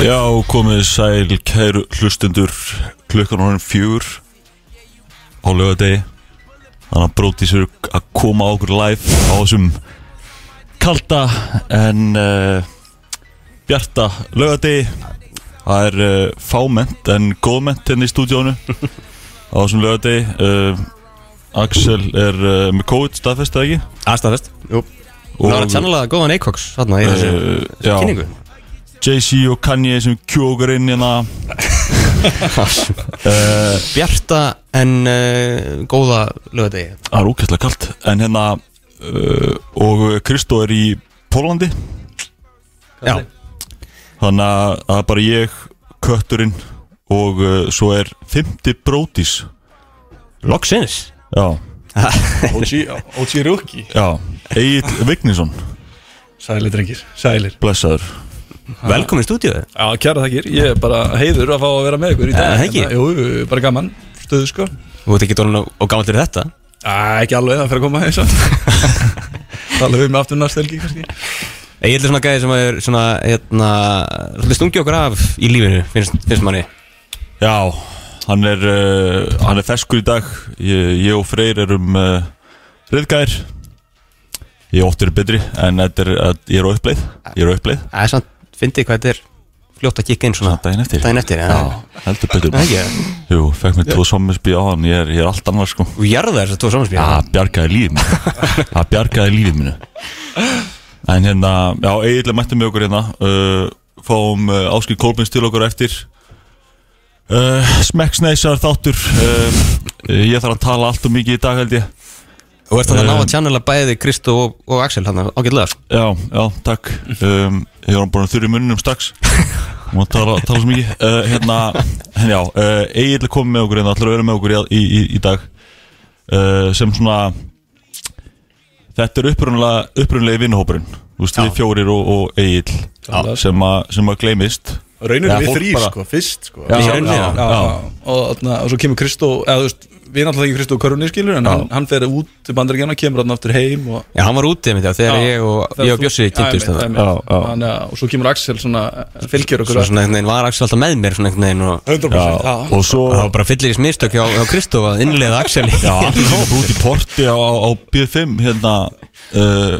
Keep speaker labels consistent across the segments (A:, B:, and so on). A: Já, komið sæl kæru hlustundur klukkan honum fjúr á lögadegi þannig að bróti sér að koma á okkur live á þessum kalda en uh, bjarta lögadegi það er uh, fáment en góðment henni í stúdíónu á þessum lögadegi uh, Axel er uh, með COVID staðfest eða ekki
B: Aðstæðfest
C: Jú.
B: Það var að tjannlega góðan Eikoks Þarna í þessu
A: Eh,
B: þessu
A: já.
B: kynningu
A: Jay-Z og Kanye sem kjókar inn hérna uh,
B: Bjarta en uh, góða lögadegi
A: Það er ókvæmstilega kalt En hérna uh, Og Kristó er í Pólandi
B: Já,
A: Þannig að það er bara ég Kötturinn Og uh, svo er 50 brótis
B: loksins
A: Já,
C: OG, OG Rookie
A: já Egil Vignisson
C: Sælir drengir, sælir
A: Blessaður
B: Velkomin í stúdíu
C: Já, kjæra þakkir, ég er bara heiður að fá að vera með ykkur í dag
B: Eh, það ekki?
C: Hérna, Jú, jú, bara gaman, stöðu sko
B: Þú veit ekki dólun og gammal til þetta
C: Æ, ekki alveg það fyrir að koma eins og Tala við með aftur næst helgi kannski
B: Ég er svona gæði sem er svona hérna, Svolítið stungi okkur af í lífinu Finnst, finnst manni
A: Já, hann er uh, Hann er feskur í dag Ég, ég og Freyr erum uh, Riðgær Ég óttir betri En þetta er, að- ég er á uppleið Ég er á uppleið
B: Það er samt, fyndi hvað þetta er fljótt að kikka inn svona
A: Daginn eftir
B: Daginn eftir, já
A: Já, heldur betur
B: Það ekki
A: Jú, fekk mér tvo sommersbí á hann Ég er, ég er allt annað sko
B: Þú jarðar þess að tóa samanspíða
A: Já, það bjargaði lífið minu Það bjargaði lífið minu En hérna, já, eiginlega mættum við okkur hérna uh, Fáum uh, Áskil Kolbins til okkur eftir uh, Smekksneisar þáttur uh, Ég þarf að tala allt og mikið í dag held ég
B: Og ert þetta að ná
A: Um,
B: að tjannlega bæði Kristó og, og Axel hann ágætlega sko.
A: Já, já, takk um, Ég var búin að þurra í munnum strax Má tala, tala svo mikið uh, Hérna, en já, uh, eiginlega komið með okkur hérna Allar að vera með okkur í, í, í, í dag uh, sem svona þetta er upprunlega, upprunlega vinnhópurinn þú veist við fjórir og, og Egil
C: Klálega.
A: sem, a, sem að gleymist
C: Raunin
A: Já,
C: við
A: fólk
C: þrý
A: bara-
C: sko, fyrst sko
B: Við
C: já,
B: erum
C: já,
B: við,
A: já.
C: Og, na, og svo kemur Kristó, eða þú veist Við náttúrulega ekki Kristó Körunni skilur En
A: Já.
C: hann, hann fer út til bandaríkjana, kemur hann aftur heim og
B: Já, hann var útið mitt já Þegar
C: Já,
B: ég og,
C: þegar
B: ég og
C: þú-
B: Bjössi
C: Já,
B: kynntust
C: einmitt,
B: þetta
C: einmitt.
A: Já, já.
C: Þannig að- Og svo kemur Axel svona Fylgjur okkur
B: Svo svona einhvern veginn var Axel alltaf með mér svona einhvern veginn og
C: 100%
A: já, og svo
B: og það var bara fyllir í smistök hjá, hjá Kristó að innlega Axel í-
A: já, allir sem út í porti á, á, á B5 hérna uh,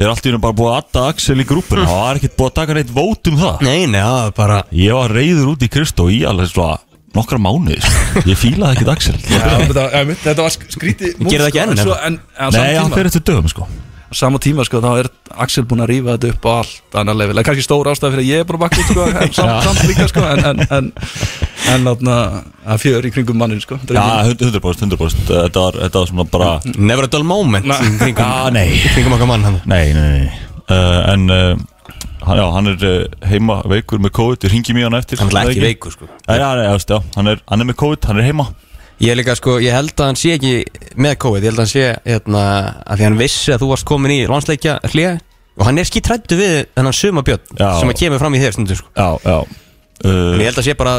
A: er allt í hennu bara búið að adda Axel í grúpuna og það er ekkert búið að taka neitt vót um það
B: Nei, nei, það var bara
A: ég var reyður út í Kristó í alveg svona nokkra mánuði sko. ég fílaði ekkert Axel
C: Já, þetta, ja, mitt, þetta var sk- skrítið sko,
B: Ég gerði það ekki enn,
C: en,
B: en-
C: svo- en, en á sama
A: Nei, hann
C: tíma,
A: fer eftir dögum sko
C: sama tíma sko, þá er Axel búinn að rífa þetta upp á allt annar level, en kannski stór ástæð fyrir að ég er bara bakk út sko, en samt, samt líka sko, en, en, en, en látna, að fjör í kringum mannin sko,
A: Já, 100%, 100% Þetta var, þetta var svona bara
B: Never a dull moment
C: Nei.
B: í kringum,
A: Já, nei.
B: í kringum okkar mann hann
A: Nei, nei, nei uh, En uh, hann, já, hann er uh, heima veikur með COVID Ég ringi mjög hann eftir
B: Hann
A: er
B: er alltaf ekki veikur sko
A: Nei, já, nei, já, veist, já, hann, er, hann er með COVID, hann er heima
B: Ég er líka sko, ég held að hann sé ekki með COVID Ég held að hann sé, hérna, að því hann vissi að þú varst komin í landsleikja hlið Og hann er skítrættu við þennan sumabjörn
A: Já.
B: sem að kemur fram í þér stundum sko
A: Já, já
B: En
A: uh,
B: ég held að sé bara,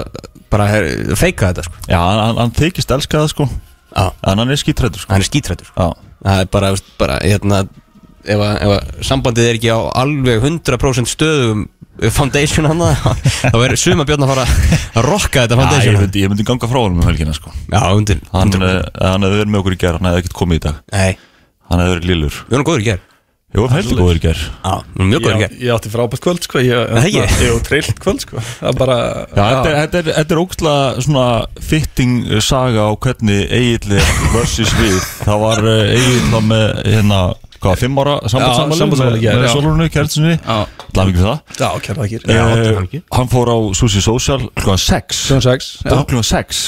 B: bara her, feika þetta sko
A: Já, hann, hann, hann þykist elska það sko
B: Já,
A: En hann er skítrættur sko
B: hann er skítrættur sko
A: Já,
B: Það er bara, veist, bara hérna ef, að, ef að sambandið er ekki á alveg 100% stöðum foundation hann þá verður suma björn að fara að rokka þetta
A: já ég,
B: foundation
A: myndi, ég myndi ganga frá honum um helgina sko
B: Já, undir,
A: Hann,
B: undir
A: eh, hann hefði verið með okkur í gerð, hann hefði ekkert komið í dag
B: Nei,
A: Hann hefði verið lillur
B: við erum góður í gerð
A: Jú, hann heldur góður í gerð
B: Já, við erum mjög góður í
C: ég,
B: gerð
C: ég átti frábært kvöld sko, ég,
B: Nei, ég-
C: ég var trillt kvöld sko, það bara
A: Já, þetta er, þetta er, þetta er ógstlega svona fitting eh, saga á hvernig Egil er versus við Það var eh, Egill þá með hérna, hvað, fimm ára
C: sambandsafmæli,
A: sambandsamali
C: já,
A: með, með
C: já.
A: Solrunu, kærtunni
C: Já.
A: Lafing fyrir það
C: já, kæra það ekki
A: Eh, Hann fór á Susi Social klukkan 6
C: Sjón 6
A: Það var klukkan 6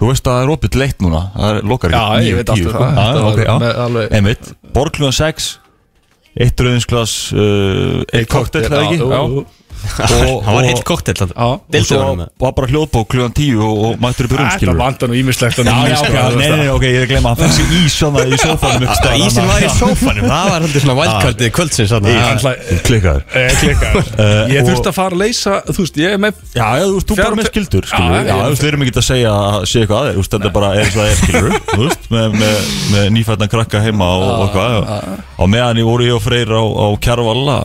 A: Þú veist að það er opið leitt núna Það er lokar
C: Já, ég veit
A: sko.
C: allt um það. Þetta var með
A: það
C: alveg-
A: Einmitt, borg klukkan 6 Eitt rauðinsglas uh, Eitt koktel, það ekki Já. Og-
B: Hann
A: og-
B: var heill koktel
C: Já.
A: Og
B: Deildur
A: svo
B: hann með
A: var bara hljóðbók klukkan 10 og, og mættur upp í rúm,
C: Þetta
A: skilur
C: vantar nú ímislegt
A: Já, já, ok, nei, nei, nei, ok, ég er að gleyma Hann fekk sér ís svona í sófanum ykkur
B: Það
A: staðar,
B: ísinn
A: hann-
B: var í sófanum Það var haldið
A: Ah.
B: svona valdkvöldi kvöldsins þarna.
C: nei
A: Klikkaður
C: Ég klikkaður.
A: Eh,
C: Ég
A: og-
C: þurfti að fara að leysa Þú veist, ég er með
A: Já, já, þú veist, þú bara
C: Fjár-
A: með skildur, skilur
C: Já,
A: Já,
C: já,
A: þú veist, við erum ekki að segja að sé eitthvað aðeins Þú veist, þetta bara er eins og það er, skilur Þú veist, með, með, með nýfættan krakka heima og, og hvað Og meðan ég voru ég og Freyr á, á Kjarvala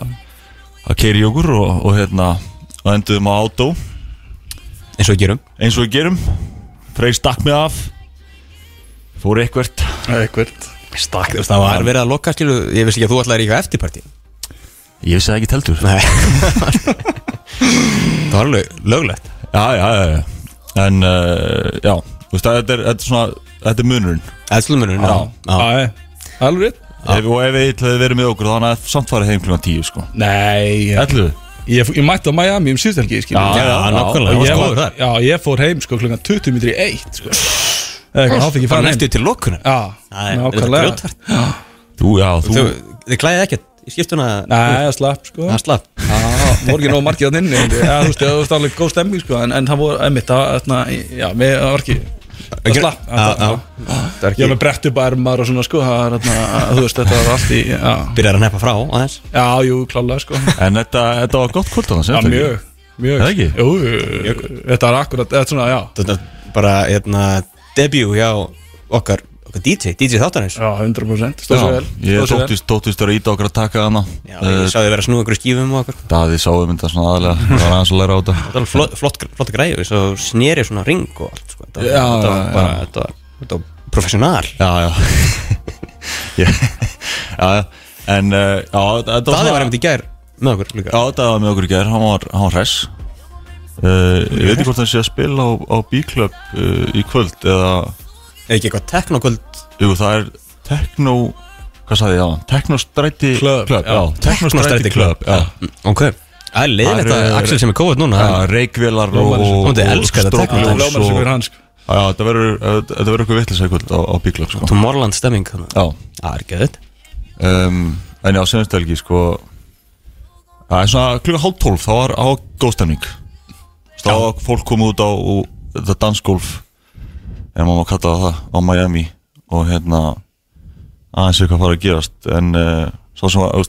A: Að keiri okkur og, og hérna og enduðum á átó
B: eins og við gerum
A: eins og við gerum Freyr stakk mig af fór eitthvert
C: Ekkert
B: Stakk, það var verið að loka skilu Ég veist ekki að þú ætlaðir í eitthvað eftirparti
A: ég vissi það ekki teltur
B: Nei Það var alveg löglegt
A: já, já, já, já. en uh, já, þú veist að þetta er, þetta er svona þetta er munurinn
B: Eðslumunum
A: Já.
B: Já
C: Alveg rétt
A: ef, og ef við ætlaði verið með okkur þá hann að samt farið heim klukkan 10 sko
C: Nei ég,
A: ætluðu
C: ég, ég mætti á Miami um síðstelgi Já,
A: Já, sko,
B: Já, nákvæmlega, það var
C: Og ég,
B: skoður
C: var,
B: þar
C: já, ég fór heim sko klukkan 20 mitri í 1 sko. Eða eitthvað, þá fikk ég
B: Bara
C: fara heim
B: næstu til lokunar
C: Já,
B: Það er- þetta er
C: nákvæmlega
B: grjóthart.
A: þú, já, þú,
B: Þú, þið klæðið ekkert í skiptuna
C: Nei, það slapp sko
B: Það slapp
C: Já, voru ekki nóg margir á þinn en, ja, þú veist, það var alveg góð stemming sko, en, en það voru, einmitt, það, þarna, já, mér það var ekki það
B: Ekki-
C: slapp
B: Já, já. Það er
C: Ég var með
B: ekki
C: brett upp ærmar og svona sko, það var, þarna, þú veist, þetta var allt í Já,
B: Byrjar að neppa frá aðeins
C: já jú, klálega sko
A: en þetta, þetta var gott kvöld annars,
C: Já,
A: er þetta ekki?
C: mjög, mjög
A: Það ekki?
C: Jú, Jú, þetta var akkurat, þetta er svona, já
B: Þetta er bara, hérna, debut hjá okkar, okkar DJ, DJ Þáttanins
C: Já, 100% Stóð svo
A: Já,
C: vel
A: ég
C: stóð svo vel.
A: tóttist, tóttist að íta okkur að taka hana
B: Já,
A: Eh,
B: ég sá þið vera að snúa einhverju skífum og okkur
A: Daði sáum þetta svona aðalega Það var aðeins að læra á þetta
B: Þetta var alveg flott, flott, flott græði Svo sneri svona ring og allt sko. Þetta var,
C: Já,
B: þetta var
C: já,
B: bara, þetta var, þetta var professional
A: Já, já Ég- Já, já En, uh, já, þetta
B: Daði
A: svona-
B: var einmitt í gær með okkur líka
A: Já, Daði var með okkur í gerð, hann var, hann var hress uh, Ég veit ekki hvort hann sé að spila á, á B-Club uh, í kvöld Eða,
B: Er ekki eitthvað teknokvöld
A: jú, það er Techno Hvað sagði ég á hann? Technostræti
C: Club,
A: Club
C: já.
A: já, Technostræti Club, já
B: Ok Það er leiðilegt
A: Það
B: að
A: er-
B: Axel sem er kóðið núna
A: Já, reykvélar og,
C: Lómaður-
A: og,
B: Hún myndi elska þetta
A: strokkljós
B: techno.
C: Það ljómar
A: og-
C: sem fyrir hann sko
A: Já, já, þetta verður eh, þetta verður eitthvað vitlis eitthvað á, á Bíklöf sko.
B: Tomorrowland stemming þarna.
A: Já,
B: Það er ekki þetta
A: um, en já, senastelgi sko Það er svona klukka hálf tólf, þá var á góðstemning Þá var fólk komið út á og þetta dansgólf en maður má kalla það það, á Miami og hérna aðeins eitthvað fara að gerast en uh, svo sem að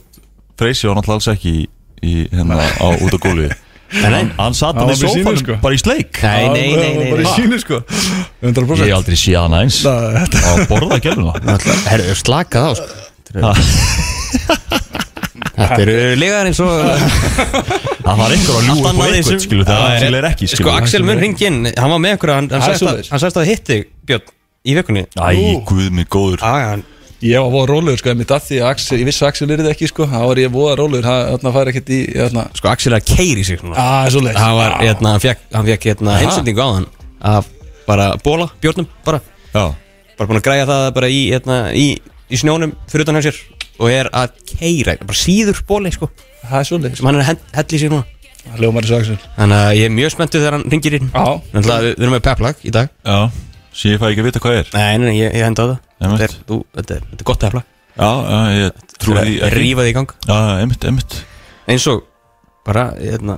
A: Freysi var náttúrulega alls ekki í, í hérna á, út á gólfi
B: nei.
A: hann, hann satt
C: Hann
A: hann
C: var
A: í
C: með sínu,
A: sófanum
C: sko.
A: bara í sleik
B: Nei, nei,
C: Já,
B: nei, nei,
C: Bara í
B: nei.
C: sínu sko 100%
A: Ég hef aldrei séð hann eins
C: Það, þetta
A: að borða gerðuna
B: Herru, slaka þá sko. Þetta eru- Þetta eru legar eins og
A: Það var einhver að ljúa
B: Allt
A: upp á
B: annað í
A: eitthvað
B: þessu-
A: skilu Það
B: Já,
A: Axel er ekki
B: Sko
A: skilu
B: Axel mun hringi inn Hann var með okkur Hann, hann,
C: Það er
B: sagðist, að,
C: svoleiðis.
B: hann sagðist að hitti Björn Í vikunni
A: Æ, guð mig góður
B: Já, já, hann-
C: Ég var voða rólegur sko, mitt að því að Axel, ég vissi að Axel yrði ekki sko, þá var ég voða rólegur, það- þarna fær ekkert í, hérna. þarna
B: Sko Axel er að keiri sig svona.
C: Það er svo leitt
B: Hann var, hérna, hann fekk, hann fekk hérna, heimsendingu á hann Af bara bóla, Björnum bara
A: Já,
B: bara búin að græja það bara í, hérna, í, í snjónum fyrir utan hjá sér og er að keira, bara síður bóli sko,
C: Það er svo leitt
B: sem hann er að hend- hella í sér núna
C: Ljómar þessu Axel
B: þannig að ég er mjög spenntu þegar hann ringir inn
C: Já.
B: þannig að við, við erum með peplag í dag
A: já Sér ég fæ ekki að vita hvað er
B: nei, nei, nei, ég, ég henda á það þetta er,
A: Einmitt.
B: þú, þetta, er, þetta er gott peplag
A: Já, já, ég trúi því
B: að
A: ekki
B: rífa því í gang
A: Já, einmitt, einmitt
B: eins og bara hérna,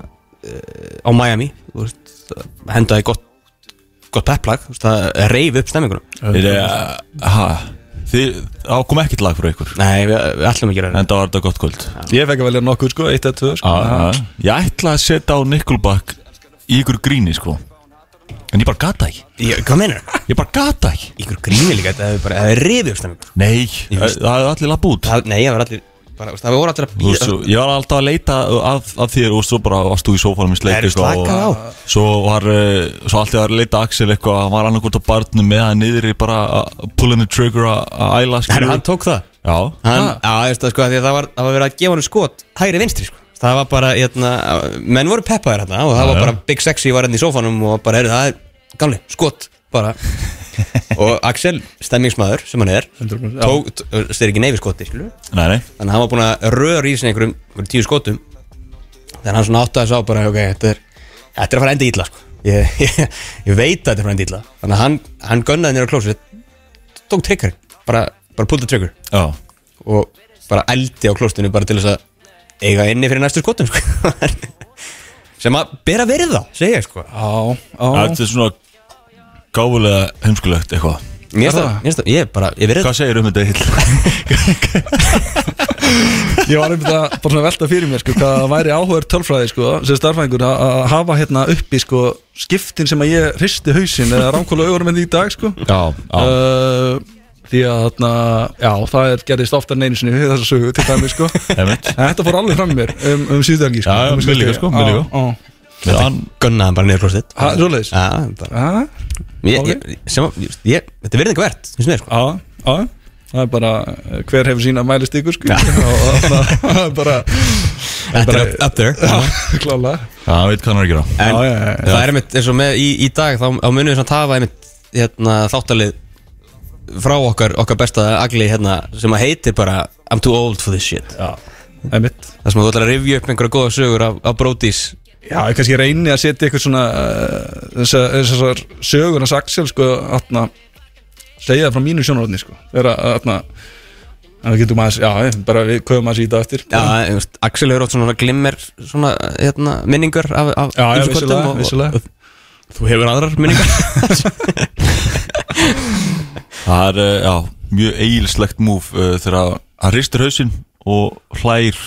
B: eh, á Miami þú veist, það hendaði gott gott peplag, þú veist, það reyf upp stemmingunum
A: Ég er, ha Þið, á kom ekkert lag frá ykkur
B: nei, við, við ætlum ekki að gera
A: En það var þetta gott kvöld Já,
C: Ég fekk að velja nokkuð sko, eitt eða tvö sko
A: já Ég ætla að setja á Nickelback í ykkur gríni sko En ég bara gata ekki
B: það Ég- hvað meinar það?
A: Ég bara gata ekki
B: ykkur gríni líka, þetta hefur bara það hefur reyfið upp stemmingunum
A: Nei, það hefði allir lapp út
B: það, Nei, það var allir bara, Það voru allir að
A: Þú veist,
B: býða
A: ég var alltaf að leita að, að þér og svo bara varst þú í sófanum í sleik
B: Herru,
A: eitthvað
B: slakaðu á.
A: og svo var eh, svo alltaf að leita að Axel eitthvað hann var annarkvort á barnum með hann niður í bara að pulling the trigger að- að æla
B: Herru,
A: skilur
B: hann tók það
A: já,
B: hann, Já, þú veist það sko af því að Það var, það var verið að gefa hann skot hægri vinstri sko. Það var bara, hérna, menn voru peppaðir hérna Og það
A: Já,
B: var
A: já.
B: bara Big Sexy var hérna í sófanum Og bara, herru, það er gamli, skot Bara Og Axel, stemmingsmaður sem hann er
C: 100%, já.
B: Tók, það er ekki neyfi skoti, skilur
A: nei, nei,
B: Þannig að hann var búin að röra í sig einhverjum, einhverjum tíu skotum Þannig að hann svona áttaði sá bara ok, þetta er, þetta er að fara enda ítla sko. ég, ég, ég veit að þetta er að fara enda ítla Þannig að hann, hann gönnaði nýra klósið Tók trigger, bara, bara púlta trigger
A: já
B: Og bara eldi á klóstinu bara til þess að eiga inni fyrir næstu skotum sko. Sem að bera verið þá, segja ég sko
C: Já, já
A: þetta er svona gáfulega heimskulegt eitthvað
B: Mér finnst
C: Er
B: það-
C: það?
B: mér finnst það, ég er bara, ég verið
A: hvað segir um þetta heil?
C: Ég var einmitt að bara svona velta fyrir mér sko, hvað það væri áhugaður tölfræði sko, sem starfæðingur að að hafa hérna uppi sko skiptin sem að ég hristi hausinn eða ránkóla augurum enn í dag sko
A: já, já,
C: uh, Því að þarna, já, það er gerðist oftar en einu sinni við þessa sögu til dæmi sko
A: einmitt
C: En Þetta fór alveg fram í mér um, um síðdagi sko.
A: Já, já,
C: Um
A: mér líka,
C: síðdegi.
A: sko, mér
C: Já,
A: líka.
C: já.
A: Já, hann,
B: Gunnaði hann bara niður klósett
C: Ha, svoleiðis?
B: Já, bara
C: Já,
B: ég,
C: ok.
B: ég, sem, að- ég, ég, Þetta verði eitthvað verðt, finnst mér sko
C: já, já Það er bara, eh, hver hefur sína mælist ykkur sko og og það er bara
B: Þetta er up, up there
C: klála
A: já, hann veit hvað hann er að gera
B: En
C: Já, já, já, já.
B: það er einmitt, eins og með í, í dag þá, þá munum við samt hafa einmitt hérna, þáttalið frá okkar, okkar besta agli hérna, sem að heitir bara I'm too old for this shit
C: Já, einmitt
B: Það sem að þú ætlar að rifja upp einhverja góða sögur af, af brótis
C: Já, ég kannski reyni að setja eitthvað svona eh, þessa- þessar sögur hans Axel sko, atna, segja það frá mínu sjónarotni sko, þegar að atna, að við getum aðeins, já, eh, bara við köfum aðeins í þetta eftir
B: Já, þú veist, Axel hefur átt svona glimmer svona, hérna, minningar af, af
C: já, já
B: ýmsum kvöldum
C: vissulega,
B: og-
C: vissulega
B: og Þú hefur aðrar minningar
A: Það er, eh, já, mjög eigilslegt múf uh, þegar hann ristir hausinn og hlær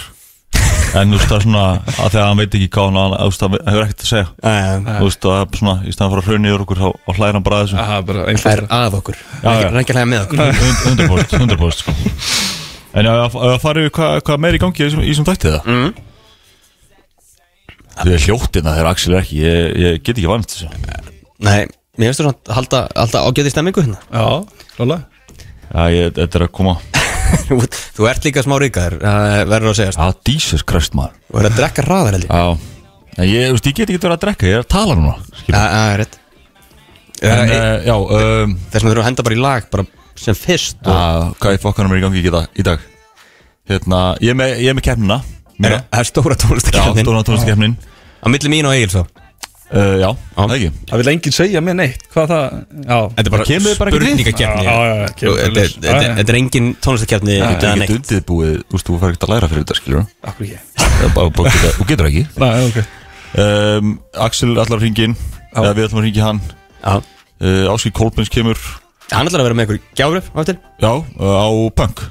A: en þú veist það er svona að þegar hann veit ekki hvað hann, hann, þú veist, hann hefur ekkert að segja
B: Það
A: þú veist það er svona, í staðan fyrir að hraunni yfir okkur þá þá hlær hann bara að þessu
C: Það er bara
B: er
C: einfalt
B: að okkur
A: Já,
B: Það
A: já.
B: er ekki að hlæða með okkur
A: 100% 100% sko En já, ef að fara yfir hvað, hvað meir í gangi í þessum- í þessum þættið það
B: Mhm.
A: Þau er hljóttina hérna þegar Axel er ekki Ég, ég get ekki vant þessu
B: Nei, mér finnst þú svona að halda, halda ágæti stemmingu hérna
C: Já, klála
A: Já, ég, þetta er að koma
B: Þú ert líka smá ríkaður, það verður að segjast
A: Já, Jesus Christ maður
B: Og er að drekka hraðar held ég
A: Já En ég, þú veist, ég get ekki verið að drekka, ég er að tala núna skilur.
B: Já, eh, það er rétt
A: En, uh, já, um,
B: Þess vegna þurfum við að henda bara í lag bara sem fyrst og,
A: að, hvað í fokkanum er í gangi í dag, í dag? Hérna, ég er með, ég er með keppnina
B: er,
A: Mína.
B: Það er stóra
A: Já,
B: tónlistakefnin
A: Dóna tónlistakeppnin
B: Á milli mín og Egil svo
A: uh, Já, það ekki
C: Það vil enginn segja mér neitt, hvað það Já,
B: Þetta
A: bara Kemur þið bara ekkert við?
B: spurningakefni
C: já, já, já, kemur
B: Þetta
C: bara
B: er- þetta er-
C: ljós.
B: þetta er engin tónlistakefni
A: Þú
B: eða
A: getur
B: neitt.
A: ekki undirbúið, þú veist, þú fær ekkert að læra fyrir þetta, skilur
C: Já, já, akkur ekki
A: Það er bara, bara geta, þú getur ekki
C: Nei, ok
A: um, Axel allar hringin
C: Já.
A: eða við ætlum að hringi hann
B: Já.
A: uh, Áskil Kolbens kemur
B: Hann ætlar að vera með einhver gjágrif á eftir
A: já, uh, á Punk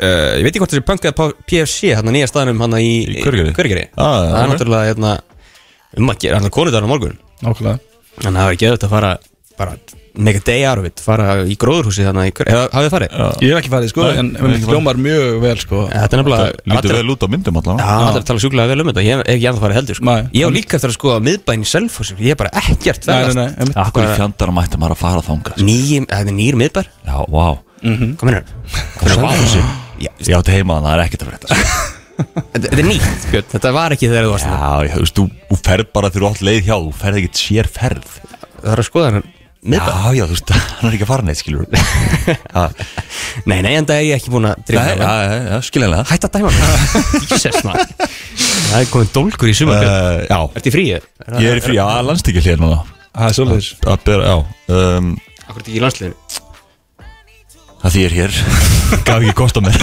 B: uh, Ég veit ekki hvort þessi punk eða P- PFC Þannig nýja staðnum hann í
A: Í Hveragerði?
B: Hvergeri
A: Ah, já,
B: Það er
A: ok.
B: náttúrulega hérna, um að gera Hann er konudagur á morgun
C: Nákvæmlega
B: Þannig að það hefur geðið að fara bara make a day out of it, fara í gróðurhúsi þannig að ykkur, eða hafið þið farið? Ja,
C: Ég hef ekki farið sko,
A: Nei, ég
C: en
A: hef ekki farið.
C: hljómar mjög vel sko
B: Þetta er nefnilega
A: Lítið
B: allir,
A: vel út á myndum
B: Já,
A: allavega
B: allir tala sjúklega vel um þetta, ég hef ekki annað farið heldur sko.
C: Nei.
B: Ég á líka eftir að sko að miðbæn í Selfossi, ég er bara ekkert
C: Nei, nei, nei, einmitt.
A: Akkur í fjandara mætti maður að fara þangað sko.
B: Nýjum, eh, þetta er nýjum miðbær,
A: Eh. Já, vá Mhm.
B: hvað meinar
A: Hvernig var þessi?
B: Já,
A: Ég átti heima þannig að það er ekkert að frétta sko.
B: Þetta þetta er nýtt, Björn, þetta var ekki þegar þú varst þarna.
A: Já, ég, þú veist, þú, þú ferð bara þegar þú átt leið hjá Þú ferð ekkert sér ferð
B: Það er að skoða hann
A: Já,
B: miðbær
A: já, þú veist, hann er ekki að fara neitt, skilur Já,
B: Nei, nei, en það er ég ekki búin að
A: já,
B: drifa
A: já, já, skiljanlega
B: Hætt að dæma mig. Jesus, maður. Það er komin dólkur í sumar, Björn
A: uh, Já,
B: Ertu í fríi?
A: ég er í frí, já, landstíkil hér núna
C: Það er svolítið
A: Að bera, já um,
B: Akkur ekki í landsliðinu?
A: að því ég er hér gaf ekki kost á mér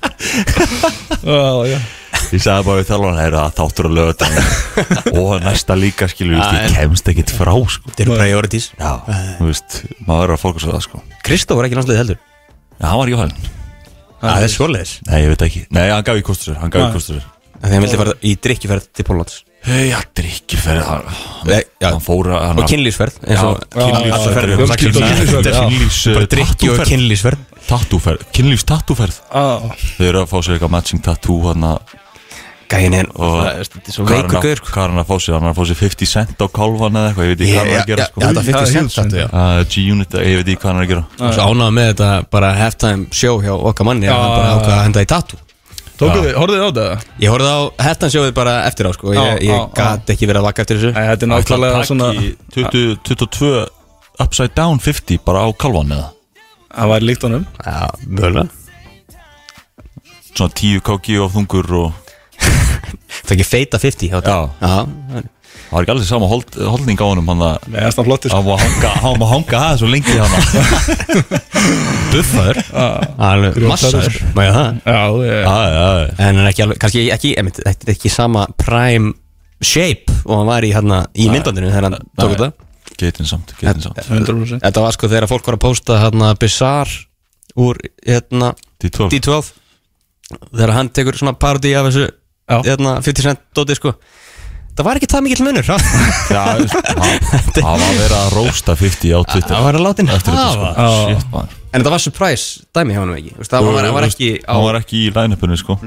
C: Já, já
A: ég sagði bara við þjálfana er að þáttur að lögða og næsta líka skilur við,
B: Já,
A: ég
B: en-
A: kemst ekkit frá sko.
B: Þetta eru priorities
A: já, þú veist, maður verður að fólkast á það sko.
B: Kristóf var ekki landsliðið heldur
A: já, hann var ekki hálfinn,
B: Það er svoleiðis
A: nei, ég veit ekki nei, hann gaf ekki kost á sér, hann gaf
C: Nei.
A: ekki kost á sér
B: Þegar hann vildi fara í drikkjuferð til Póllands
A: hei, hann drikkir fyrir hann
B: Nei, já.
A: hann fór að hann
B: Og kynlífsferð eins
A: Já,
B: og
A: kynlífs-
B: allar ferðir
A: þetta er
B: eru sagt.
C: Fjölskylda-
A: kynlífs- þetta
C: Já.
A: er kynlífs
B: Bara drikki og
A: tattúferð
B: kynlífsferð
A: tattúferð, kynlífs tattúferð
C: Já,
A: þau eru að fá sér eitthvað matching tattoo hann að
B: Gæin er
A: og hvað er hann
B: veikur
A: að-
B: gaur
A: hvað er hann að fá sér, hann er að fá sér 50 cent á kálvan eða eitthvað, ég veit ekki hvað hann er að gera sko.
B: þetta
C: Það er
B: fyrir
C: huge,
B: sent samt
C: sko.
B: já.
A: Uh, G-Unit, ég veit ekki hvað hann er að gera
B: Og Svo ánað með þetta bara halftime show hjá okkar manni að
C: Já.
B: Hann bara ákvað að henda í tattoo
C: tókuð þið, horfið þið á þetta?
B: Ég horfði á halftime showið bara eftir á sko Ég,
C: Já, já,
B: ég gat ekki verið að vaka eftir
C: Nei,
B: þessu
C: þetta er nákvæmlega svona
A: Taki 20, 22 upside down 50 bara á kalvan eða
C: Það var líkt honum
B: Já, mjögulega
A: Svona 10 kg á þungur og
B: Það ekki feita 50 hjá þetta
A: Já.
B: Já,
A: það var ekki allir sama hold, holdning á honum hann að
C: Nei, það sko. er svona flottir
A: hann má hanga, hann má hanga aðeins og lengi hann
B: buffaður Alveg massaður, má ég það
C: Já, ég-
A: að
B: en hann er ekki alveg, kannski ekki, emitt, þetta er ekki sama prime shape og hann var í, hana, í myndbandinu þegar hann tók þetta
A: Geitin samt, geitin samt
C: 100%
B: þetta var sko þegar fólk var að posta hana, bizarre úr hérna,
A: D12
B: D12 þegar hann tekur svona parodi af þessu
C: Já.
B: hérna, 50 cent dóti sko það var ekki það mikill munur ha?
A: Já, það var að vera að rósta 50 á Twitter
B: það var að láta hann
A: eftir þetta
B: hafa
A: sko Shit, maður.
B: en þetta var surprise dæmi hjá hann ekki Þú veist, það var, hann var ekki á
A: Hann var ekki í line-upinu sko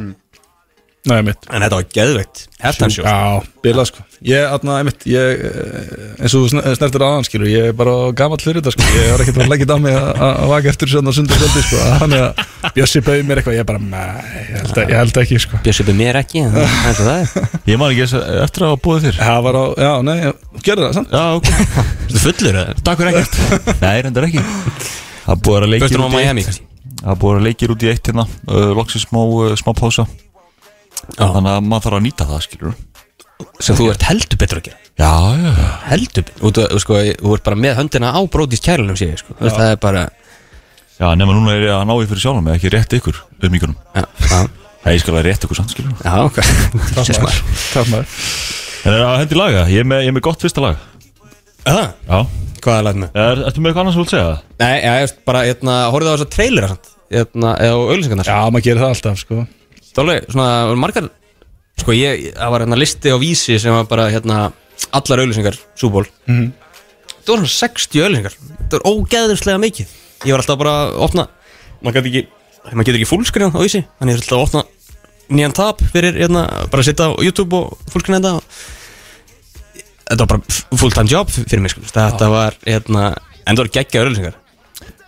C: Nei, mitt
B: En þetta var geðveitt Heftan sjó
C: Já, bilað sko Ég, atna, einmitt, ég, eh, eins og þú sn- snertir aðan skilur Ég er bara gamall fyrir þetta sko Ég var ekkert að leggja þetta á mig að- að að vaka eftir söndag sundag kvöldi sko Að Þannig að Bjössi bauð mér eitthvað Ég bara, nei, ég held, að- ég held ekki sko
B: Bjössi byrð mér ekki en það er svo það er
A: Ég man ekki þess- eftir að hafa búið þér
C: Það var á, já, nei, þú gerði það, sant?
A: Já, ok
B: Þú fullur það
A: Takk fyrir ekkert Nei, reyndar ekki Það búið að vera leikir
B: Föstum á
A: út í
B: Miami
A: eitt Það búið að vera leikir út í eitt hérna uh, Loksins smá, uh, smá pása Þannig að maður þarf að nýta það, skilur
B: Sem þú ert heldur betur að gera
A: Já, já, já
B: Heldur betur Út að, sko, þú ert bara með höndina á brótis kærlunum sér sko. Þú veist, Það er bara
A: Já, nema núna er ég að ná ég fyrir sjálfum eða ekki rétt ykkur um ykkurum
B: Já, já,
A: Nei, ég skal að rétt ykkur samt, skilur
B: já ok Jesus, maður.
C: Takk maður
A: En er að hendi laga, ég er með, ég er með gott fyrsta lag
B: Er það?
A: Já,
B: Hvað er lagna?
A: er, ertu með eitthvað annars sem þú vilt segja?
B: Nei, já, ég veist bara, hérna, horfðu á þessa trailera samt Hérna, eða á auðlýsingarnar
C: Já, maður gerir það alltaf sko
B: Það var alveg svona margar Sko ég, það var hérna listi á vísi sem var bara hérna Allar auðlýsingar, súból mm Það var svona 60 auðlýsingar Það var ógeðurslega mikið Ég var alltaf bara að opna Maður getur ekki, maður getur ekki fúlskriðan á vísi Þannig ég var alltaf að opna nýjan tab fyrir hérna Bara að sitja á YouTube og fúlskriðan þetta og- Þetta var bara fulltime job fyrir mig sko Þetta var hérna, en það var geggja auðlýsingar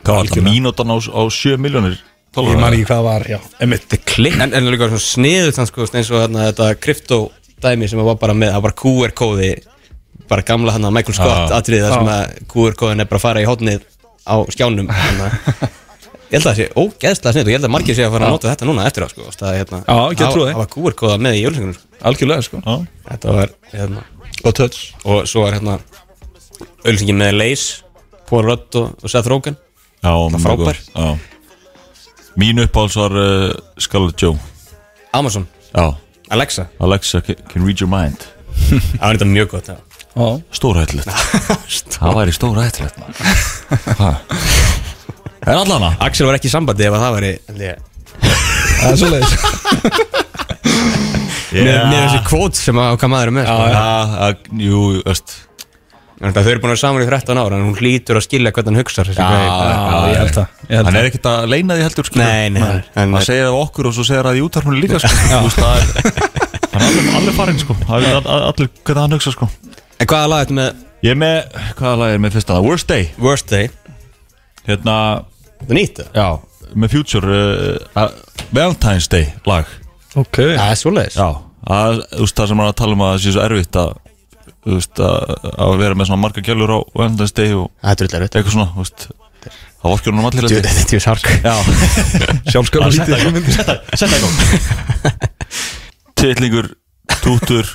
A: Hvað var þetta? Mínútan á, á 7 miljónir
C: Ég man ekki hvað var, já, emitt
B: klikk En, en líka svona sniðut hann sko eins og þarna þetta krypto dæmi sem var bara með, það var bara QR kóði bara gamla hann að Michael Scott
A: Já.
B: atriði þar sem að QR kóðin er bara að fara í hotnið á skjánum þannig að Ég held að það sé ógeðslega sniðut og ég held að margir sé að fara að nota þetta núna eftir á sko það, hérna,
C: Já, ég get trúið því.
B: það var QR kóða með í jólsingunum sko.
C: Algjörlega sko
A: Já,
B: Þetta var hérna
C: Gott höll
B: og svo er hérna ölsingin með Leis Paul Rudd og, og Seth Rogen
A: já mjög
B: frábær.
A: góð. Já Mín uppáhalds var uh, Scarlett Joe
B: Amazon,
A: Já,
B: Alexa
A: Alexa can, can read your mind
B: það var þetta mjög gott já.
C: Já,
A: Stórætlegt Það væri stórætlegt En allana
B: Axel var ekki í sambandi ef að það væri held ég,
C: það er svoleiðis
B: með, með þessi kvót sem að hvað maður er með sko.
A: Já, jú, öst
B: En þetta, Þau eru búin að vera saman í 13 ára en hún hlýtur að skilja hvernig hann hugsar þessi gæi.
C: Já, ég held það, ég held
A: Hann
C: það.
A: er ekkert að leina því heldur
B: Nei, nei, nei. En-
A: Það segir það við okkur og svo segir það í útarpunni líka sko. Þú veist, það er Hann er allir, allir farinn sko Það er allir hvernig hann hugsa sko
B: En hvaða lag er þetta með
A: Ég er með, hvaða lag er með fyrsta? Worst Day
B: Worst Day?
A: Hérna,
B: Þetta er nýtt það?
A: já, með Future uh, uh, Valentine's Day lag
C: Ok
B: Það er svoleiðis
A: Já, að, þú veist það sem hann er að tala um að það sé svo erfitt að þú veist að, að vera með svona marga kjölur á Valentine's Day og
B: Þetta er illa rödd
A: eitthvað svona, þú veist það vorkjur hann um allir
B: Þetta
A: þetta
B: er tjóð sark
A: Já,
C: Sjálfsköld
A: Bara setta í gang. sett það í gang Tittlingur, tútur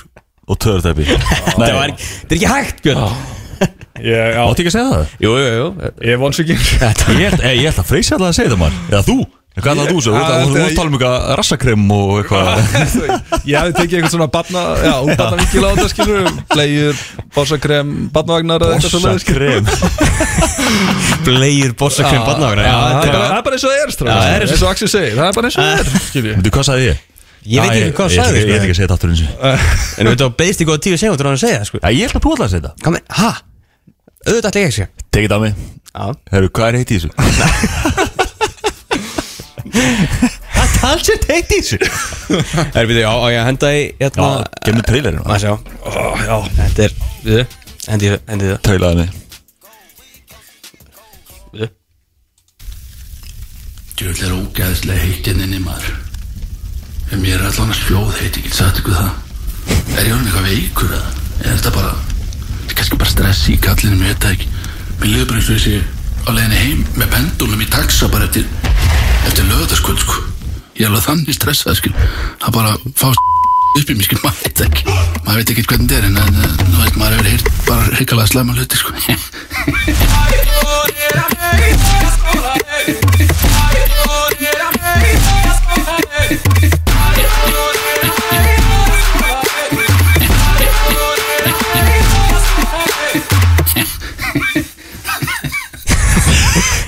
A: og törðæpi Nei,
B: Þetta var- þetta er ekki hægt Björn
C: Ég, já,
A: áttu ekki að segja það?
B: Jú, jú, jú
C: ég vons ekki
B: Þetta
A: Ég held, eh, ég held að freysi alltaf að segja það mann Eða þú, hvað er það þú sem, þú ert að- þú ert að tala um eitthvað rassakrem og eitthvað
C: Ég hefði tekið eitthvað svona batna, já, batna vikil á þetta skilur Bleiur, bossakrem, batnavagnar eða eitthvað svoleiðis, skilurðu.
A: Rassakrem
B: blegir bossakveim barnavagnar Ah. Já,
C: Það er
B: þetta er Já, það er
C: bara- það er bara eins og það er strákar.
B: eins og-
C: eins og Axel segir, það er bara eins og það er skilur
A: Veitu, hvað sagði ég?
B: Ég veit
A: Já,
B: ekki hvað
A: ég-
B: sagði
A: ég- Ég veit ekki að segja þetta aftur eins og
B: Eh. En þú veit að beðist í góða tíu segundur á hann að segja það, sko
A: Já, Ég held að þú ætlaði að segja þetta
B: Hvað með, ha? Auðvitað ætla ég ekki að segja
A: Tekið á mig
B: Já
A: Herru, hvað er heitt í þessu?
B: Það tals er teikt í þessu Það er við þau á á ég að henda í
A: Já,
B: hérna
A: gemmi trailerinn
B: Má sjá
C: Já,
B: Þetta er Við Hendi þau Hendi þau
A: Trailaði mig
B: Við
D: Djöfull er ógæðslega heitt hérna inni maður En mér er allan að sjóð heitt, ég get sagt ykkur það Er ég orðin eitthvað veikur eða? Eða er þetta bara Þetta er kannski bara stress í kallinu, mér veit það ekki Mér liður bara eins og þessi á leiðinni heim Með pendulum í taxa bara eftir Eftir löðarskvöld sko Ég er alveg þannig stressað skil Það bara fá upp í mig skil, maður veit það ekki Maður veit ekki hvernig þetta er en, en eh, nú veit maður hefur heyrt bara hrikalega slæma hluti sko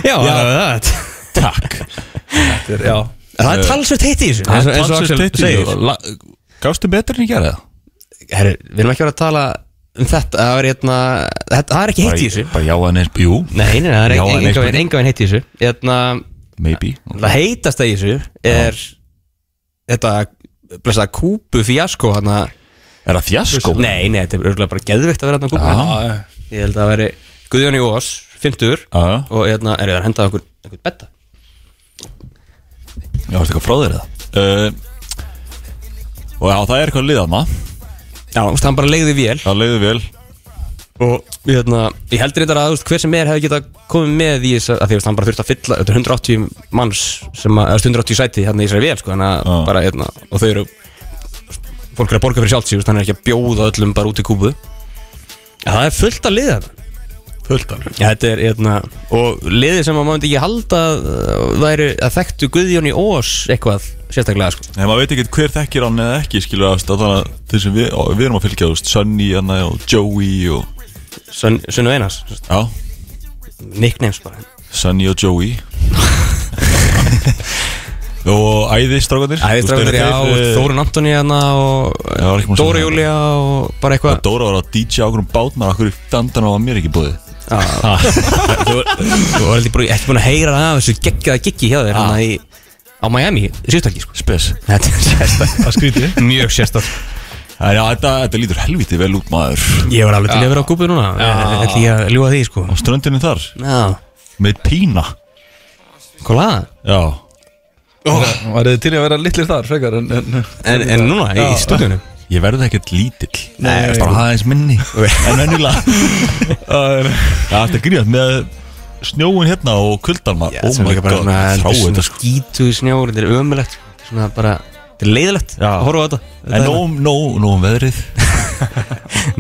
B: Já, já það
A: Takk
C: þetta er, já
B: Það er talsvert heitt í þessu eins og- eins og Axel segir.
A: Gafstu betur en ég gera það?
B: Herru, við erum ekki verið að tala um þetta Það er hérna þetta- Það er ekki heitt í þessu
A: Bara já að neins Jú,
B: Nei, nei, það er
A: Já, en
B: enga
A: eitthvað-
B: veginn enga veginn heitt í þessu Hérna
A: maybe
B: Það heitast í þessu er Þetta blessa kúpu fjasko hana
A: Er það fjasko?
B: Nei, nei, þetta er örgulega bara geðvikt að vera hérna kúpu
C: Já,
B: Ég held að veri Guðjón í Ós, 50
A: Já, já.
B: og hérna er ég að henda okkur einhvern betta
A: Já, veistu eitthvað frá þér eða? Uh, og já, það er eitthvað liðaðna
B: Já, þú veist, hann bara leiði vél
A: Það leiði vel
B: og hérna, ég heldur þetta að þú veist, hver sem er hefði getað komið með í þess að því að hann bara þurfti að fylla, þetta er 180 manns sem að, eða 180 sæti hérna í þessari vel sko, þannig að
A: Já.
B: bara hérna, og þau eru fólk er að borga fyrir sjálfsíð, þannig að ekki að bjóða öllum bara út í kúbu ja, það er fullt að liða þarna.
C: fullt af
B: Já, þetta er, hérna, og liðið sem að maður myndi ekki halda að væri að þekktu Guðjón í Ós eitthvað sérstaklega sko.
A: En maður veit ekki hver þekkir hann eða ekki skilur að þannig að þeir sem við, og við erum að fylgja þú veist, Sunny hana, og Joey og
B: Sön, Sunnu Einars,
A: Já,
B: nicknames bara
A: Sunny og Joey Og æði strákanir
B: Æðistræðunir, já, og Þórun Antoni hérna og
A: Já, var ekki búin að
B: Dóra
A: segja
B: Júlia og bara
A: eh, Og
B: eitthvað
A: Dóra var að DJ á okkur um bátnar Akkur í dandan var mér ekki búið
B: Já.
A: Ah.
B: Þú þú var heldur bara ekki búin að heyra af þessu geggjaða giggi hjá þér hérna í á Miami, síðustalki sko
A: Spes
B: Þetta er sérstakt,
C: Það skrítið
B: mjög sérstakt
A: Það er já, þetta, þetta lítur helviti vel út maður
B: Ég var alveg til í að vera á gúbu núna, ætlum ég að ljúa því sko
A: Á ströndinu þar
B: Já,
A: Með pína
B: hvað laða?
A: Já
C: Var þið til í að vera litlir þar, frekar en, en,
B: En, en núna, í
C: Já.
B: stúdíunum
A: Ég verði ekkert lítill
C: Nei.
A: Ég er bara aðeins minni En venjulega Það er gríðast með snjóin hérna og kuldan maður
B: Þetta er
A: Oh my
B: líka bara
A: god,
B: svona,
A: þrá
B: þetta er
A: þetta
B: svona
A: sko
B: skítuð snjór, þetta er ömulegt Svona bara, þetta er leiðilegt
A: Já.
B: að horfa á þetta
A: En nóg, nóg, nóg um veðrið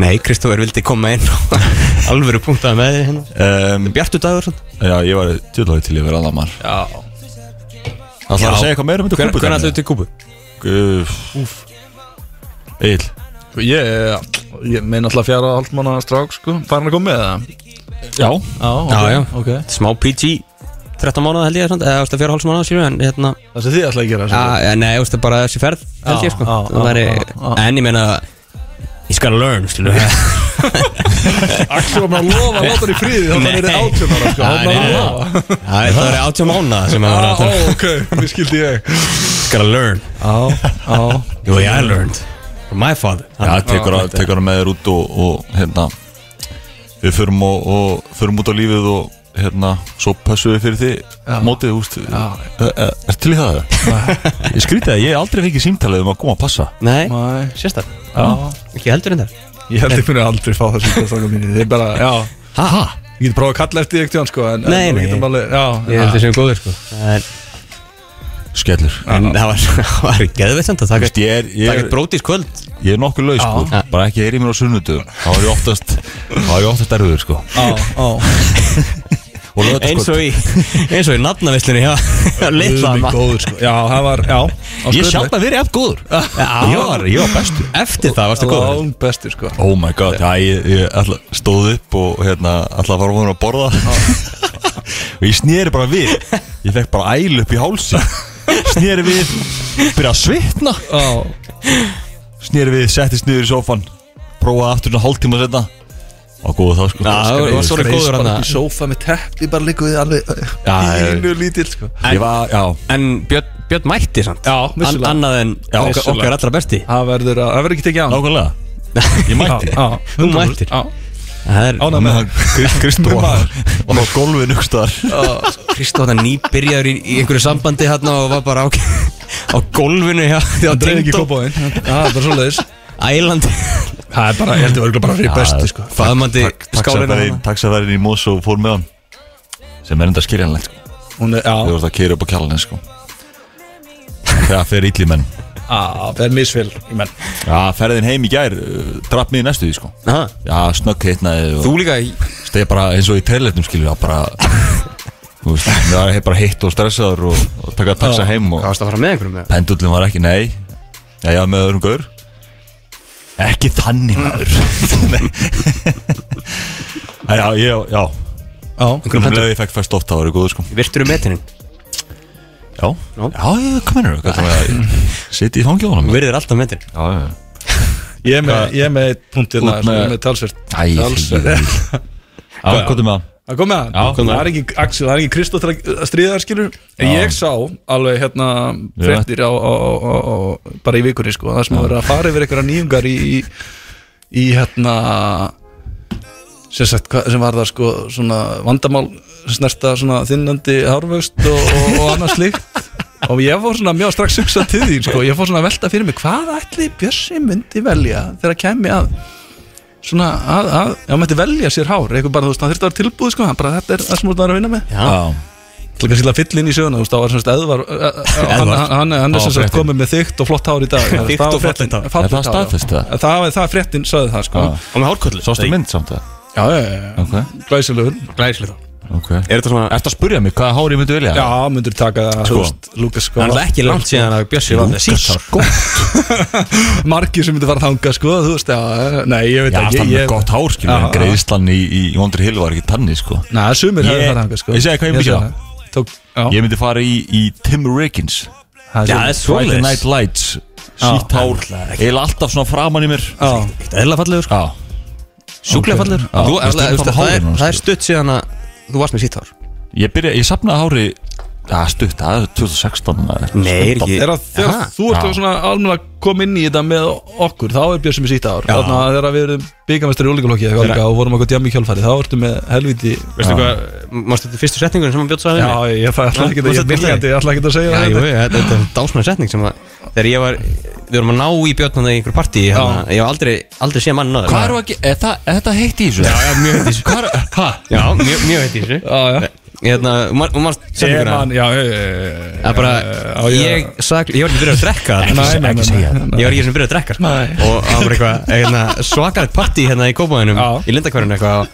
B: Nei, Kristófer vildi koma inn og alvöru punktaði með þér hérna
A: um,
B: Bjartu dagur svona
A: Já, ég var tjóðlóði til ég verið alveg maður
B: Já
A: Það þarf að segja eitthvað meira um þetta
B: Hvernig
A: kúpu
B: hver ætlaðu til kúpu?
A: Úf Egil
C: Ég, ég meina alltaf fjara hálfmanna strák, sko Farin að koma með það?
A: Já
C: Já, ok,
B: Já, já.
C: ok
B: Smá PG 13 mánuða held ég svona, eða ástu að fjóra hálfs mánuða sér en hérna
C: Það sem þið ætlaði að gera sem sagt.
B: Já, nei, ástu bara þessi ferð held ég
C: Já,
B: sko
C: já,
B: Það væri,
C: já, já.
B: en ég meina He's gotta learn, skilur við
C: Axel var með að lofa að láta hann í fríði þá hann er
B: Nei.
C: átjón ára
B: Já,
C: sko, hann
B: nei,
C: var að
B: nei.
C: lofa
B: Það væri 80 mánuða sem að
C: Já,
B: vera
C: ó, ok, það skildi ég
B: He's gotta learn
C: Já, já
B: Jú, I learned From my father
A: Já, tekur að- tekur að með þér út og, og hérna Við förum, og, og, förum út á lífið og hérna, svo passum við fyrir því mótið, húst Er til í það? ég skrítið að ég aldrei fengið símtalið um að koma að passa
B: Nei,
C: Nei,
B: sérstak
C: já
B: Ekki heldur en þar
C: Ég held ég muni aldrei fá það sýta þangað mínu Þið er bara, já
B: Ha, ha
C: Ég geti prófað að kalla eftir því ekkert í hann sko en,
B: Nei,
C: en,
B: nei.
C: nei alveg, Já,
B: Ég held þessum góður sko En,
A: Skellur
B: en það var, það var geðveitt samt að
A: Þú
B: taka
A: veist, ég er, ég
B: Takk
A: er,
B: brótis kvöld
A: ég er nokkuð laus sko
B: Já.
A: Bara ekki er í mér á sunnudum Þá er ég oftast, þá er ég oftast erfiður sko
C: já, já
A: Og lögðu
B: eins
A: sko
B: og í eins og í nafnavislunni hjá, hjá litla
C: Guð minn
B: mann.
C: góður sko Já, það var, já á
A: Ég
C: skröðleik.
A: sjálf að verið eftir góður
B: Já.
A: Ég var, ég var bestu
B: eftir það varstu góður
C: Lán bestur sko
A: Oh my god, já, ég, ég ætla, stóð upp og hérna, ætla að fara ofan að borða og ég sneri bara við ég fekk bara æl upp í hálsi sneri við, byrja að svitna
C: Já,
A: sneri við, settist niður í sófan prófaði aftur svona hálftíma setna og góðu það sko
B: Já, það var svolítið
C: reis
B: góður
C: bara
B: hann
C: upp í sófa með teppi bara ligguði alveg
A: Já, já.
C: Ínu lítill sko
A: ég var, já,
B: en Björn, Björn mætti samt
C: Já, vissulega.
B: annað en
A: Já,
B: okkar,
A: vissulega.
B: okkar allra besti
C: Það verður að, það verður ekki tekið á
A: nákvæmlega ég mætti
C: Já,
B: Þú mættir.
C: Já,
B: það er
C: ánæg með það
A: Kristóð var var á gólfinu ykkur staðar
B: Kristóð hann nýbyrjaður í, í einhverju sambandi hérna og var bara á, á gólfinu hjá, hjá
C: Það dreif ekki
B: Tindó
C: kópaðinn Það er bara svo leiðis
B: Ælandi
C: Það er bara, ég held ég örgulega bara fyrir bestu sko
B: faðmandi skálinu
A: Taxafærin- taxafærin í Mós og fór með hann sem er enda skiljanlegt sko
C: Hún er,
A: Þú
C: já,
A: vorst að kýra upp á kjallan sko. Þegar fer illi menn
C: já, það er misfél í menn
A: Já, ferðin heim í gær uh, Drapp mig í næstu því sko
B: Ha,
A: Já, snögg heitnaði og
B: þú líka í-
A: Steg bara eins og í treyletnum skilur Já, bara Þú veist, það var hei- bara heitt og stressaður og, og taka taxa heim og
B: hvað varst að fara með einhverjum með
A: pendullin var ekki, nei Já, já, með öðrum gaur Mm. Ekki þannig maður Nei. Já, ég, já
C: Já,
A: Um leið ég fekk fæst oft, það var góð sko
B: virtur um metinin
A: Já, já, já, hvað mennur þau? Sitt í fangi á honum Já,
B: virður alltaf metin
A: já, já
C: ég er með, ég er með eitt punkt hérna
A: Út
C: sem
A: með-
C: er með talsvert
A: Æ,
C: Alls-
A: fyrir Já, hvað er með það?
C: Það kom með hann
A: Já, kom með
C: Það er ekki Axel, það er ekki Kristó til að stríða þar skilur En ég sá alveg hérna fréttir á, á, á, á, á bara í vikunni sko Það sem að vera að fara yfir einhverja nýjungar í, í, í hérna sem, sagt, hva, sem var það sko svona vandamál sem snerta svona þinnandi hárvöxt og, og, og annað slíkt og ég fór svona mjög strax hugsa til því sko, ég fór svona að velta fyrir mig hvað ætli Bjössi myndi velja þegar kæmi að svona að, að já, hann mætti velja sér hár eitthvað bara, þú veist, hann þurfti að vera tilbúið sko hann bara, þetta er það sem þú ert að vera að vinna með
B: Já.
C: Það er kannski að fylla inn í söguna, þú veist, þá var semst Eðvar, hann, hann, hann, hann er
A: Á,
C: semst sagt
A: fréttin.
C: komið með þygt og flott hár í dag
B: Þykkt
C: Það var
B: og fallegt
C: fréttin-
B: hár.
A: Er það
C: fallegt hár, já.
A: staðfest, það?
C: Það var- það fréttin sögði það sko
A: Já.
B: Og með hárköllu
A: Sástu mynd samt það?
C: Já, já, já, já,
A: Ok,
C: glæsilegur
B: Glæslega
A: ok
B: Er þetta svona
A: Ertu að spurja mig hvaða hári ég myndi vilja?
C: Já, myndur taka, þú veist, Lukas sko
B: Það er náttúrulega ekki langt síðan að Bjössi var með sítt hár
C: Margir sem myndi fara þanga sko, þú veist, já, nei, ég veit
A: Já,
C: ekki
A: það er
C: ég-
A: með gott hár, skilur
C: Já,
A: En greiðslan í, í Wonder Hill var ekki tanni, sko
C: Nei, sumir hefur
A: Ég-
C: farað þanga sko
A: Ég segi hvað ég myndi
C: segi
A: gera.
C: það. Tók, já,
A: Ég myndi fara í, í Tim Riggins
C: það
B: Já, það
C: er
B: er
A: Friday
B: svoleiðis.
A: Night Lights Sýtt hár Eila alltaf svona framan í mér
C: svolítið Já,
B: Eðla fallegur sko.
A: Já
B: Sjúklega
A: Ok.
B: fallegur
A: Já.
B: Þú-
A: Veistu,
B: það er-
A: hvað
B: það
A: hárið
B: er-
A: núna,
B: Það er
A: sko?
B: stutt síðan að þú varst með sítt hár
A: Ég byrja, ég sapnaði hári Já, stutt, það er 2016 eða
B: Nei, er
A: 17.
B: ekki-
C: Er að þegar
B: Aha.
C: þú ert
A: Já.
C: að svona almenna koma inn í þetta með okkur þá er Björn sem er sítt ár þannig að þegar við erum byggamestri í ólíkulokki eða eitthvað og vorum okkur djami í kjálfari þá ertu með helviti
B: Veistu hvað, mástu þetta fyrstu setningun sem hann bjótt sæði
C: Já, ég ég ætla ekki að-
B: Þú
C: ég
B: ert
C: ætla
B: byrjaði.
C: ekki- ég ætla ekki að segja
B: já, jú,
C: þetta
B: þetta þetta er dásmæður setning sem að þegar ég var, við vorum að ná í björnum í einhverjum partí, hérna, ég hef aldrei, aldrei séð mann
A: Hvað eru ekki, er, það, er þetta heitt í þessu? Já, já, mjög heitt í þessu Hvað er, hæ?
B: Já, mjög, mjög veit í þessu
C: Já, já
B: Hérna, og mar- og marst
C: Ég
B: setninguna
C: man, já, já, já, já,
B: Það er bara,
C: já, já,
B: ég sagði, ég var ekki byrjað að drekka þarna.
C: Nei, nei, nei, nei, nei.
B: Ég var ekki sem byrjað að drekka sko.
C: Nei.
B: Og það var eitthvað, hérna, svakalegt partí hérna í kópaðinum
C: Já.
B: Í lindakvarinu eitthvað og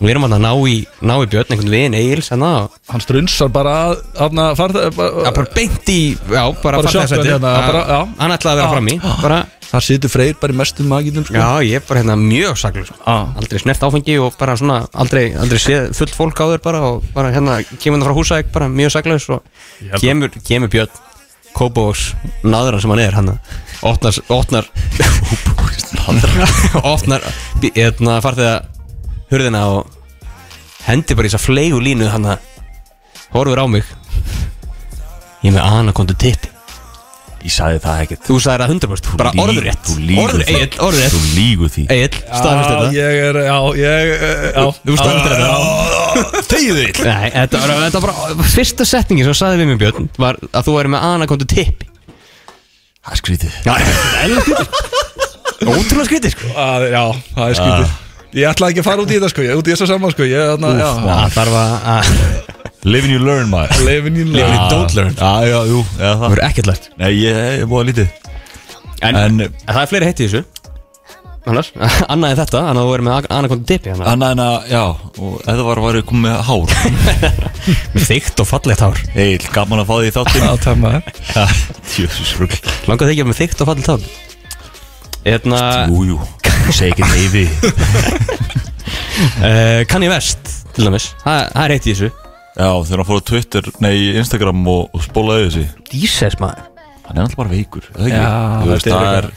B: Við erum hann að ná í, ná í björn, einhvern veginn, Egil's hérna og
C: Hann strunsar bara að þarna farð-
B: Já,
C: bara-
B: bara beint í, já, bara,
C: Bara
B: bara
C: shotgun
B: farþegarsætið
C: hérna, bara- já.
B: Hann ætlaði að vera
C: Já.
B: fram í bara,
C: Þar situr Freyr bara í mestum magitum sko.
B: Já, ég er bara hérna mjög saklur sko.
C: Já.
B: Aldrei snert áfengi og bara svona Aldrei, aldrei séð fullt fólk á þér bara Og bara hérna, kemur það frá húsæk Bara mjög saklaus og kemur, kemur Björn Kópavóks, náðurann sem hann er hann Opnar, opnar Opnar Hérna farþega hurðina og Hendi bara í þessa flegu línu hann Horfur á mig Ég er með anakondu tippi
A: Ég sagði það ekkert
B: Þú sagðir það 100% Bara
A: Þú lýg-
B: orðurétt
A: Þú lígur
B: Orður- Egill, Orðurétt
A: Þú lígur því
B: Egil, staðfest
C: Já,
B: þetta
C: ég er, já, ég, eh, já
B: Þú staðfest þetta
A: Þegiðu því
B: Nei, þetta var, þetta var bara Fyrsta setningin sem þú sagði við mig Björn Var að þú væri með anakondu tippi
A: Það er skrítið
B: Já, Ótrúlega skrítið sko
C: Að- Já, það er skipið Ég ætla ekki að fara út í þetta sko, ég út í þessa saman sko Ég, þarna, já,
B: Það þarf að að-
A: Live and you learn maður
C: leifin í
B: Live and you don't learn.
A: Ah. Já, já, jú, já,
B: Það
A: það
B: verður ekkert lært
A: Nei, ég ég er búið að lítið
B: En,
A: En-
B: en það er fleiri heitt í þessu Annars, annað en þetta Annað að þú væri með anakondu tippi annað.
A: Annað en að, já, og þetta var að vera komið með hár
B: Með þykkt og fallegt hár
A: Eil, gaman að fá því í þáttinn
C: Já, tæma það
A: Jöfus rugl
B: Langar þig ekki með þykkt og fallegt hár Hérna
A: Jú, jú, segi ekki neyfi
B: uh, Kanye West Til dæmis Það það er heitt í þessu
A: Já, þegar hann fór á Twitter, nei, Instagram og, og spólaði þessi
B: Jesus maður
A: Hann er alltaf bara veikur, eða ekki?
C: Já,
A: Þú veist,
C: þetta er
A: það er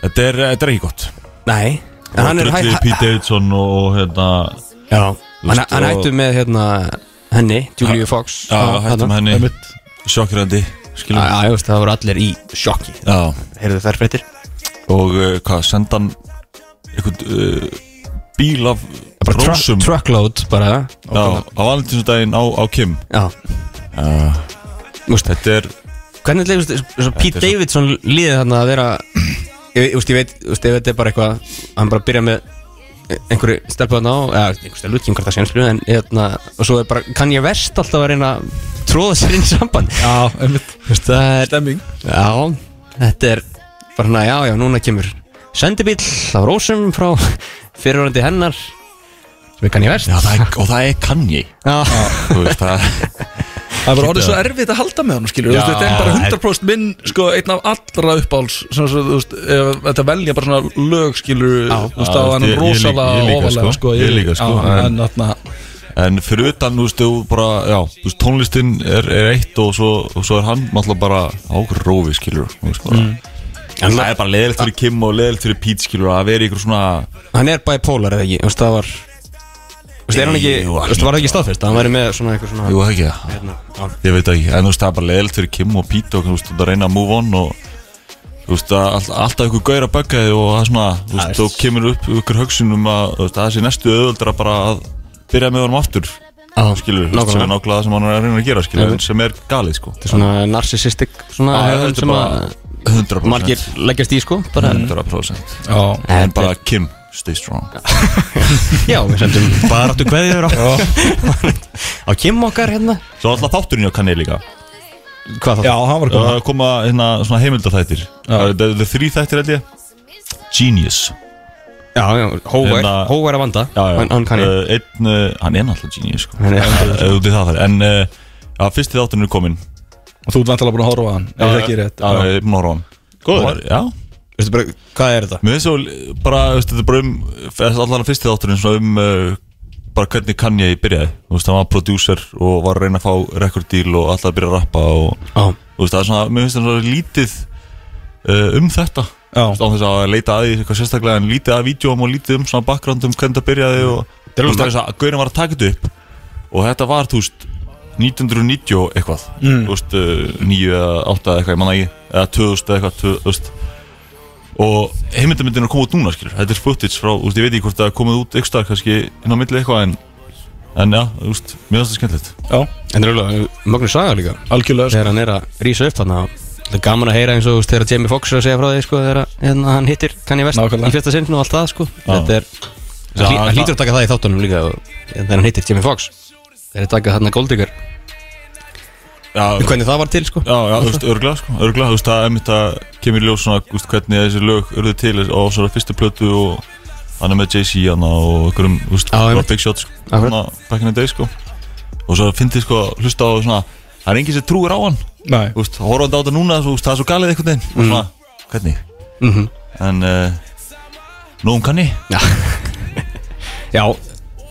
A: Þetta er, þetta er ekki gott
B: Nei En
A: Hann
B: hann er hæ- hæ-
A: Pete Davidson og hérna
B: Já, hann,
A: veist,
B: hann
A: og-
B: hættu með hérna henni, Julia Fox hérna.
A: Já, hættum henni Sjokkirandi, skilum
B: Já, ég veist, það voru allir í sjokki
A: Já,
B: Heyrðu þær fréttir?
A: og uh, hvað, senda hann einhvern uh, bíl af rósum já,
B: truckload bara
A: á valentínsdaginn á, á Kim
B: Já Vist,
A: Þetta er,
B: Hvernig leifist, svo Pete
A: Þetta er svo-
B: Davidson líði þarna að vera Ég, úst, ég veit, úst, ef þetta er bara eitthvað Hann bara byrja með einhverju stelpu þarna á eða einhverju stelpu, ekki einhverja sénsklu en hérna, og svo er bara, kann ég verst alltaf að reyna að tróða sér inn í samband
C: Já, einmitt
B: Vist, það er
C: Stemming
B: Já, þetta er bara hérna, já, já, núna kemur sendibíll af rósum frá fyrirvörandi hennar sem er kann ég verst
A: já, það er, og það er Kanye
B: Já,
A: Þú veist, það
C: Það er bara orðið svo erfitt að halda með hann skilur já, Þetta er bara 100% minn sko, einn af allra uppáls sem, svo, þú veist, ef, Þetta velja bara svona lög skilur já, þú veist, á
A: Já,
C: hann
A: ég- ég líka- ég
C: rosalega
A: líka,
C: ofalega
A: sko.
C: sko,
A: Ég líka, sko,
C: já,
A: en-
C: en, atna,
A: En fyrir utan, þú veist, þú bara, já, þú veist, tónlistin er, er eitt og svo, og svo er hann náttúrulega bara ákveður rófi, skilur þú veist, bara. En það er bara leðilegt fyrir Kim og leðilegt fyrir Pete, skilur að vera í ykkur svona
B: hann er bipolar eða ekki, þú veist, það var þú veist, er hann ekki,
A: Jú,
B: þú
A: hann-
B: veist, var það ekki staðfyrst hann væri með svona eitthvað svona
A: Jú, það ekki það
B: hérna, á,
A: Ég veit ekki, en þú veist, það er bara leiðilt fyrir Kim og Pete og þú veist, það reyna að move on og þú veist, að all- alltaf ykkur gaur að bögga þig og það er svona, þú
B: er-
A: veist, þú kemur upp ykkur hugsunum að, þú veist, að það sé næstu auðvöldra bara að byrja með honum aftur
B: á,
A: skilur, þú veist, sem er
B: nákvæmlega.
A: nákvæmlega það sem hann er að reyna að gera,
B: Já.
A: skilur, en sem er galið, sko
B: Þetta er svona narcissistic svona
A: Já,
B: hefðun
A: þetta er
B: sem
A: bara
B: að
A: 100%
B: margir leggjast í sko bara,
C: Mm.
A: 100%
C: Já,
A: En bara Kim, stay strong
B: já, við sendum bara áttu hverjur á á Kim okkar hérna
A: Svo alltaf þátturinn hjá Kanel líka
B: hvað
C: já
B: það?
C: hann var að koma
A: Það koma hérna svona heimildaþættir Það eru- Það eru þrý þættir held ég Genius
B: já, já, hóvar,
A: Hérna-
B: hóvar að vanda hann hann kann ég
A: uh, einn, uh, Hann er náttúrulega genius sko.
B: Hann er-
A: uh, út í það þar En uh, já, fyrsti þátturinn er Eh, komin
C: Og Uh, þú ert vantilega búin að horfa á hann Ef það ekki er rétt
A: Já,
C: Já,
A: ég er búinn að horfa á hann
B: Góður?
A: Já
B: Veistu bara, hvað er þetta?
A: Mér finnst svo bara, veist, þetta er bara um Allan fyrsti þátturinn svona um uh, Bara hvernig kann ég byrjaði Þú veist, hann var producer og var að reyna að fá rekordíl Og alltaf að byrja að rappa og
B: á,
A: Þú veist, það er svona, mér finnst það svona lítið uh, um þetta Þú
C: já,
A: veist, á þess að leita að því eitthvað sérstaklega en lítið að vídjóum og lítið um svona bakgrönd um hvernig það byrjaði og þú veist, það er þess að gaurin var að taka þetta upp og þetta var, þú veist, 1990 og eitthvað
C: Mm.
A: þú veist, uh, 9 eða 8 eða eitthvað, ég manna ekki eða 2000 eða eitthvað, 2000, þú veist og heimildamindin er að koma út núna, skilur þetta er footage frá, þú veist, ég veit ekki hvort það er komið út eitthvað, kannski inn á milli eitthvað en, en já, þú veist, mér finnst það skemmtilegt
C: já,
B: En það er alveg Magnus Saga líka
C: algjörlega sko.
B: Þegar hann er að rísa upp þarna Það er gaman að heyra eins og þú veist, þegar Jamie Foxx er að segja frá því sko, Þegar að, hérna, hann hittir Kanye West
C: Nákvæmlega.
B: Í fyrsta sinn og allt það sko. Þetta er
A: Já,
B: Það
A: það-
B: hlý- hlýtur að taka það í þáttunum líka og, Þegar hann hittir Jamie Foxx Þegar hann taka þarna Goldigger
A: já,
B: Hvernig það var til sko
A: Já, já, þú veist, örgla, sko, örgla, þú veist, það er mitt að kemur í ljós svona, þú veist, hvernig þessi lög urðu til á svona fyrstu plötu og hann er með Jay-Z hann og einhverjum, þú veist,
B: Já,
A: það var
B: einmitt.
A: big shot, sko,
B: Akkurat.
A: svona, back in the day, sko, og svo fyndið, sko, hlusta á svona, það er enginn sem trúir á hann,
C: Nei,
A: þú veist, horfandi á þetta núna, þú veist, það er svo galið einhvern veginn,
B: Mhm.
A: og svona, hvernig,
B: mm -hmm.
A: en, uh, nú um kanni,
B: Já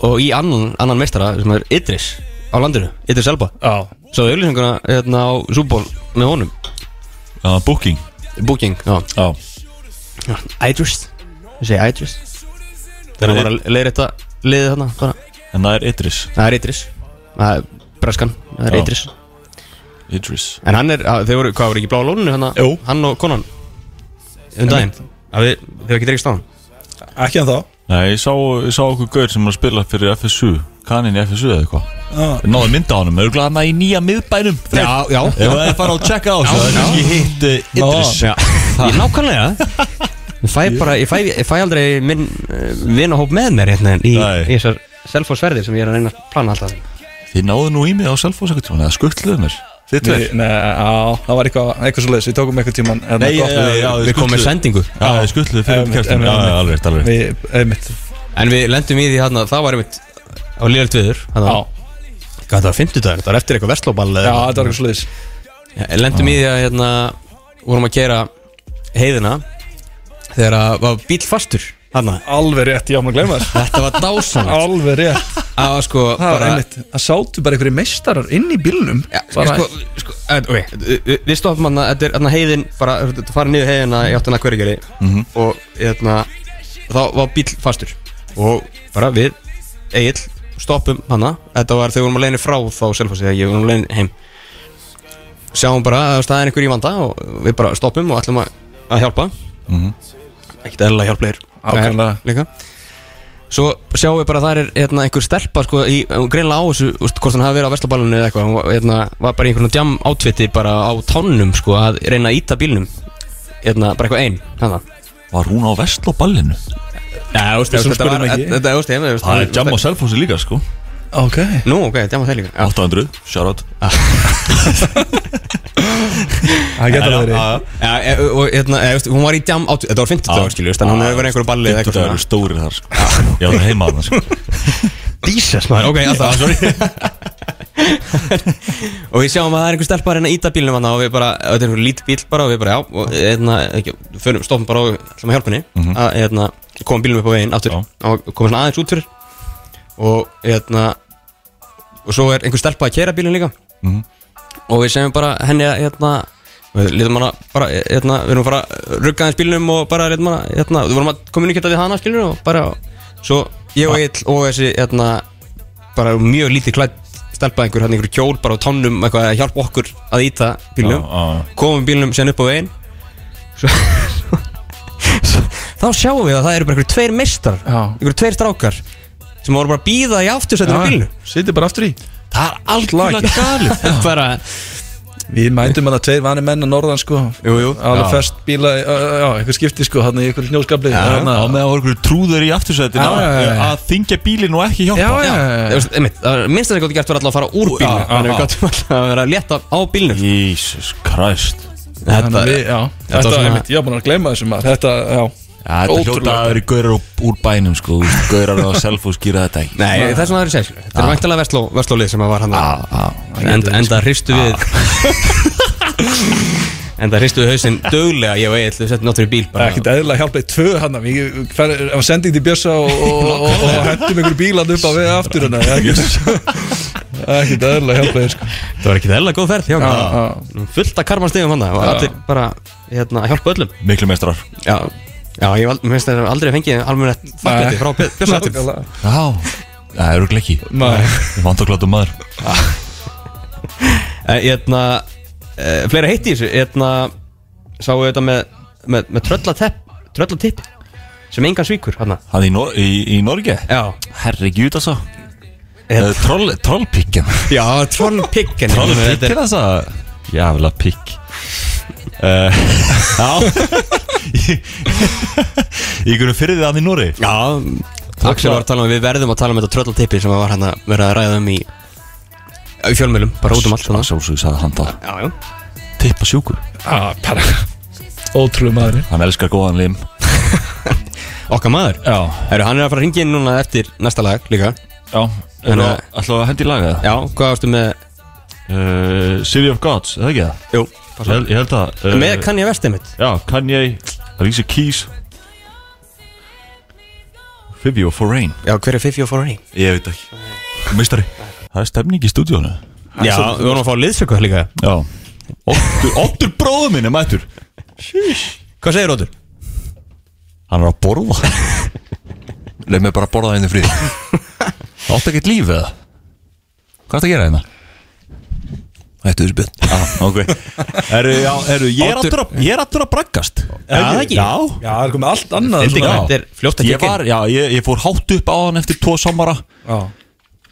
B: Og í annan, annan meistara sem er Idris Á landinu, Idris Elba
C: já,
B: Svo auðlýsinguna hérna á Súból með honum
A: já, booking,
B: Booking, já
A: já,
B: Idris Ég segi Idris Þegar hann var að leiðrétta liðið þarna bara.
A: en það er Idris,
B: Það er Idris Það er Braskan, það er
A: Já.
B: Idris
A: Idris,
B: En hann er, að- þau voru, hvað voru ekki í blá lóninu hann
C: Jú.
B: Hann og konan Um daginn Að við, Þau ekki dreigist á hann
C: ekki en þá
A: nei, ég sá, ég sá okkur gaur sem er að spila fyrir FSU, kaninn í FSU eða eitthvað,
C: Já,
A: náðu mynda á honum, örgla hann í nýja miðbænum,
B: já
A: Ef það er fara að checka á þessu Það er kannski hitt uh, Idris
B: Já, ég nákvæmlega Ég fæ bara, ég fæ, ég fæ aldrei minn uh, vinahóp með mér hérna í,
A: Nei.
B: í þessar selfosverðir sem ég er að reyna að plana alltaf
A: Þið náðu nú í mig á Selfoss ekkert tíma Eða skuttluðu mér Þið tveir
C: Nei, nei, á, það var eitthvað, eitthvað svo leiðis, við tókum hérna, eitthvað tíman
A: Nei, já, já, já,
B: eh, Við komum með
A: skuttluðu-
B: sendingu
A: Já, þið skuttluðu fyrir
C: Einmitt,
A: kerstin Já,
C: einmitt,
A: já, alveg, rétt, alveg rétt.
C: Við, einmitt,
B: En við lendum í því hérna, það var einmitt á liðalt viður
C: já,
B: hérna, Hvað þetta var fimmtudagurinn, þetta var eftir eitthvað verslóball
C: já, þetta var eitthvað svo leiðis
B: eitthvað Lendum í því að hérna, vorum að kera heiðina þegar að var bíl fastur hérna.
C: Alveg rétt, já, maður glemma þess
B: Þetta var dásan Það
C: Alveg rétt,
B: var sko
C: það var
B: bara
C: einmitt Það sátu bara einhverju meistarar inn í bílnum
B: Já,
C: bara,
B: sko, sko, en, ok, við- Við stoppum hann Þetta er hérna heiðin bara, Þetta farið niður heiðina í áttina hverjegeri mm -hmm. Og hérna Þá var bíl fastur Og bara við Egil Stoppum hana Þetta var þegar við vorum að leiðinni frá Þá selfast þegar ég vorum að leiðinni heim Sjáum bara að það er einhver í vanda Og við bara stoppum og ætlum að, að hjálpa
A: Mhm.
B: Ekkert eðlilega hjálplegir
C: Ákveðlega.
B: Nei, Líka Svo sjáum við bara að það er hérna, einhver stelpa sko, í, hún greinlega á þessu, úst, hvort hann hafi verið á verslaballinu eða eitthvað, hún var, hérna, var bara í einhvern jam átviti bara á tánum sko, að reyna að íta bílnum hérna, bara eitthvað einn hana.
A: Var hún á vestló ballinu
B: Já, úst,
C: Við
B: þetta
C: sem
B: var
C: spurðum ekki.
B: þetta, úst, ég, úst,
A: Það er jam á Selfossi líka, sko
C: Ok,
B: Nú, ok, jam á þeir líka Já,
A: 800, shoutout
C: það getur það verið
B: já e, og hérna, e, úst, hún var í jam átviti þetta var 50 dagur skilju, þannig hún hefur verið einhverju balli eða
A: Það eru
B: eitthvað
A: stórir þar, sko Ég var heima á það, sko
B: Dísas maður, ok, alltaf, sorry og við sjáum að það er einhver stelpa að reyna að íta bílnum hann og við bara, þetta er einhver lít bíl bara og við bara, já, og hérna, ekki, förum, stoppum bara og ætlum að hjálpa henni að hérna, koma bílnum upp á veginn aftur
A: Já.
B: og koma svona aðeins út fyrir og hérna og svo er einhver stelpa að kera bílinn líka
A: Mhm.
B: og við segjum bara henni að hérna við lítum hana bara, hérna, við erum bara að rugga aðeins bílnum og bara, hérna, hérna við vorum að kommunikata við hana skilur og bara, svo ég og Egil og þessi, hérna bara mjög lítið klætt stelpa einhver, hann einhver kjól bara á tónnum eitthvað að hjálpa okkur að íta bílnum
A: Já, já.
B: komum bílnum sérna upp á veginn svo, svo, þá sjáum við að það eru bara einhver tveir meistar
C: Já.
B: einhver tveir strákar sem voru bara að býða í aftursættinu á
C: Já,
B: bílnum
C: Sittir bara aftur í
B: það er algjörlega galið bara,
C: Við mætum að það tveir vanir menn að norðan sko
B: jú, jú,
C: Alveg
A: Já.
C: fest bíla, já, já, eitthvað skipti sko Þannig í eitthvað snjóskabli þarna.
A: á meðan voru ykkur trúður í aftursætin
C: Já, já, já, já.
A: að þingja bílinn og ekki
C: Já,
A: hjálpa
C: já,
B: Þú veist, einmitt, það var minnst þess að gott gert var alltaf að fara úr bílnum
A: Já,
B: þannig að við
A: já.
B: gáttum alltaf að vera að leta á bílnum
A: Jesus Christ
C: Þannig
B: þetta,
C: við- já.
B: var
C: Þetta,
B: svona-
C: einmitt, ég var búin að gleyma þessum að þetta, já
A: Já, þetta
C: Ótrúlegt.
A: hljóta að vera gaurar úr, úr bænum sko, þú veist, gaurar á selfos gýra þetta ekki
B: nei, það er svona aðri segir þetta er væntalega versló, verslólið sem að var hann
A: á,
B: að
A: á.
B: enda, enda hristu við enda hristu við hausinn döglega ég og Egil, við settum náttur í bíl bara
C: Ekkert eðlilega hjálpa í tvö hann Ég fer- ég var sending til Bjössa og, og, og, og hendum ykkur bílan upp á við aftur hana Ekkert ekkert eðlilega hjálpa í sko
B: það var ekki þærlega góð ferð hjá
C: Já,
B: okkur.
C: já.
B: fullt af karmastegum hann það var allir bara hérna, að hjálpa öllum
A: miklu mestrar
B: já, já ég val- mér finnst að aldrei fengið alveg rétt þakklæti frá Björnsættum
C: Nákvæmlega.
A: Já, það eru ekki
C: Nei.
A: Vandoklátum maður
B: Hérna uh, Fleira heitti í þessu Hérna Sáu við þetta með Með, með tröllatepp Tröllatipp Sem engan svíkur Hanna
A: Hann í, Nor í, í Norge
B: Já
A: Herri gjút þessa
B: Hérna.
A: Troll, Trollpikkin
B: Já, trollpikkin
A: Trollpikkin þessa Jævla pikk uh, Já Í hverju fyrir þið hann í Norri
B: Já Axel var að tala um Við verðum að tala um þetta tröllatippi Sem var hann að vera að ræða um í Í fjölmjölum Bara út um allt svona.
A: Sjálfsög sagði hann það
B: Já, já
A: Tippa sjúkur
C: Já, bara Ótrúlega maður
A: Hann elskar góðan lim
B: Okkar maður
A: Já
B: Herru, hann er að fara að ringja inn núna eftir næsta lag líka
A: Já
B: En,
A: Þannig
B: eh,
A: að Ætlaðu að hendi í laga það
B: Já, hvað ástu með
A: uh, City of Gods, eða ekki það?
B: Jú
A: Ég held- Ég held að eh,
B: Með kann ég vestið mitt
A: Já, Kanye Alicia Keys Fivio Foreign
B: Já, hver er Fifi og Foreign?
A: Ég veit ekki Meistari Það er stemning í stúdíónu
B: Já, við vorum að fá liðsöku líka
A: Já Ottur, Ottur bróður minn er mættur
B: Hvað segir Rótur?
A: Hann er að borða Leif mig bara að borða henni frið Áttu ekkert líf eða? Hvað er að gera hérna?
E: Hættu þessu björn
A: Já, ok Eru, já, eru Ég er
B: Oddur-
A: aftur að, ég er aftur að braggast
B: Já, það ekki.
A: Já
C: Já, það er komið allt annað
B: Indi-
C: svona.
A: Já.
B: þetta er fljótt
A: Ég
B: að tekja inn.
A: var, já, ég, ég fór hátt upp á hann eftir tvo samara
C: Já.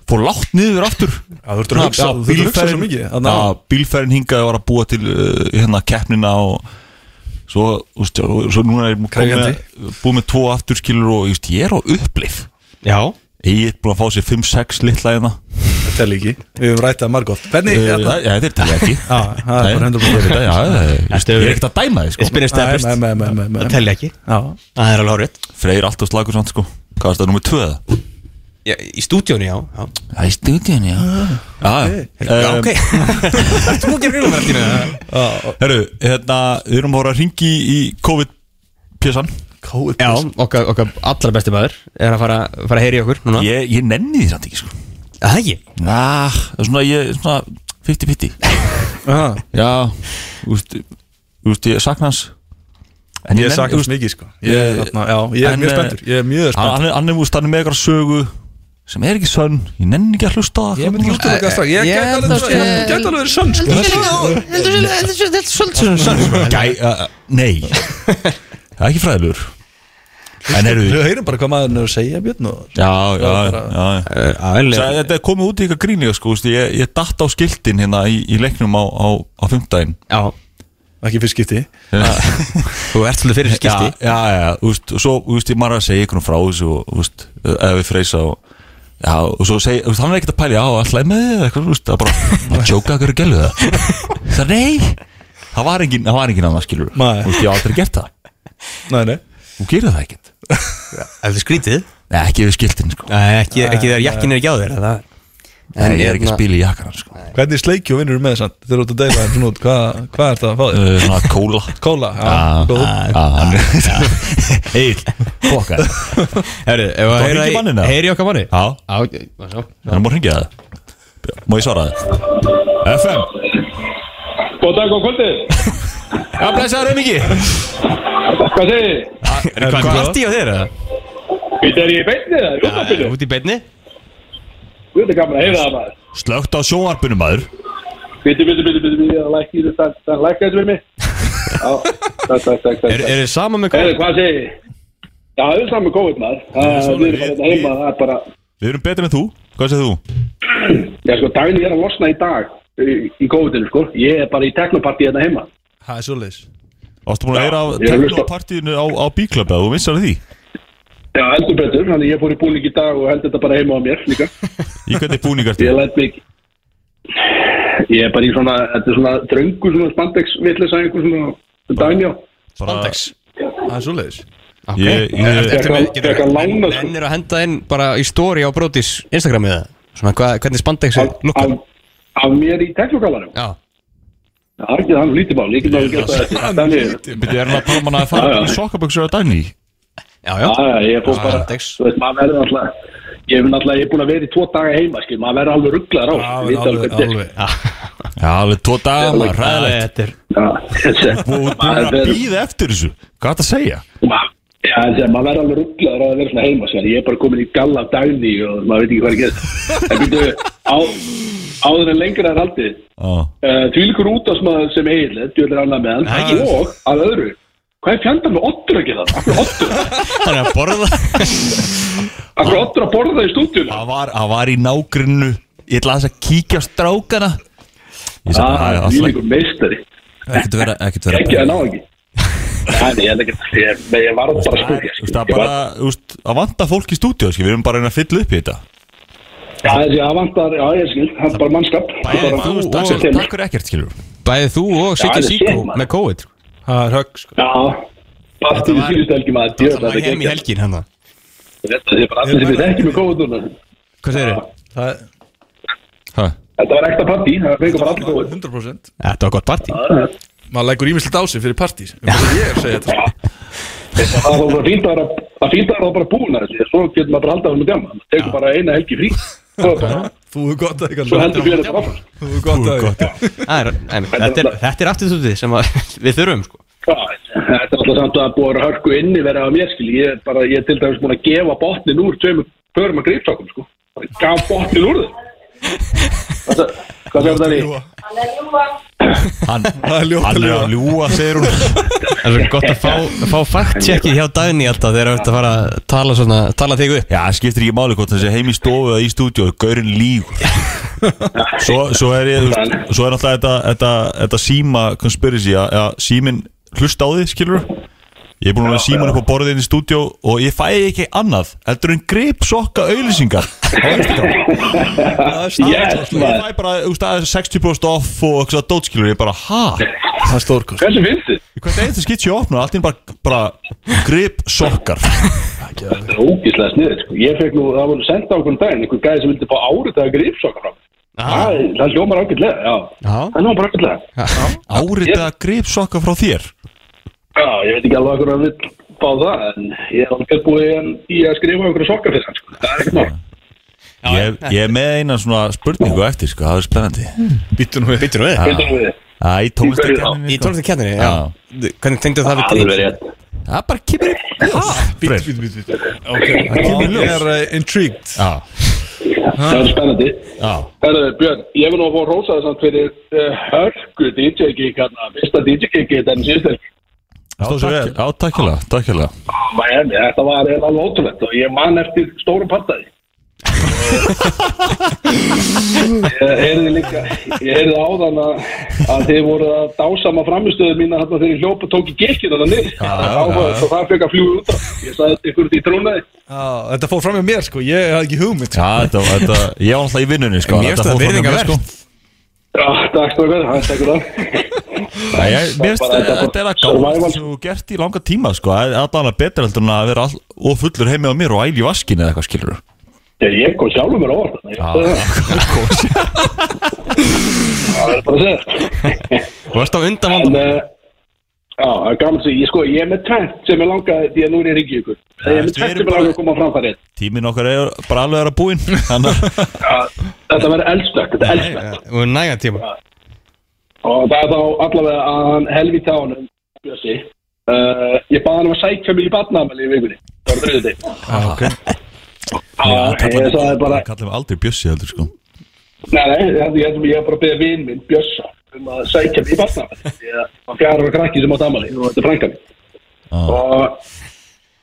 A: Fór látt niður aftur
C: Já, þú ertur að hugsa, þú ertur að hugsa svo mikið
A: já,
C: Þannig að
A: bílferðin hingaði var að búa til uh, hérna keppnina og svo, úst, og svo núna er ég búið
C: Krefjandi.
A: með, búið með tvo afturskilur og úst, ég er á upplif
B: Já
A: ég er búin að fá sér 5-6 litla hérna
C: þetta er líki Við höfum rætt það margótt Hvernig,
A: Eh,
C: hérna
A: það- já, þetta er til ekki
C: Já, það er
A: Nei,
C: bara hendur
A: ég veit það, já, það er-
B: Þetta
A: ég
B: hefur-
A: er ekkert að dæma þið
B: Ég
A: sko.
B: spyrir
C: Nei,
B: stefnist
C: nei, nei, nei, nei,
B: Það
C: nei.
B: telli ekki
C: Já,
B: Það er alveg horfitt
A: Freyr alltaf slagur samt sko hvað er það nummið 2?
B: Í stúdíónu, já, já.
A: Það er stúdíun, já Ah, Já, Eh,
B: já
A: já,
B: ok Þú ekki að grila með þetta
A: Herru, hérna, við erum að voru að ringi í COVID-pjessan
C: kóið
B: Já, okkar, okkar allra besti maður Er að fara, fara að heyri okkur núna
A: Ég, ég nenni því samt ekki sko
B: Það ekki
A: Já, það er svona, ég, svona 50-50 Já, þú veist, þú veist, ég sakna hans En
C: Ég sakna
A: hans
C: þess mikið sko Ég er þarna, já, ég er
A: En,
C: mjög
A: eh,
C: spenntur Ég er mjög spenntur
A: Hann er, hann er, þú veist, hann er með eitthvað sögu sem er ekki sönn, ég nenni ekki að hlusta á það
C: Ég myndi
A: hlusta
C: hlusta okkar strax Ég
B: ég
C: gæti
B: held
C: alveg-
B: að-
C: ég gæti alveg verið sönn sko
B: Þetta er svolítið svona
A: Gæ, uh, nei Það er ekki fræðilegur En eru
C: Við heyrum bara hvað maður er að segja Björn og
A: Já, já, já, já. Sæ,
B: Æðilega
A: Þetta er komið út í eitthvað grínlega sko, þú veist, ég, ég datt á skiltin hérna í, í leiknum á, á, á fimmtæn
B: Já,
C: Ekki fyrst skipti
B: þú ert svolítið fyrir
A: Já,
B: skipti
A: já, já, þú veist, og svo, þú veist, ég maður er að segja einhvern frá þessu og, þú veist, eða við freysa og Já, og svo segi, þú veist, hann er ekkert að pæli á að hlæma þið eða eitthvað, þú veist, það er bara að sjóka að hverju gælu það Það nei, það var engin, það var engin annað skilur Þú
C: Nei.
A: veist, ég hef aldrei gert það,
C: Nei, nei
A: þú gerir það ekkert
B: Ef þið skrítið
A: Nei, ekki við skiltin, sko
B: Nei, ekki, ekki þegar jakkin er ekki á þér það er-
A: Nei, ég er ekki að
B: hérna-
A: spila í jakkan, sko uh,
C: Hvernig sleikju vinnur með þess að Þeir eru út að deila þeim svona út Hvað hvað er það að fá þér?
A: Svona kóla
C: Kóla, já, góð
A: góð Eil, fokka
B: Herru, ef að
A: Þá
B: heyra
A: hringi
B: í-
A: manninn, eða?
B: heyra í okkar manni
A: Já,
B: Já, já, já.
A: hann má hringja það Má ég svara það? FM
F: Góð dag og kvöldi.
A: Já, blessaður heim ekki
F: Hvað segir þið?
B: Er hvað
C: hvað?
B: partí á þér eða?
F: Vitið er ég í beinni það? Rúðabili?
B: Út í beinni?
F: Þú veit að gaman að heyra það maður.
A: Slögt á sjónvarpinu maður
F: Biti, biti, biti, biti, biti, að lækka í þetta, það lækka þetta við mig. Já, takk, takk, takk, takk.
B: Er, er þið sama með
F: Heyrðu,
B: COVID?
F: hvað segir ég? Já, það er saman COVID maður. Það við erum bara þetta heima, það er bara,
A: Við erum betur en þú, hvað segir þú?
F: já sko, daginn er að losna í dag í, í COVID-inu sko. Ég er bara í teknopartí þetta heima.
C: Það er svoleiðis
A: Ástu búin að heyra
F: ég er að hlusta.
A: á partíinu á, á bíklöpa Þú vissar af því
F: Já, heldur betur, þannig ég fór í búning í dag og held þetta bara heima á mér líka.
A: Í hvernig búningar
F: Ég
A: þetta?
F: læt mig Ég er bara í svona Þetta er svona dröngu svona spandex Villis að einhver svona Daniel
B: Spandex
C: Það er svoleiðis
B: Ok.
A: Ég, ég,
B: Ertu með-
F: Ég er að lána sko
B: Nennir að henda inn bara í story á Brodís Instagram eða Svona hva, hvernig spandex er
F: af-
B: lukka
F: af- Af mér í teknokallanum
B: Já
F: Það er ekki það hann lítið mál Ég get alveg gert það eftir Þannig
A: Byrja er hann að tala um hann að fara
F: Já, já.
A: í sokkaböksur á Dani
B: Já, já
F: að ég fór bara
B: Spandex
F: Þú veist, maður verður alltaf Ég hef náttúrulega, ég er búin að vera í tvo daga heima skil, maður verður alveg rugglaður á
C: Það
F: ég
C: er
F: veit
C: alveg,
F: hvernig-
C: alveg
A: Já, alveg tvo daga maður, ræðilegt
B: Þetta er
F: Já, þessi-
A: Og þú
F: maður
A: er að
F: verður-
A: býða eftir þessu Hvað er það að segja?
F: Ma- Já, þessi að maður verður alveg rugglaður á að vera svona heima sér. Ég er bara komin í galla af dagni og maður veit ekki hvað er gett. En byrju, á, áður en lengra er haldið.
A: Já,
F: Uh, því líkur út af smaður sem eiginlega, djúlega annað með hann. Og að öðru, hvað er fjandan með ottur að gera það? Akkur ottur,
B: Hann er að borða
F: akkur ottur að borða það í stúdíunum?
A: það var, það var í nágrinu Ég ætla aðeins að kíkja á strákana Ég sagði, "Æ,
F: Ah,
A: allt
F: því
A: í lagi."
F: líkur meistari.
E: Ekkert vera, ekkert vera
F: Ekki að ná ekki. Nei, nei, ég held ekki, ég, nei, ég var bara að spyrja.
A: Þú
F: skil.
A: veist, Það
F: Ég
A: er
F: var-
A: bara, þú veist, að vanta fólk í stúdíu skil, Við erum bara að reyna að fylla upp í þetta
F: Já, þessi að vantar, já, ég skil, það er bara mannskap. Það er
A: Bæði
F: bara-
A: þú og
F: Axel kemur.
A: takk fyrir ekkert skilur
B: Bæði þú og
F: Já,
B: Siggi
F: þetta er
B: Siggo
F: shit, maður.
B: með COVID
C: Það er högg sko
F: Já,
B: Þetta
F: partíð
B: var-
F: síðust helgi maður, djöfn,
B: Það
F: þetta
B: var
F: er
B: heim í hérna.
F: geggjað.
B: helgin hann það
F: Þetta er bara allir sem við þekkjum í COVID núna.
B: Hvað segir þið?
C: Það er
F: Þetta var ekta partí, það fengur bara allir COVID.
C: 100%
B: Þetta var gott partí
C: Maður lægur ímislegt á sig fyrir partís Um það sem ég er að segja þetta
F: Það var bara fínt að vera, að fínt að vera bara búin að þessu, svo getur maður bara alltaf um að djama. Það tekur bara eina helgi frí, svo, er bara,
C: Þú er gott að
F: svo heldur við þetta áfram.
C: Þú er gott að
A: gott.
B: Það er- en Þetta er- þetta er attitútið sem að- við þurfum sko
F: Já, Þetta er alltaf samt að búið að vera hörku inni vera á mér, skil. Ég er bara, ég er til dæmis búin að gefa botnin úr tveimur förum að grípsákum, sko. Bara Gaf botnin úr þeim. Hvað sa- Hvað segir þetta því?
A: Hann,
C: Það er ljótt
A: hann
C: að
A: er að
C: ljúa
A: ljúa, segir hún
B: Það er svo gott að fá, fá fact-checki hjá Dagni alltaf þegar þú ert að fara að tala, svona, tala þig upp.
A: Já, það skiptir ekki máli hvort þessi heim í stofu eða í stúdíu Gaurin líg svo, svo er ég, þú veist, svo er alltaf þetta, þetta, þetta síma conspiracy að, að símin hlusta á þig, skilur Ég er búin að vera síman upp á borðin í stúdíu og ég fæ ekki annað heldur en grip sokka auðlýsingar á Instagram
F: Yes,
A: Ég
F: maður.
A: fæ bara, þú veist, það er 60% off og eitthvað dót, skilur, ég bara, ha?
C: Það er stórkost
F: Hversu finnst þið?
A: Í hvert eitthvað skitt ég opna, allt er bara, bara grip sokkar
F: Þetta er ógislega sniðið, sko. Ég fekk nú, það voru senda á einhvern daginn, einhver gæði sem vildi fá árið að grípsáka frá. Ah. Það hljómar ágætlega, já.
B: Já.
F: Það hljómar ágætlega.
A: Áritaða grip sokka frá þér
F: Já, ég veit ekki alveg okkur að við fá það, en ég er alveg búið í- í að skrifa okkur sokkar fyrir hann, sko. Það er ekkert mál.
A: ég, ég er með eina svona spurningu eftir, sko, það er spennandi
C: Býttu nú við
B: Býtur við?
F: Hvernig erum við?
A: Æ, í tónlistakenninni,
B: Í
A: sko.
B: tónlistakjarninni,
A: Já.
B: já. Hvernig tengdu það við
F: Alveg rétt.
A: Það bara kemur í ljós
C: Býttu,
A: Freyr.
C: býttu, býttu Ok, ég er eh, intrigued
A: Já,
F: Það er spennandi.
A: já
F: Herðu, Björn, ég vil nú að fá að rósa það samt fyrir uh, hörku DJ-gig hann, hérna, fyrsta DJ-gigi þetta en síðust helgi.
A: Já, takk- já, takkjulega, takkjulega
F: Miami, þetta var eiginlega alveg ótrúlegt og ég man eftir stórum partæði. ég heyrði líka, ég heyrði áðan að, að þið voru að dásama framistöðu mína þarna þegar ég hljóp og tók í gekkin þarna niður. Þá ja. það fekk að fljúi út af. Ég sagði þetta ykkur því trúnaði.
C: Já, Þetta fór fram hjá mér sko Ég hafði ekki hugmynd sko.
A: Já, þetta, þetta, ég var alltaf í vinnunni, sko
B: Mér finnst
A: þetta
B: það
A: fór fram hjá mér,
B: virðingarvert.
A: sko.
F: Já, takk strákar, það er takkur það.
A: Já, ég- Mér finnst
F: Bara þetta-
A: þetta er að
F: survival.
A: gáða sem þú gert í langa tíma, sko Það er Allan að betra heldur en að vera all, og fullur heimi á mér og æl í vaskinu eða eitthvað, skilur
F: Ég, ég kom sjálfur mér á orð. þarna, ég sagði Það Það er bara að segja.
B: Þú varst á undan
F: En,
B: vandum.
F: uh, já, það er gaman að segja, ég sko, ég er með tæmt sem ég langaði, því að nú er ég ringið ykkur. Ég er með
A: veistu, við
F: tæmt
A: erum
F: sem ég
A: bara-
F: langaði að koma á framfærið.
A: Tímin okkar er bara alveg að búin Þannig að
F: Þetta verður eldstökk, þetta er eldstökk.
B: Þú er nægan tíma.
F: Og það er þá allavega að hann helvita á hann, Bjössi. Eh, Uh, ég baði hann um að sækja mig í barnaðamæli í vikunni. Það var þriðið þig.
A: Ah, Já,
F: Ég sagði bara-
A: Kallum aldrei Bjössi heldur sko
F: Nei, nei, ég held- ég held að ég hef bara að beða vin minn Bjössa um að sækja mig í barnaafmæli. Ég var fjara ára krakki sem átt amali og þetta er frænka mín
A: ah.
F: og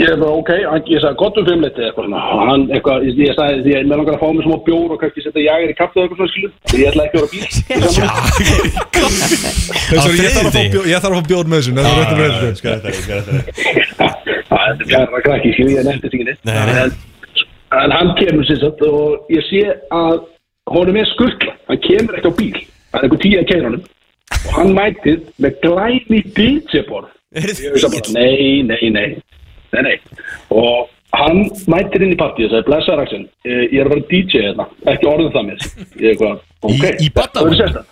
F: ég er bara ok, hann- ég sagði gott um fimmleiti eitthvað svona og hann eitthvað, ég, ég sagði því að ég með langar að fá mig smá bjór og kannski setja jager í kaffið og eitthvað svona skilu ég ætla ekki að vera á bíl Ég sagði,
C: Sorry, ég, þarf að fá
B: þriðjudegi?
C: bjór, ég þarf að fá bjór með þessu Nei, það er rétt um rétt um.
F: Það er fjara krakki, skil ég nefndi því neitt
B: Nei, nei.
F: en, en hann kemur sér satt og ég sé að honum er skurkla, hann kemur ekki á bíl það er einhver tíu að kæra honum og hann mætið með glæni DJ-borð ég veist bara, nei, nei, nei nei, nei og hann mætir inn í partíu og sagði, blessa Raxin, Eh, ég er að vera DJ hérna ekki orðið það mér ég eitthvað, ok,
A: Í- í barnaafmæli?
F: Það verður sérstakt.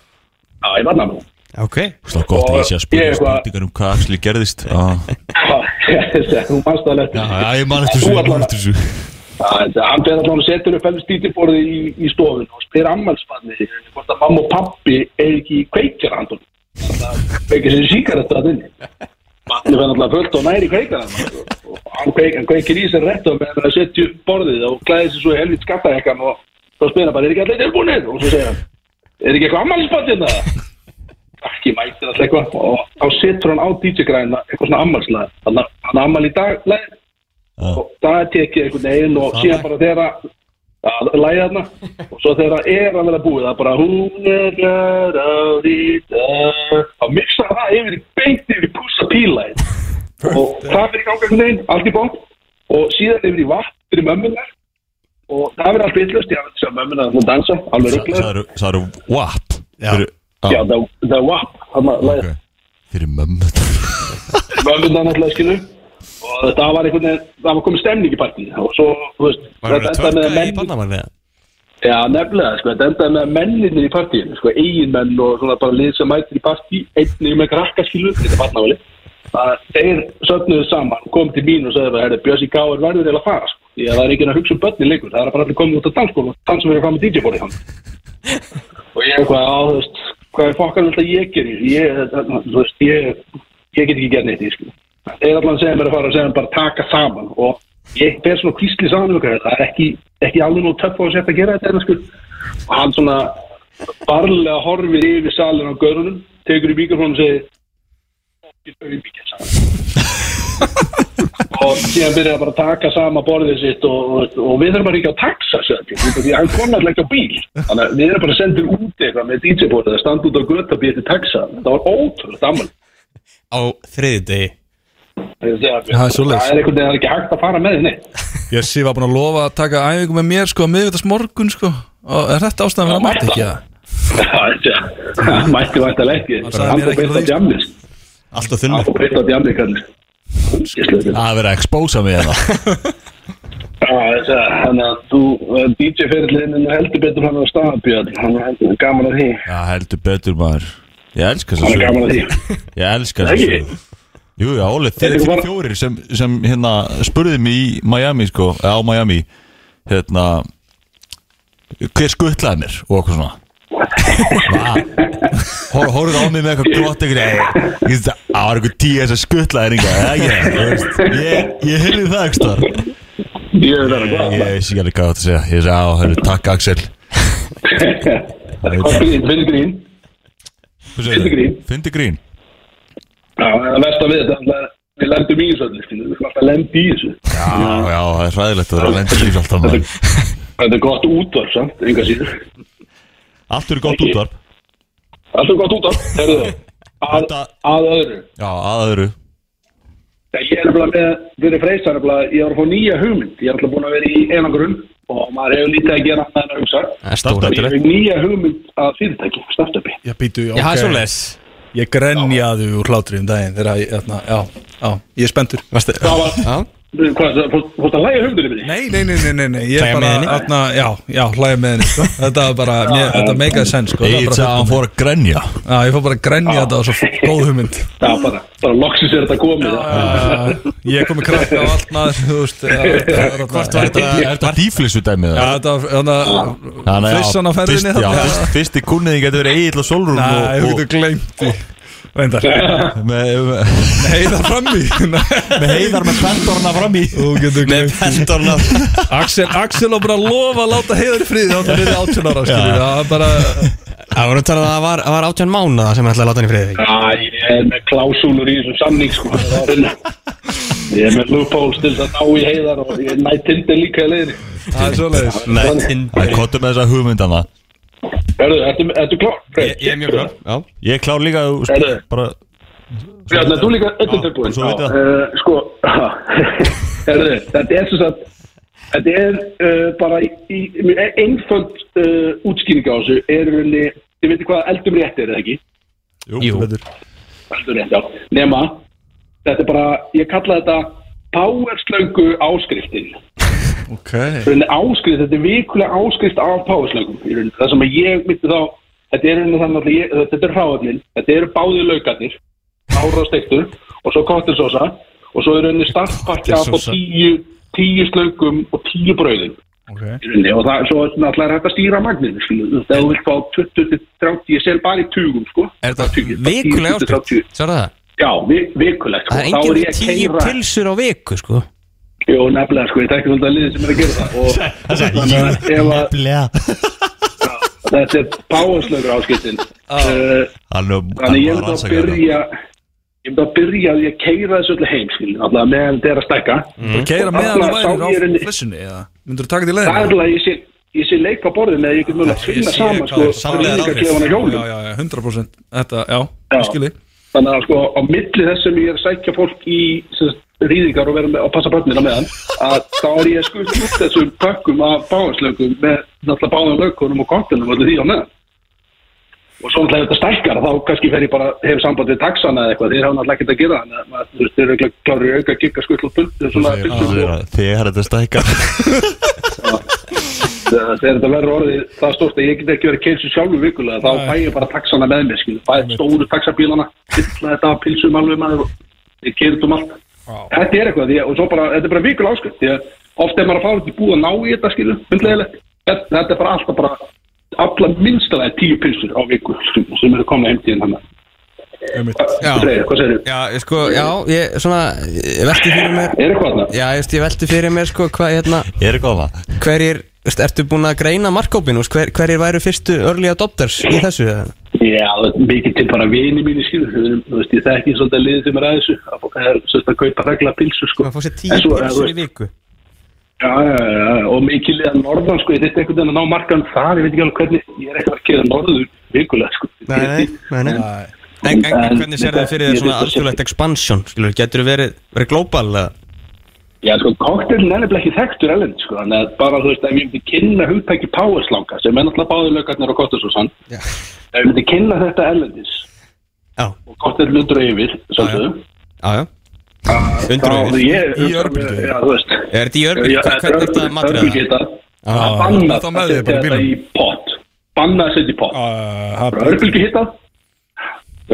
F: Já, í barnaafmæli.
B: Ok
A: Slá gott að ég sé að
F: Ég
A: spyrja
F: eitthvað-
A: spurningar um hvað Axli gerðist ah.
F: Já, þú mannst það lett
A: Já, ég man eftir þessu, ég man eftir þessu
F: hann fer allan og setur upp helst dýtiborðið í, í stofun og spyr ammælspanni hvort að mamma og pappi er ekki kveikjara hann kveikir sér síkarettu að inni Barnið fer náttúrulega fullt og næri kveikjara og hann, kveik, hann kveikir í sér rétt og meðan að setja upp borðið og klæðir sér svo í helvit skattarhekkan og þá spyr hann bara, er ekki allir tilbúinir? og svo segir hann, er ekki eitthvað ammælspanni þetta? ekki mætir alltaf eitthvað og þá setur hann á DJ-græna eitthvað svona ammælslega hann, hann ammæl í dag, lagið og það er tekið einhvern veginn og síðan bara þegar að- að læða þarna og svo þegar það er að vera búið það er bara hún er að ráði þá mixa það yfir í beint yfir í púsa pílæð og það verður í ganga einhvern veginn allt í bótt og síðan yfir í vatn fyrir mömmunar og það verður allt vittlust ég hafði þess að mömmunar þarna dansa alveg rugglega
A: Særu, særu, what? Fyrir,
F: já það það er vatn þarna læða
A: okay. fyrir mömmu
F: mömmunar náttúrulega skilu og þetta var einhvern veginn það var komið stemning í partíð og svo þú veist
B: Var það að
F: þetta endaði með að
B: törka í
F: menn-
B: barnamann við það?
F: Já, nefnilega, sko, þetta endaði með menninir í partíinu, sko, eiginmenn og svona bara lið sem mætir í partí, einnig með krakkaskilu, þetta er barnavali, að þeir söfnuðu saman, kom til mín og sagði bara, herri, Bjössi K. er verður eða að fara, sko, því að það er ekki að hugsa um börnin lengur, það er bara allir komið út á danskóla og dansa verið fram með DJ-borði hann. og ég eitthvað, á, þú veist, hvað er fokkan alltaf ég gerir, ég, þú veist, ég, ég get ekki gert neitt, ég sko. Þeir allan segja mér að fara og segja mér bara taka saman og ég ber svona kvísli saman um ykkur, það er ekki, ekki alveg nú töff á að setja að gera þetta hérna sko og hann svona barlega horfir yfir salin á görunum tekur í mikrofónum og segir ekki þau í mikið saman og síðan byrjar bara að taka sama borðið sitt og, og, og við erum að ríkja á taxa sagði ég, því að hann kom alltaf ekki á bíl þannig að við erum bara að senda út eitthvað með DJ-borðið að standa út á göta býja til taxa það var ótrúlega dammal
B: Á þriði degi
C: Það er svoleiðis.
F: það er einhvern veginn það er ekki hægt að fara með þið neitt
C: Jessi var búin að lofa að taka æfingu með mér sko, miðvitaðs morgun sko og er þetta ástæðan fyrir að mæta ekki það?
F: Það mætti vært að leggja
C: sagði
F: Hann
C: mér
F: fór
C: ekki frá
F: beitt
C: því,
F: á
C: sko.
F: djamnið
A: Alltaf
F: Hann
A: þunni
F: fór beitt á djamnið kallir
A: Það verið að expósa mig hérna. það
F: Þannig að þú eh, DJ-ferillin heldur betur hann á staðabjörn Hann er heldur gaman að því
A: Já, heldur betur maður Ég elska
F: Hann er
A: þessu
F: gaman að því
A: Ég elska þessu
F: Ekki?
A: sögu. Jú, já, Óli, þeir
F: Þetta
A: eru
F: var-
A: fjórir sem, sem hérna spurði mig í Miami, sko, eða á Miami hérna hver skuttlaði mér og okkur svona Hor, Hóruð á mig með eitthvað gott eitthvað "Ey, ég finnst að það var eitthvað tíu þess að skuttlaði þér eitthvað Ég, ég heyrði það ekki star
F: Ég er það
A: Ég,
F: að
A: ég sé alveg hvað þú átt að segja Ég sagði á, hörru, takk Axel
F: góða Grín, finn grín
A: Hvað segirðu?
F: Fyndi grín.
A: Fyndi grín
F: Já, Það versta við þetta er náttúrulega að Við lendum í þessu öllu, skilur, við erum alltaf að lenda í þessu
A: Já, já, það er hræðilegt að það er að lenda líf alltaf maður.
F: Þetta er gott útvarp, samt, enga síður
A: Allt eru gott útvarp
F: Alltaf gott útvarp, herðu Að,
A: Þetta-
F: að öðru
A: Já, aðaðuru
F: Já, Ég er nefnilega með, fyrir freysar nefnilega, ég er að fá nýja hugmynd. Ég er alltaf búin að vera í einangrun og maður hefur lítið að gera annað en að hugsa.
B: Það er stóra
F: Ég er með nýja hugmynd að fyrirtæki, startupi.
C: Já, býtu,
B: Já, það er
C: ok
B: svoleiðis
C: Ég grenjaði úr hlátri um daginn þegar ég, þarna, já, já, ég er spenntur
B: Varstu-
F: Það var,
B: Já,
F: hvað, það- fórst fórst að læja hugmyndinni minni?
C: Nei, nei, nei, nei, nei, nei. ég
B: Hlæja
C: er bara,
B: með henni?
C: þarna, já, já, hlæja með henni sko. Þetta var bara, mér, þetta meikaði senn sko. Þetta var
A: Egil
C: bara
A: sagði að hann
C: fullkomið.
A: fór að grenja
C: Já, ég fór bara að grenja þetta og svo góð hugmynd
F: Það var bara, bara loksins er þetta komið.
C: Já, Ég kom í krakka á allt maður, þú veist já, þetta var
B: Hvort var þetta
A: Er þetta dýflissu dæmið
C: Já,
A: það?
C: þetta var, þannig að flissan á ferðinni
A: Já,
C: þarna.
A: fyrst- fyrsti kunniði getur verið Egil og Solrún
C: Nei,
A: og,
C: þú
A: og,
C: getur gleymt því reyndar
A: Með,
C: heiðar fram í
A: með heiðar með pendorna fram í
C: Þú
B: Með
C: getur gleymt.
B: pendorna
C: Axel, Axel á bara að lofa að láta heiðar í friði þá það er 18 ára skilur það er bara
B: Það voru að tala um að það var, það var 18 mánuða sem hann ætlaði að láta hann í friði
F: Já, ég er með klásúlur í þessum samning sko. Það er hérna. Ég er með loopholes til þess að ná í heiðar og ég næ tindir líka í leiðinni
C: það er svoleiðis
A: Það er kottum með þessa hugmyndana
F: Hörðu, ertu, ertu klár? Freyr?
B: Ég er mjög glöð Já
A: Ég klá líka þú sp-
F: Heyrðu.
A: bara,
F: Bjarni, þú líka öllum tilbúin
A: svo veit
F: Já,
A: ég.
F: eh, Sko, herðu, þetta er sem sagt Þetta er uh, bara í, í, mjög einföld uh, útskýring á þessu er unni, ég veit ekki hvað eldum rétt er eða ekki
A: Jú, betur.
F: eldum rétt, já, nema þetta er bara, ég kalla þetta powerslöngu áskriftin
C: ok
F: rauninni áskrift, þetta er vikulega áskrift af powerslöngum, í rauninni, það sem að ég myndi þá, þetta er rauninni þannig að ég, þetta er hráöfnin, þetta eru báði laukarnir ára steiktur og svo kottinsósa og svo er rauninni startpakki af á tíu, tíu slöngum og tíu brauðum
C: ok
F: í rauninni og það, svo er náttúrulega hægt að stýra magninu, skilu, þegar þú vilt fá 20-30, ég sel bara í tugum, sko
B: Er þetta
F: Tugi, bara 10,
B: vikulega
F: 20,
B: áskrift?
F: 30.
B: Sér það?
F: Já, vi, vikulegt, sko,
B: Það er
F: þá er ég
B: engin
F: að
B: tíu
F: keira
B: pilsur á viku sko
F: Jó, nefnilega, sko, ég tekki svolítið að liði sem er að gera það og þannig að ef að þetta er páhanslögur áskiptin uh,
A: Hann er hann
F: þannig
A: var hérna. að
F: ég myndi að
A: rannsaka þetta.
F: byrja ég myndi að byrja að ég keira þessu öllu heim skil, allavega meðan þetta er að stækka
C: bara keira meðan
F: Þarna
C: þú
F: sá ég
C: værir á
F: henni-
C: flessunni eða myndur þú taka þetta í
F: það er
C: leiðin
F: alveg að ég sé ég sé leik á borðinu eða ég get mjög að finna saman sko, rýningarklefana
C: já,
F: hjólum
C: já, já, 100% þetta, já,
F: Já.
C: ég skil þig
F: þannig að sko á milli þess sem ég er að sækja fólk í sem sagt, rýðingar og vera með og passa börnina meðan að þá er ég að skuta út þessum pakkum af báðanslögum með náttúrulega báðan lögkunum og kontunum og öllu því á meðan og svo náttúrulega ef þetta stækkar þá kannski fer ég bara hef samband við taxana eða eitthvað þeir hafa náttúrulega ekkert að gera þannig að maður- þú veist, þeir eru ekki klárir í auka kikka skull og bund svona
A: Þú
F: byltum
A: segir "Ah, að Þegar þetta stækkar
F: þegar þetta verður orðið það stórt að ég get ekki verið keilsu sjálfur vikulega þá fæ ég bara taxana með mér skil fæ stóru taxabílana fylla þetta af pilsum alveg maður og ég keir þetta um allt þetta er eitthvað því, að- og svo bara þetta er bara vikulega áskrift því að oft er maður að fá þetta í búið að ná í þetta skilu hundlegilegt þetta, þetta er bara alltaf bara alla minnstalega tíu pilsur á viku skilu, sem eru komna heimtíðin hann
B: Já.
F: Freyr, hvað segir
B: Já, ég sko, já, ég svona Ég velti fyrir mér
F: er eitthvað þarna?
B: Já, ég veist, ég velti fyrir mér sko hvað hérna
A: Er eitthvað að það?
B: Hverjir, veist, ertu búin að greina markkópin veist, hver, Hverjir væru fyrstu early adopters í þessu eða?
F: Já, það er mikið til bara vini mínu skilur, við erum, þú veist, ég þekki svolítið að liði sem er að þessu, að fólk er svolítið að kaupa regla pilsu, sko.
B: Maður fór sér
F: En
B: tíu
F: svo, þú
B: pilsur í
F: veist,
B: viku
F: Já, já, já, já, og mikið liða norðan, sko, ég þurfti einhvern veginn að ná markan þar, ég veit ekki alveg hvernig, ég er ekkert að kera norður vikulega, sko.
B: Nei, nei, nei, nei. En, en, en hvernig sér þið fyrir þér svona alþjóðlegt expansion skilur, getur þið verið, verið global eða?
F: Já, sko, koktelin er nefnilega ekki þekktur elend, sko, en bara, þú veist, ef ég myndi kynna hugtæki páerslanga, sem er náttúrulega báður lögarnir og kottasósan,
B: Já.
F: ef ég myndi kynna þetta elendis,
B: Já,
F: og koktelin undur yfir, svolítið,
B: já, já Undur
F: þá,
B: yfir,
F: ég,
C: Í örbylgju.
F: já, þú veist,
B: er þetta í örbyr,
F: Já,
B: hvernig er þetta matrið það?
F: Örgulgeta að banna
C: þá
F: að
C: með þig bara
F: setja
C: í
F: þetta í pott Banna að setja í pott
C: Ah,
F: Örgulgeta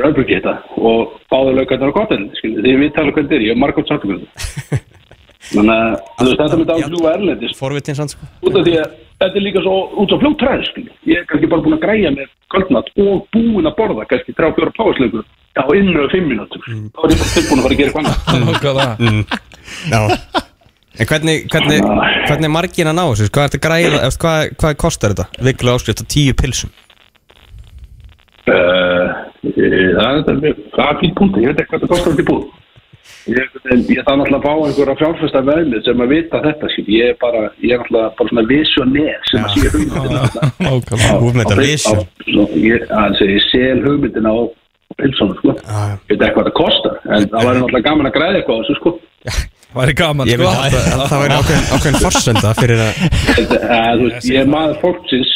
F: Örgulgeta og báður laukarnar á kottin Því við tala hvernig þetta er, ég hef margótt sagt um þetta Þannig að þú veist, þetta myndi á fljúa erlendist
B: Forvitin sann sko
F: Út af því að þetta er líka svo út á fljóttræð Ég er kannski bara búin að græja með kvöldnatt og búin að borða kannski 3-4 páslöku á innröðu 5 minútur Þá er ég bara tilbúin að fara að gera eitthvað annað.
C: Nákvæmlega.
B: Mm. Já En hvernig, hvernig, hvernig er margin að ná þessu? Hvað er þetta græða, eða hvað, hvað kostar þetta? Vikulega áskrift á tíu pilsum
F: Eh, það er þetta mjög- það er fín punkti, ég veit ekki hvað það kostar út í búð ég, en ég þarf náttúrulega að fá einhverja fjárfesta veðlið sem að vita þetta skil. ég er bara, ég er náttúrulega bara svona visionér sem að sé
B: Þú
F: hugmyndina
B: erum þetta
F: Á-
B: vision.
F: á- svo- ég- að segja, ég sel hugmyndina á pilsonu sko.
B: já.
F: ég veit ekki hvað það kostar en það væri náttúrulega gaman að græða eitthvað á þessu sko.
C: væri gaman
B: Ég veit
C: sko
B: að það- það væri ákveðin, ákveðin forsenda fyrir að
F: en, að, þú veist, ég er maður fólksins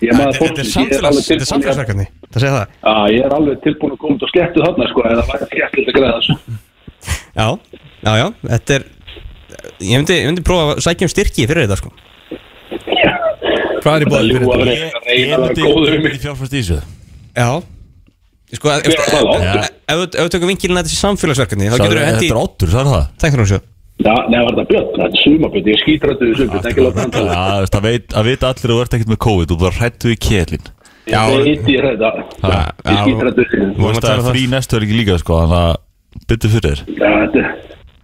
F: ég er maður
B: Þetta er
F: fólksins ég er
B: samfélags,
F: alveg
B: þetta er
F: tilbúin í að-
B: samfélagsverkefni Það segja það
F: að ég er alveg tilbúin að koma út og slettu þarna sko, en það væri skemmtilegt að græða þessu
B: Já, já, já, þetta er Ég myndi, ég myndi prófa að sækja um styrki fyrir þetta sko
C: hvað er í
F: Það er
C: bóðið
F: ljúga að
A: Ég
F: reyna
A: ég
F: að vera
A: myndi
F: góður við
A: ég
F: mig.
A: myndi fjárfæst í þessu
B: Já Sko, ef,
F: Hver er það þá?
B: ef, ef, ef þú tökum vinkilin að þetta sé samfélagsverkefni þá
A: Það er-
B: getur þú hendi
A: Þetta er óttur, það er það
B: tæknarhúsjóð
F: Já, nei, var þetta björn, þetta er sumabjörn, ég skýtrættu við sumbjörn, ekki láta hann
A: Já,
F: tala.
A: þú veist, að veit- að vita allir að þú ert ekkert með COVID Þú bara hrættu í kjellin
B: Já.
F: Ég veit ég þetta
B: Já,
F: Ég
B: já,
F: skýt þetta upp
A: Þú veist að það er frí næstu er ekki líka sko Þannig að byttu fyrir þér
F: Já, þetta er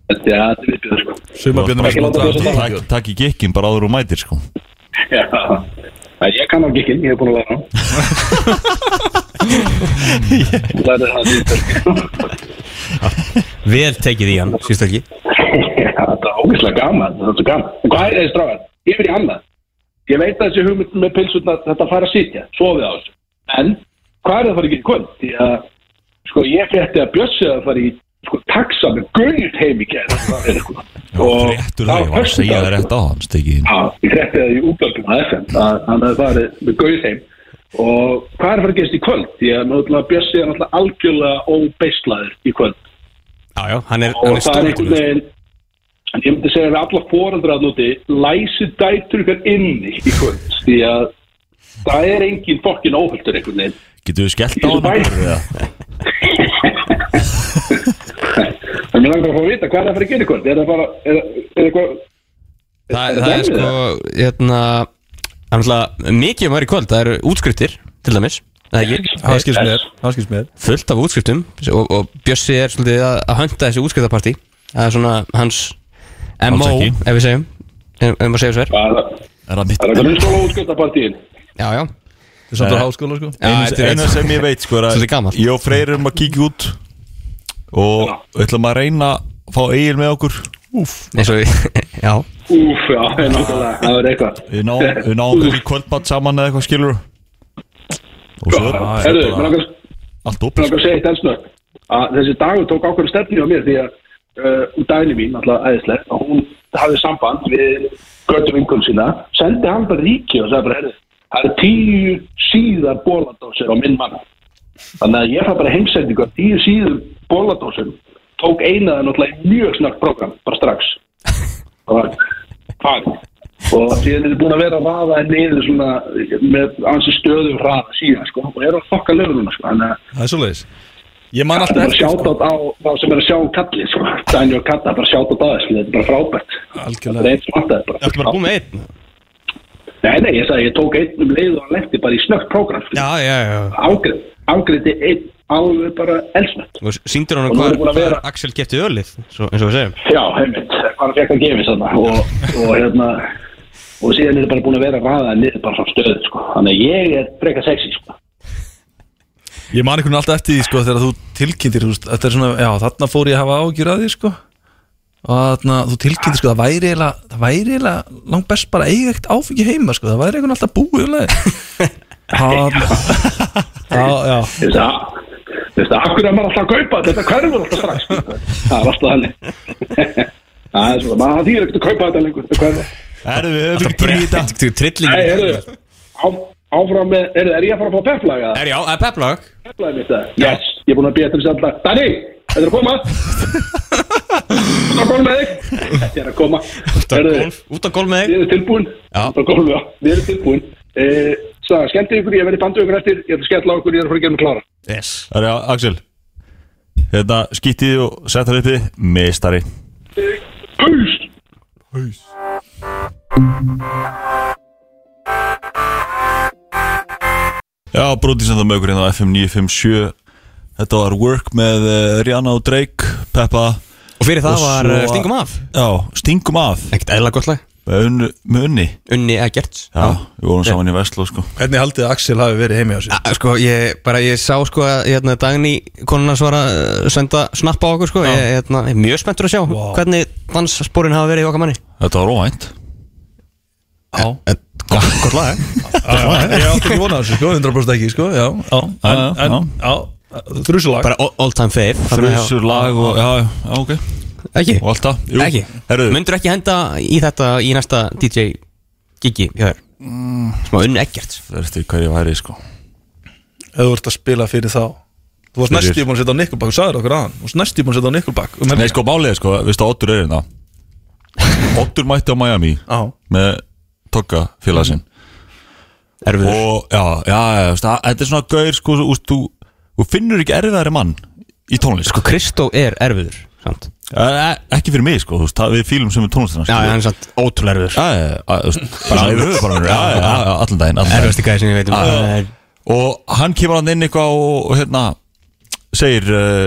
F: Þetta er aðeins við sko
C: Sumabjörnum
F: Ekki láta þess að
C: er
F: taka.
A: Takk- Takk í gikkin bara áður og mætir sko
F: Já Æ, Ég kann á gikkinn, ég hef búin að læra hann Læra það dýrt sko.
B: Vel tekið í hann, síst ekki
F: Já, Þetta er ógeðslega gaman Þetta er svo gaman En Hvað er þessi stráðan? Yfir í annað Ég veit að þessi hugmynd með pilsutna Þetta fær að sitja, sofið á þessu En hvað er það að fara í gera í kvöld? Því að sko ég frétti að bjössi að fara í sko taxa með gullt heim í gerð sko. og
A: Réttur það, ég var að segja það rétt á hann Stikið þín
F: Já, ég frétti það í útgöldum að FM að hann hefði farið með gauð heim og hvað er að fara að gerast í kvöld? Því að náttúrulega Bjössi er náttúrulega algjörlega óbeislaður í kvöld
B: Já, já, hann er, hann
F: og
B: er
F: það er einhvern
B: stórkulegur
F: veginn en ég myndi segja að við alla foreldra að núti læsi dætur ykkur inni í kvöld því að það er engin fokkin óhöldur einhvern veginn
A: Getur við skellt á hann einhverju eða?
F: en mér langar að fá að vita hvað er að fara að gera í kvöld er það bara, er, er eitthvað
B: Það, það er sko, hérna Það er náttúrulega mikið um aðri kvöld Það eru útskriftir, til dæmis Það er ekki,
C: Það skils mér Það skils mér
B: fullt af útskriftum og, og Bjössi er svolítið að, að hönda þessi útskriftapartí Það er svona hans MO,
A: ekki.
B: ef við segjum Ef ef maður segja svo er
F: Það er-
A: Er það mitt
F: það er eitthvað hljóðskóla útskjöldapartíin
B: Já, já, Eh,
C: Það er samt á háskóla sko
B: já
A: Einu-
B: þetta er
A: Eina
B: rétt.
A: sem ég veit sko er
B: Svolítið gamalt.
A: að Ég og Freyr erum að kíkja út
F: Hérna.
A: Og við ætlum að reyna að fá eigin með okkur
B: eins og við, já
F: Úf, já, nákvæmlega, það er eitthvað
A: Við náum, við náum kannski kvöldmatt saman eða eitthvað skilur Og svo er
F: Herru, mér
A: bara sko.
F: langar
A: allt
F: Mér
A: opið
F: langar að segja eitt elsnögg að þessi dagur tók ákveður stefni á mér því að uh, úr dagni mín, alltaf æðislega að hún hafði samband við göttu vingun sína, sendi hann bara ríki og sagði bara, herri, það er tíu síðar bóladósir á minn mann þannig að ég fæ bara heimsendingu af tíu síður bóladósir tók eina það náttúrulega í mjög snart program, bara strax og það var farin og síðan er búin að vera að vaða henni yfir svona með ansi stöðum hraða síðan sko og er að fokka löguna sko þannig að
C: Það er svoleiðis Ég man
F: Það er
C: alltaf
F: bara
C: eftir sko
F: sjátátt á þá sem er að sjá um kalli sko. Daniel Katta, bara sjátátt á þessu Þetta er bara frábært Það er
C: Algjörlega
F: einn sem vantaði bara
B: Ertu bara búið með einn?
F: Nei, nei, ég sagði, ég tók einn um leið og hann lefti bara í snögt prógram
B: Já, já, já
F: Ágriði einn alveg bara elsnött
B: Og síndir hann
F: Og nú er
B: hvað
F: búin að
B: hvað
F: vera-
B: Axel getið ölið, svo, eins og við segjum
F: Já, heimitt, hvað hann fekk að gefa þess aðna og, og hérna Og síðan er þetta bara búin að vera að ræða niður bara frá stöðu sko. Þannig að ég er frekar sexy sko.
C: Ég man einhvern veginn alltaf eftir því sko Þegar þú tilkynntir þú veist, Þetta er svona Já þarna fór ég að hafa ágjur að því sko Og þarna þú tilkynntir sko Það væri eiginlega Það væri eiginlega Langt best bara að eiga eitt áfengi heima sko Það væri einhvern alltaf búið um leið Það Já já
F: Þú veist að Þú veist að, akkur er maður alltaf að kaupa þetta hverfur alltaf strax sko. Það er alltaf þannig Það er svona, maður þýr ekkert að kaupa þetta lengur Þetta hverfur
A: Erum við höfum ekki tíma í þetta
B: Þetta er trillingur
F: Nei, heyrðu, á, áfram með, heyrðu, er ég að fara að fá peplag eða?
B: Er já, það er peplag
F: Peplag mitt eða? Yes, ég er búin að býja til þess að alltaf. Danni, þetta er að koma. Þetta er að koma með þig. Þetta er að koma.
B: Út á
F: Heyrðu,
B: golf, út á golf með
F: Þið
B: þig
F: eru tilbúin.
B: Já.
F: Þetta er að koma, já, þið eru tilbúin. Eh, Saga, skemmti ykkur, ég verði bandið ykkur eftir, ég ætla að skella á ykkur, ég er að fara að gera mig klára.
B: Yes
A: Það er Axel Hérna skýttið og settar uppi Mistari
F: Pust!
A: Já, Bróti sem það með okkur hérna á FM 957 Þetta var Work með eh, Rihanna og Drake Peppa
B: Og fyrir það
A: Og
B: var
A: svo-
B: svo... Stingum af
A: Já, Stingum að
B: Ekkert eðla gott lag
A: Með unni, með unni.
B: Unni Eggerts
A: Já, við vorum saman í Vestló sko
C: Hvernig haldið að Axel hafi verið heimi á sér?
B: Ah, Sko, ég, bara ég sá sko að hérna, Dagný konuna svara uh, senda snappa á okkur sko ég, hérna, ég er mjög spenntur að sjá
C: Vá.
B: hvernig danssporin hafa verið í okkar manni
A: Þetta var óvænt
C: Já
B: Gott lag, eh?
C: Ég átti ekki vona þessu sko, 100% ekki sko, já, já, en,
A: já,
C: en,
A: já.
C: já, þrjusulag
B: bara all, all time fave þannig að-
A: Þrjusur lag og, já, já, já, ok
B: Ekki,
A: Og allt það, jú
B: ekki
A: Herru,
B: Mundur ekki henda í þetta í næsta DJ gigi hjá þér Smá Unni Eggerts
A: eftir hvað ég væri sko
C: Ef þú ert að spila fyrir þá Þú varst
A: Fyrir.
C: næstíð búin að setja á Nickelback, þú sagðir okkur aðan Þú varst næstíð búin að setja á Nickelback um
A: Nei,
C: helgina.
A: sko, málið er sko, veistu að Oddur er hérna Oddur mætti á Miami
C: Já,
A: með Togga félagsinn
B: Erfiður
A: og já, já, já, þú veist, að- þetta er svona gaur sko, þú, veist, þú, þú finnur ekki erfiðari mann í tónlist, sko
B: Sko, Kristó er erfiður samt
A: E- ekki fyrir mig, sko, þú veist, það- við fílum sem er tónlistina
B: Já,
A: sko.
B: hann er samt ótrúlega erfiður
A: já, já, já, þú veist, bara yfir höfuð bara, já, já, já, allan daginn, allan daginn
B: Erfiðasti gæði sem ég veit um Það er
A: og hann kemur hann inn eitthvað og, og hérna segir uh,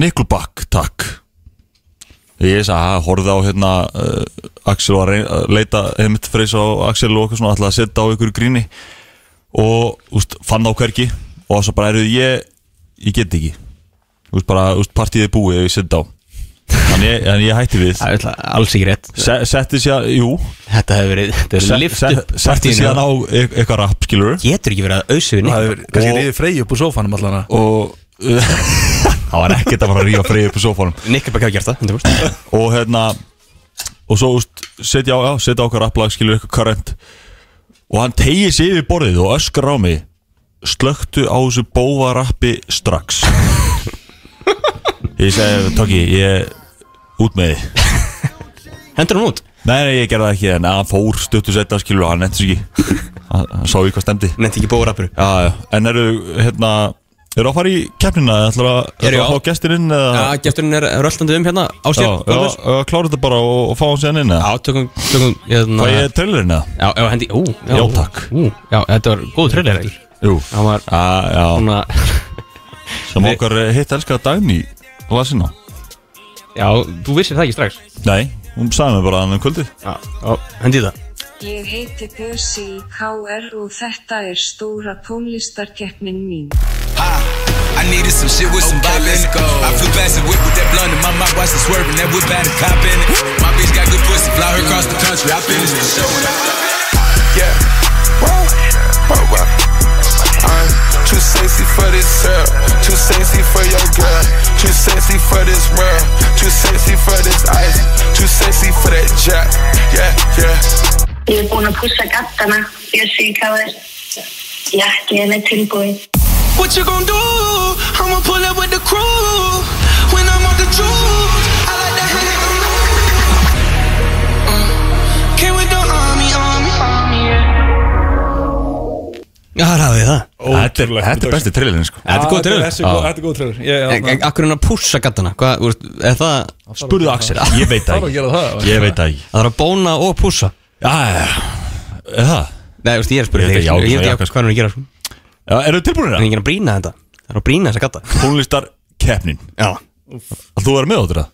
A: Nickelback takk ég sagði að horfði á hérna uh, Axel var að reyna- að leita heimitt freys á Axel og eitthvað svona ætlaði að setja á ykkur gríni og úst, fann á hvergi og svo bara eru ég ég get ekki úst, bara, úst, partíið er búið ef ég setja á en ég, en ég hætti við
B: Það er öll- alls ekki rétt
A: Se, setti sér, jú
B: Þetta hefur verið, þetta hefur verið
A: se,
B: lift
A: se,
B: upp
A: setti
B: partíinu.
A: sér á e eitthvað rap skilur
B: Getur ekki verið að ausu við neitt
C: Það hefur kannski
A: Og-
C: reyðið Frey upp úr sófanum allan að
A: og það var ekkert að fara að rífa freyði upp í sófanum
B: Nikkabæk hafa gert það, 100%
A: og hérna og svo úst, setja á, já, setja á okkar applag skilur eitthvað current og hann tegið sér yfir borðið og öskar á mig slöktu á þessu bóvarappi strax ég segi, Tóki, ég út með þið
B: Hendur hún út?
A: Nei, nei, ég gerði það ekki, en hann fór stuttu setna skilur, hann nefndi sig ekki hann, hann sá ekki hvað stemdi
B: Nefndi ekki bóður appur
A: Já, já, en eru, hérna, eru að fara í keppnina, ætlar að,
B: Eru,
A: ætlar að
B: já.
A: fá gestin inn eða
B: Já, gesturinn er röllandi um hérna á
A: Já,
B: sér
A: já, já, klára þetta bara og, og fá hann síðan inn eða
B: já tökum, tökum hérna,
A: Fæ ég trailerinn eða?
B: Já, já, hendi, ú,
A: Já, takk.
B: ú, Já, þetta var góð trillir eiginlega
A: Jú
B: Það var
A: Já, já,
B: svona,
A: sem okkar eh, hitt elskaða Dagný lasin á
B: já, þú vissir það ekki strax
A: Nei, hún sagði mér bara hann um kvöldið
B: Já, já hendi í það
G: Ég heiti Persi í KR og þetta er stóra tónlistarkeppnin mín.
H: Ah, I needed some shit with some bop in it. I flew past the whip with that blunt in my mouth, watched it swerving. That whip had a cop in it. My bitch got good pussy, fly her across the country. I finished the show and I Yeah. I'm too sexy for this girl, too sexy for your girl, too sexy for this world, too sexy for this ice, too sexy for that jack. Yeah, yeah.
I: Ég er búin að pússa gattana. Bjössi í káður. Jakkinn er tilbúin.
H: What you gonna do? I'ma pull up with the crew. When I'm on the juice, I like to hang around. Uh, Came with the army, army, army, yeah.
B: Já, það hafið þið það
A: Þetta er- þetta er besti trailerinn, sko
B: Þetta er góð trillir
C: Þetta er góð trailer Ég
B: En
C: þarf
B: en akkur er hann að pússa gattana? Hvað, úr, er það,
A: Spurðu Axel, ég veit það
C: að
A: ekki
C: gera það
A: Ég veit það ekki
B: það er að bóna og pússa?
A: Já, já, já, er það?
B: Nei, þú veist, ég er að spyrja
A: Ég veit
B: þig
A: ekki, já,
B: Ég veit
A: já,
B: ekki
A: kannski.
B: hvað hann er að gera sko.
A: Já, eru tilbúinir
B: Það er
A: það?
B: enginn að brýna þetta Það er að brýna þessa gatta
A: Tónlistar keppnin
B: Já
A: Að þú verður með áttur það?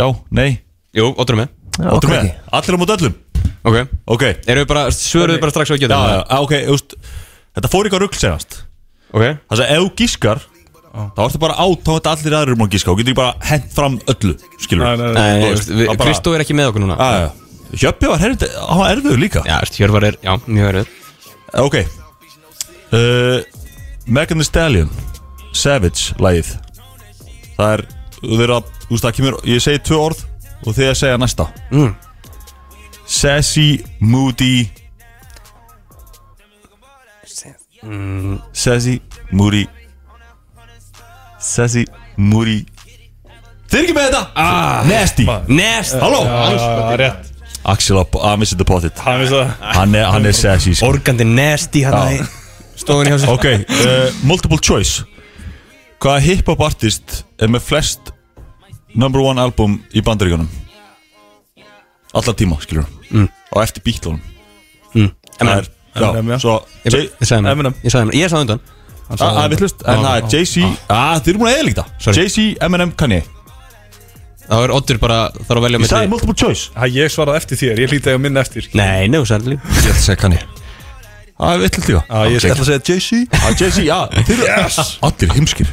A: Já, nei,
B: Jú, ótrúum með
A: áttur með Allir á mót öllum,
B: Ok
A: ok
B: Erum við bara, svöruðu bara strax á
A: Já,
B: getum
A: já, já, ok, þú veist Þetta fór eitthvað rugl segjast
B: Ok
A: Það sem ef þú gískar Þá ertu bara át, þá ertu allir aðrir um að gíska Og getur ekki bara hent fram öllu, skilur
C: Nei, nei, nei.
B: Nei,
A: Þú
B: nei,
A: veist,
B: við-
A: það bara-
B: Kristó er ekki með okkur núna
A: Já, já, já Hjöppi var herfið, hann var erfiður líka
B: Já, veist, Hjörvar er, já, mjög verið
A: Ok uh, Megan Thee Stallion Savage, lagið Það er, þú verður að, þú veist það kemur Ég segi tvö orð og þið að segja næsta
B: Mm.
A: Sassy, Moody Sassy, Moody Sassy, Moody Þið er ekki með þetta ah, Nasty
B: Nest
A: Halló
C: Það er rétt
A: Axel að missa þetta pottit
C: Það er það
A: Hann er, hann er sassy sko.
B: Organdi nesti hann í Stofan hjá sér
A: Ok, uh, multiple choice Hvaða hip-hop artist er með flest number one album í bandaríkunum? Alla tíma, skilur mm. Og eftir bítlunum Það er,
C: Eminem,
A: já,
C: já.
A: svo
B: Ég
A: J-
B: ég sagði mér
C: Eminem.
B: Ég sagði mér Ég sagði undan
A: Ah, Það er vittlust, en það er Jay-Z Ah, Þið eru múin að eða líka
B: Sorry.
A: Jay-Z, Eminem, Kanye
B: Þá er Oddur bara Þarf að velja
A: Ég sagði
B: með
A: multiple choice
C: Ég svaraði eftir þér, ég hlýta ég að minna eftir
B: Nei, nei, þú sagði líka
A: Ég ætla að segja Kanye Það er vittlust Ah, líka
C: Já, Ég ætla að segja Jay-Z
A: Ah, Jay-Z, já Þið eru yes. allir heimskir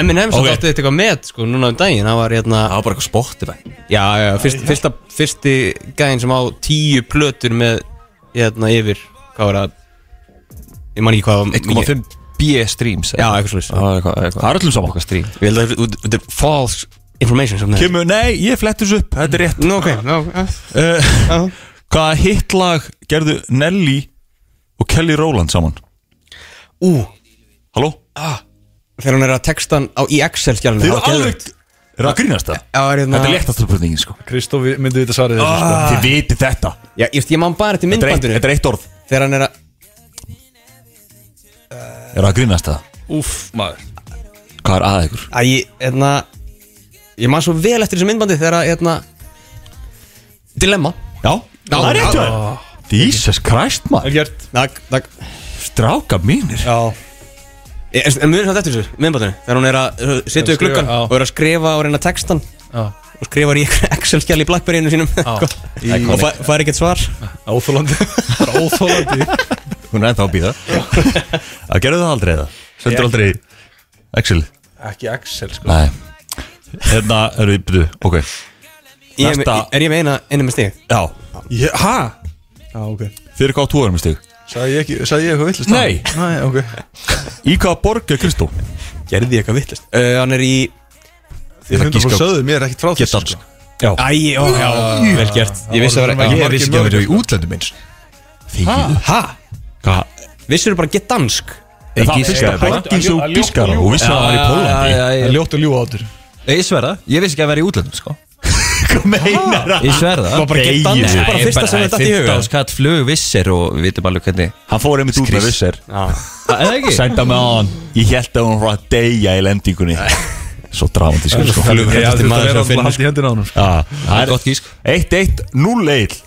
B: Eminem svo
A: Ok.
B: þátti þetta eitthvað með Sko, núna um daginn Það var hérna
A: var bara eitthvað Spotify
B: Já, já, fyrst, fyrsta Fyrsti gæðin sem á tíu plötur með Hérna yfir Hvað var það Ég man ekki hvað var- mikið-
E: 1,5 B streams
B: Já, eitthvað svolítið
E: Það er eitthvað- eitthvað
A: Það er öllum saman
E: Eitthvað stream
B: Ég held að þetta- þetta er false information sem það er.
A: Kemur, nei, ég flettis upp, þetta er rétt
B: Nú, ok, já, já.
A: uh, Hvaða hitlag gerðu Nelly og Kelly Rowland saman?
B: Ú,
A: Halló?
B: þegar hún er að texta hann á, E í Excel-skjálunni
A: Þið eru alveg Er það að grínast það?
B: Já, er hérna-
A: Þetta er léttast spurningin sko
C: Kristóf myndi þetta svarið þessu sko.
A: Þið viti þetta Þetta
B: Já, ég veist, ég man bara eftir
A: er eitt,
B: myndbandinu
A: þetta er eitt orð
B: Þegar hann er að
A: Er það að grínast það?
C: Úff, maður
A: Hvað er að ykkur?
B: Æ, ég, hérna Ég man svo vel eftir þessu myndbandi þegar að, hérna Dilemma
A: Já, það er rétt hjá þér Jesus Christ maður
C: Velgjart
B: Takk, takk
A: Stráka mínir
B: Já En en mjög samt eftir þessu, miðbátunni Þegar hún er að uh, sitja
C: Að
B: við gluggan
C: skrifa, já.
B: og er að skrifa og reyna textan
C: Já.
B: og skrifar í einhverju Excel-skjall í Blackberryinu sínum
C: Ah. Í-
B: og fær- fær ekkert svar
C: Óþólandi Bara óþólandi
A: Hún er ennþá að býða Það gerðu það aldrei eða Sendur aldrei í Excel
C: Ekki Excel sko
A: Nei Hérna erum við byrju Ok
B: Ég er með-
A: Næsta-
B: Er ég með eina, einu með stig?
A: Já
C: Ég- Ha? Já, ok
A: Þið eru hvað á túarum í stig
C: Sagði ég, ekki, sagði ég eitthvað villist
A: Nei.
C: Nei, ok
A: Í hvaða borg er Kristó?
B: Gerði ég eitthvað vittlust? Uh, hann er í
A: Ég
C: Þið hundar bara sögðu mér ekkit frá
A: Geta
C: þessu
A: alls
C: sko.
B: Æ, ó, já, vel gert Ég vissi að vera
C: Ég
B: ekki
C: vissi ekki að vera í
B: sko.
C: útlöndum eins
A: Þegið
B: Hæ?
A: Hvað?
B: Vissir þú bara get dansk?
A: Það fyrsta borgin svo bískar og vissi að það var í Pólandi
C: Ljótt og ljúa áttur
E: Ég sverða, ég vissi ekki að vera í útlöndum sko
A: Hvað meinar það?
E: Ég sverða
B: Var bara get dansk,
A: Nei,
B: bara fyrsta sem þetta datt í huga
E: 15 skatt flug vissir og við vitum alveg hvernig
A: Hann fór einmitt út með
E: Skrýs.
A: visser
E: Það er ekki
A: Senda mig á hann Ég held að hún var að deyja í lendingunni Svo dramatískur sko
C: Flugrættasti
B: maður sem finnur,
C: Haldi hendur á hann sko.
A: Já,
E: Það er gott gísk
A: 1-1, 0-1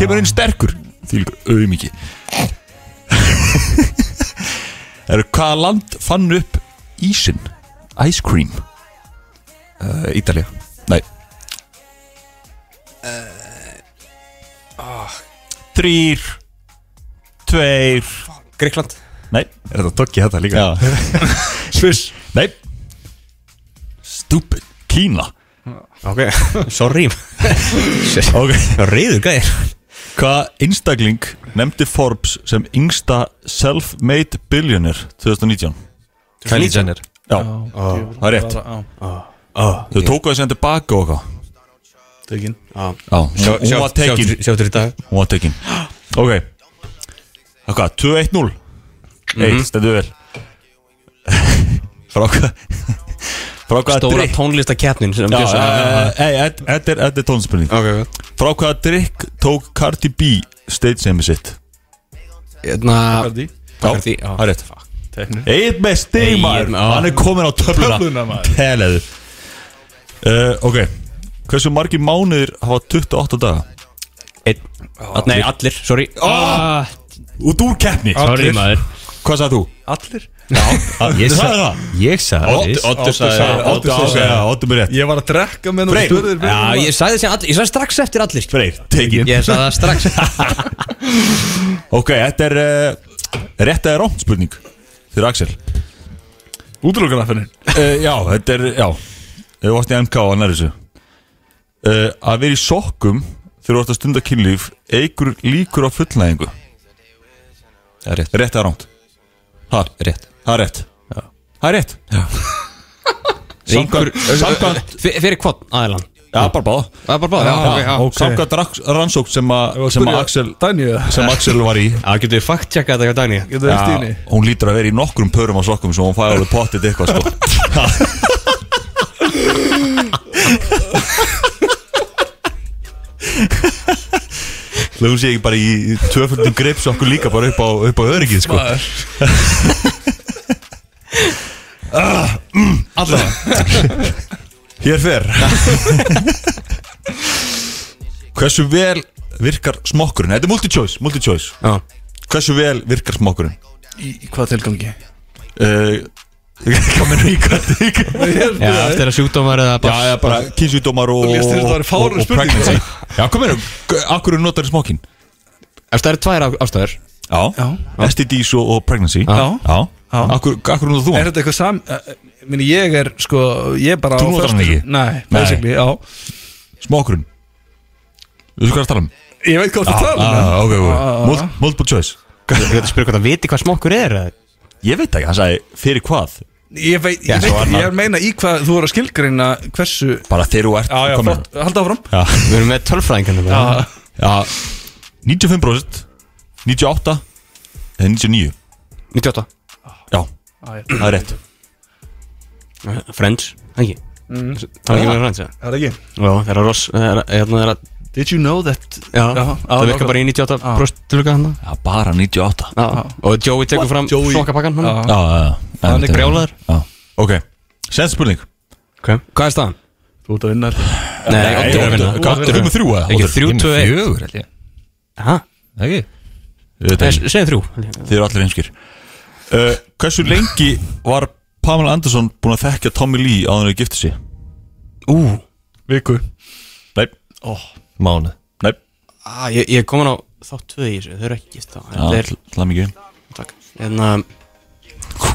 A: Kemur inn sterkur Því líka auðmiki Er hvaða land fann upp ísin? Ice cream
E: Uh, Ítalía
A: Nei
E: Uh, ah.
A: Þrýr Tveir
B: Gríkland
A: Nei Er þetta tokki þetta líka? Já
C: Sviss
A: Nei Stupid Kína
B: Ok Sorry
A: Ok
B: Reyður gæðir
A: Hvaða einstakling nefndi Forbes sem yngsta self-made billionaire 2019?
E: Kylie Jenner
A: Já,
B: Ah.
A: það er rétt Þau tóku þessi hann tilbaka og eitthvað
C: Tekin
B: Ah.
A: Já, hún, hún var tekin
B: Sjáttur í dag
A: Hún var tekin Ok Það hvað, 2-1-0
B: Mhm.
A: Eitt, stendur vel Frá hvað Frá hvað
B: Stóra tónlistakeppnin sem
A: Já,
B: Bjössi-
A: eh, eh, eh, þetta þetta er, þetta er tónspilning
B: Ok, ok
A: Frá hvaða drikk tók Cardi B stage name sitt?
B: Hérna
C: Hardi
A: Já,
B: Cardi, já.
A: það er rétt
C: Teknir
A: Eitt með
B: Egill,
A: stigmaður
B: já.
A: Hann er komin á töfluna
C: Töfluna, maður.
A: Teleðu uh, Ok Hversu margi mánuðir hafa 28 daga?
B: Einn Nei, allir, sorry
A: Ah, Út úr keppni
C: Allir.
E: maður
A: Hvað sagði þú?
C: Allir
E: Ég
A: sagði
E: sagði
A: það.
E: Ég sagði
A: Odd-
E: það
A: Oddur sagði
C: Oddur
A: Oddur
C: sagði-
A: sagði já, Oddur með rétt
C: Ég var að drekka með
A: Freyr.
B: Já, ég sagði sem allir Ég sagði strax eftir allir
A: Freyr, tekið
B: Ég sagði það strax
A: Ok, þetta er uh, rétt eða rámt spurning Fyrir Axel
C: Útlökan að finna
A: uh, Já, þetta er, já Þau varst í MK og annar þessu uh, Að vera í sokkum þegar þú ert að stunda kynlíf eigur líkur á fullnæðingu
E: Það er rétt
A: Rétt eða rámt? Ha,
E: Rétt
A: það er rétt Það er rétt Samkvæmt- Samkvæmt
B: F- Fyrir hvort aðeilan
A: Já, bara báða
B: Það er bara báða Já, ok, já
A: Samkvæmt ranns- rannsókn sem, a, sem að Axel
C: Daniel
A: sem Axel var í
B: Já, getur við fakt tjekka þetta hjá Dagný
C: Getur það eftir henni
A: hún lítur að vera í nokkrum pörum á sokkum svo hún fæði alveg pottit eitthvað sko. Hljóðum sé ekki bara í tvöföldum grips okkur líka bara upp á, upp á öryggið sko.
B: Allavega
A: Ah, mm, Hér fer Hversu vel virkar smokkurinn? Þetta er multi-choice, multi-choice
B: Já
A: Hversu vel virkar smokkurinn?
C: Í í hvaða tilgangi?
A: Uh, Hvað mennur í kvartík?
B: Já, eftir að sjúkdómar eða
A: Já, já, bara kynsjúdómar og
C: Þú lést þér þetta væri fáránleg
A: og- og
C: spurning.
A: pregnancy. Já, kom erum, akkur er notar smokkin?
B: Ef það eru tvær á- ástæður
A: Já, STDs og, og pregnancy
B: Já.
A: já. Akkur, akkur notar þú
C: Er
A: hann?
C: þetta eitthvað sam... eh, Minni ég er sko Ég er bara
A: Þú
C: á
A: notar
C: föstu-
A: hann ekki?
C: Nei, basically, já
A: Smokkurinn Þú veist hvað er að tala um?
C: Ég veit hvað það tala um
A: Ah, ok, ok,
C: já, já.
A: Mul- multiple choice
B: Þú getur að spyrja hvort það viti hvað smokkur er
A: Ég veit ekki, hann sagði fyrir hvað
C: Ég veit,
A: Já,
C: ég,
A: svo
C: veit
A: annað.
C: ég er að meina í hvað þú voru að skilgreina hversu
A: Bara þegar þú ert
C: Já, já,
A: kom erum.
C: flott, halda áfram
A: Já.
B: Við erum með tölfræðingarnir með.
A: já 95% 98 eða 99
B: 98
A: Já,
C: já.
A: það er rétt
B: Friends Ekki
C: Mm.
B: Það er ekki með Friends, já
C: Það er ekki
B: Já, það er að Ross það er að- Hérna er að
C: Did you know that
B: Já,
C: Já,
B: það
C: já,
B: virkar bara í 98
C: Já.
B: brúst tilöka hann
A: Já, bara 98
B: Og Joey tekur fram
C: Joey?
B: sokkapakkan hann
C: Já.
A: Já, já, já
B: Hann er brjálaður.
A: Já, ok Send spurning
B: okay. Hvað er staðan?
C: Þú ert að vinna
B: Nei, Oddur er að vinna
A: Hvað er það með þrjú eða?
B: Ekki
A: Oddur?
B: þrjú,
E: Ég er
B: tvö,
E: með
B: eitt
E: fjögur held ég
B: Hæ?
J: Ekki?
A: Ég veit
B: Nei,
A: ekki,
B: Segjum þrjú
A: Þið eru allir einskir uh, Hversu lengi var Pamela Anderson búin að þekkja Tommy Lee á þannig að gifta sig?
K: Ú, viku
A: Nei,
J: Mánuð
A: nei,
B: ah, Ég ég er komin á þátt tvö í þessu Þau eru ekki gift þá
A: Já,
B: Þetta er-
A: alltaf mikið
B: takk. En um,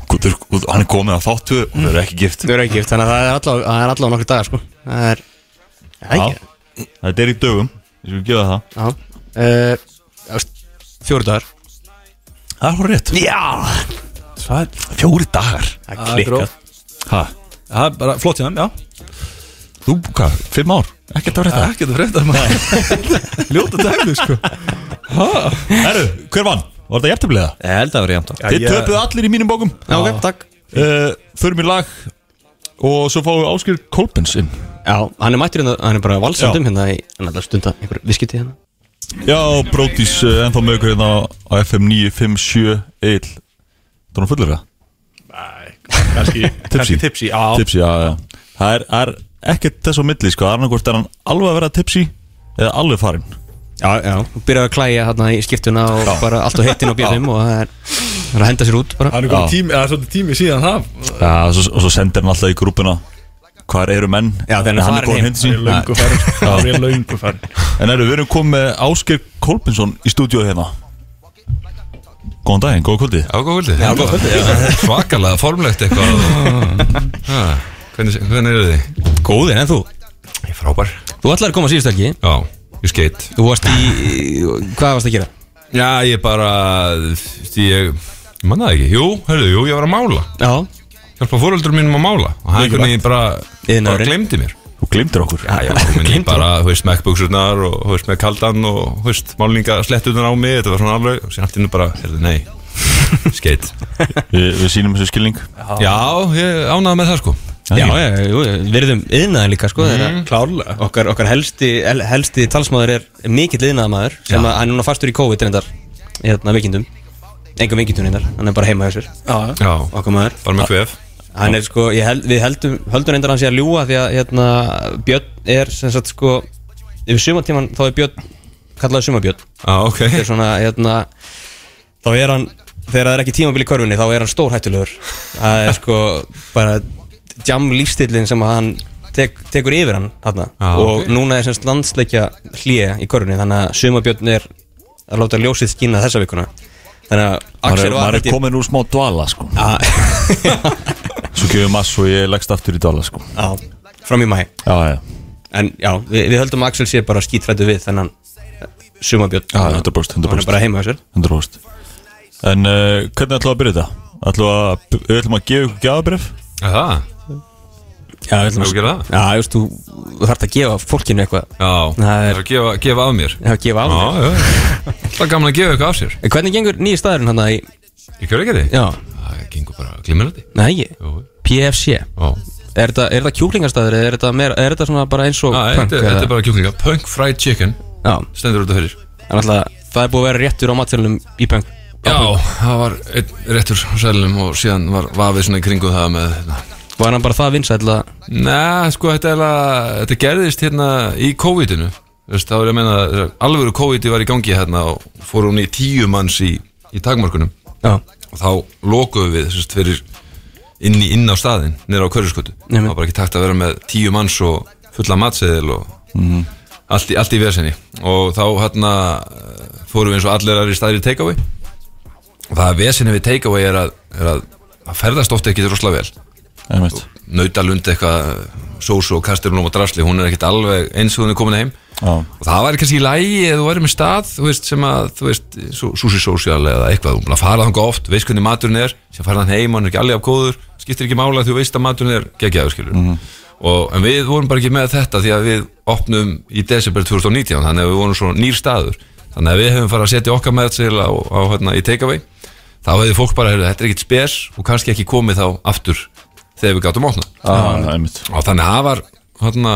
A: Guður, guður, Hann er komið að þáttu og það er ekki gift
B: þau eru ekki gift Þannig að það er allavega það er allavega nokkur dagar sko Það er Það
A: Já.
B: er ekki
A: Þetta er í dögum, ég skal gefa það
B: Já Eh, þú veist, Fjórir dagar
A: Það er hún rétt
B: Já
A: Fjóri dagar
B: Það
K: Það
B: er
K: er
B: klikkað
K: gróft.
A: ha,
K: Það er bara flott hjá þeim, já
A: Þú, hvað, fimm ár? Ekkert að frétta
K: Ekki þetta fréttar maður Ljóta dæmi, sko
A: Herru, hver vann? Var þetta jæftablega?
J: Ég held að það vera jæmt á
A: Þið
K: ég-
A: töpuðu allir í mínum bókum
B: Já, ok, takk
A: uh, Förum í lag Og svo fáum við Áskir Kolbens inn
B: Já, hann er mættur hérna, hann er bara valsandum
A: Já.
B: hérna í, hann er alltaf stunda einhver viskiti hérna
A: Já, Brótis uh, ennþá með ykkur hérna á FM 957 Eil Það er hún fullur það?
K: Kanski,
A: Tipsy.
K: kannski tipsi, já
A: Tipsi, já, já Það er, er ekkert þess á milli, sko Arnarkvort er hann alveg að vera tipsi Eða alveg farinn
B: Já, já Og byrjaði að klæja hérna í skiptuna og bara allt á heitin og bjöðum og það er, hann er að henda sér út bara
K: Hann er komið tími, eða svolítið tími síðan það
A: Já, og svo, og svo sendir hann alltaf í grúpuna Hvar eru menn?
B: Já, þegar hann er
A: En
B: farinn
A: kominn
B: heim.
A: heim til sín.
K: Löngu farin, sko Það er löngu farin
A: En erum við erum komið með Ásker Kolbinsson í stúdíu hérna Góðan daginn, góða kvöldi
C: Ágóðvöldi Já, ágóðvöldi Svakalega formlegt eitthvað ha, Hvernig, hvernig eru þið?
B: Góðin, en þú?
C: Ég er frábær
B: Þú ætlaði að koma síðust ekki
C: Já, ég skeitt
B: Þú varst í, hvað varst að gera?
C: Já, ég bara Því ég Ég manna það ekki Jú, hörðu, jú, ég var að mála
B: Já
C: Hjálpa fóröldur mínum að mála Og hann einhvern veginn bara Bara
B: Iðnaðurinn.
C: glemdi mér
A: Þú glimtir okkur
C: Já, já, komin í bara, þú veist, með ekkbuksurnar og, þú veist, með kaldan og, þú veist, málninga slettunar á mig, þetta var svona alveg, og sér allt innu bara, heyrðu, nei, skeitt.
A: Við, við sýnum þessu skilning
C: Já, ég ánaði með það, sko.
B: Já, já, jú, virðum yðnaðin líka sko mm. Klárlega Okkar, okkar helsti, el- helsti talsmaður er mikill yðnaðamaður sem að hann er núna fastur í COVID reyndar hérna veikindum engum veikindum reyndar, hann er bara heima hjá sér
C: Já,
B: okkar maður
C: bara með kvef.
B: Hann er sko, ég held, við heldum, höldum reyndar hans ég að ljúa því að hérna, Björn er sem sagt sko yfir sumartíman þá er Björn, kallaði sumarbjörn
C: Já, ok.
B: Þetta er svona, hérna þá er hann, þegar það er ekki tímabil í körfunni þá er hann stórhættulegur það er sko bara jam lífstillin sem að hann tek, tekur yfir hann þarna
C: Já,
B: og
C: ok.
B: núna er semst landsleikja hlýja í körfunni þannig að sumarbjörn er að láta ljósið skína þessa vikuna þannig að
A: Maður
B: Axel
A: er,
B: var
A: maður er komin úr smá dvala, sko
B: að,
A: Svo gefum mass og ég leggst aftur í dvala, sko
B: á, fram í mæ
A: Já, já,
B: En já, við, við höldum að Axel sé bara skítrættu við þennan sumabjörn
A: já 100%,
B: Hann er
A: 100%,
B: bara heima á sér
A: 100%. En uh, hvernig ætlum við að byrja þetta? Ætlum við að, við ætlum að gefa ykkur gjafabrif?
C: Já, það.
B: Já, við
C: Eigum við að gera það?
B: Já, just, þú, þú þarft að gefa fólkinu eitthvað
C: Já,
B: Það
C: það
B: er-
C: er að gefa, gefa af mér.
B: Já, gefa á
C: Já,
B: þér.
C: já, já. Það er gaman að gefa eitthvað af sér.
B: En Hvernig gengur nýji staðurinn hann að í
C: Ég kjör ekki þið?
B: Já,
C: Það gengur bara glimmerandi.
B: nei, ég
C: Jú,
B: PFC
C: já.
B: Er þetta, er þetta kjúklingastæður eða er þetta, meira, er þetta svona bara eins og
C: Já, þetta
B: eða?
C: þetta er bara kjúklinga. Punk fried chicken.
B: Já,
C: Stendur út af fyrir.
B: en alltaf það er búið að vera réttur á matfélunum í punk
C: Já, það var einn réttur á sælum og síðan var vafið svona í kringu það með hérna.
B: Var hann bara það vinsæll að
C: Nei, sko, þetta, er eiginlega- þetta gerðist hérna í COVID-inu Þú veist, Þá er ég að meina að þegar alvöru COVID-i var í gangi hérna og fór hún í tíu manns í, í takmarkunum
B: Já,
C: og þá lokuðum við sérst, fyrir inn, í, inn á staðin niður á Körðurskottu
B: Nei,
C: það
B: men-
C: var bara ekki takt að vera með tíu manns og fulla matseðil og allt, í, allt í vesenni og þá hérna eh, fórum við eins og allir aðri staðir í takeaway og það vesenni við takeaway er að, er að það ferðast ofta ekki rosalega vel
A: Einmitt.
C: nautalund eitthvað sósu og kastirlum og drasli, hún er ekkert alveg eins og hún er komin heim
A: Já.
C: og það væri kannski í lægi eða þú væri með stað þú veist, sem að, þú veist, súsi sósjál eða eitthvað, þú búin að fara þangað oft, veist hvernig maturinn er sem fara hann heim, hann er ekki alveg af kóður skiptir ekki mála því þú veist að maturinn er geggjaður skilur og, en við vorum bara ekki með þetta því að við opnum í desember 2019, þannig að við vorum svo nýr staður þannig að við hefum farið að setja okkar með á, á, hérna, í takeaway þá hefði fólk bara, heyrðu, þetta er ekkit spes og kannski ekki komið þá aftur þegar við gátum opnað
A: Já, það er mitt
C: og þannig að það var hérna,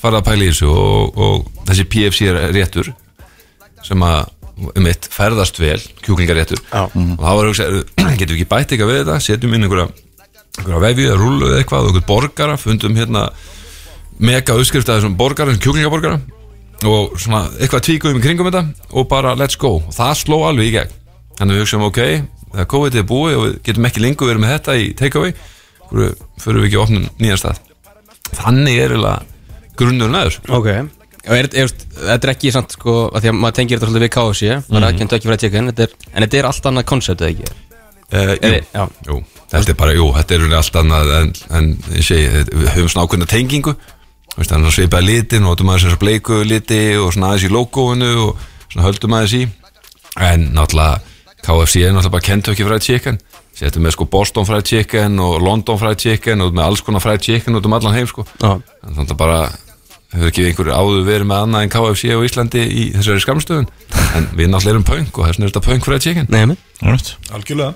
C: farið að pæla í þessu og, og þessi PFC er réttur sem að um eitt ferðast vel, kjúklingaréttur og þá var að hugsa, heyrðu, getum við ekki bætt eitthvað við þetta setjum inn einhverja, einhverja vefju eða rúlu eða eitthvað, og einhvern borgara fundum hérna mega uppskrift af þessum borgara, þessum kjúklingaborgara og svona eitthvað tvíkum í kringum þetta og bara let's go og það sló alveg í gegn þannig að við hugsaum ok, þegar COVID er búið og við getum ekki lengur verið með þetta í takeaway hverju fyrir við ekki að opnum nýjan stað þannig er eiginlega grunnur næður
B: Ok Og er, er, þetta er ekki samt sko að Því að maður tengir þetta svolítið við KFC Það er
C: Mhm.
B: ekki en tökki fyrir að tjekka En þetta er, en þetta er allt annað koncept eða ekki
C: Uh,
B: Eða-
C: jú, jú, þetta er bara, jú, þetta er allt annað en, en ég segi, þetta- við höfum svona ákveðna tengingu þú veist, þannig að svipa litin og notum aðeins þessar bleiku liti og svona aðeins í logoinu og svona höldum aðeins í en náttúrulega KFC er náttúrulega bara Kentucky Fried Chicken þetta með sko Boston Fried Chicken og London Fried Chicken og með alls konar Fried Chicken út um allan heim sko
B: Já.
C: en þannig að bara hefur ekki einhverju áður verið með annað en KFC á Íslandi í þessari skamstöðun en við náttúrulega erum punk og þess vegna er þetta punk Fried Chicken
B: Nei, minn
L: Algjörlega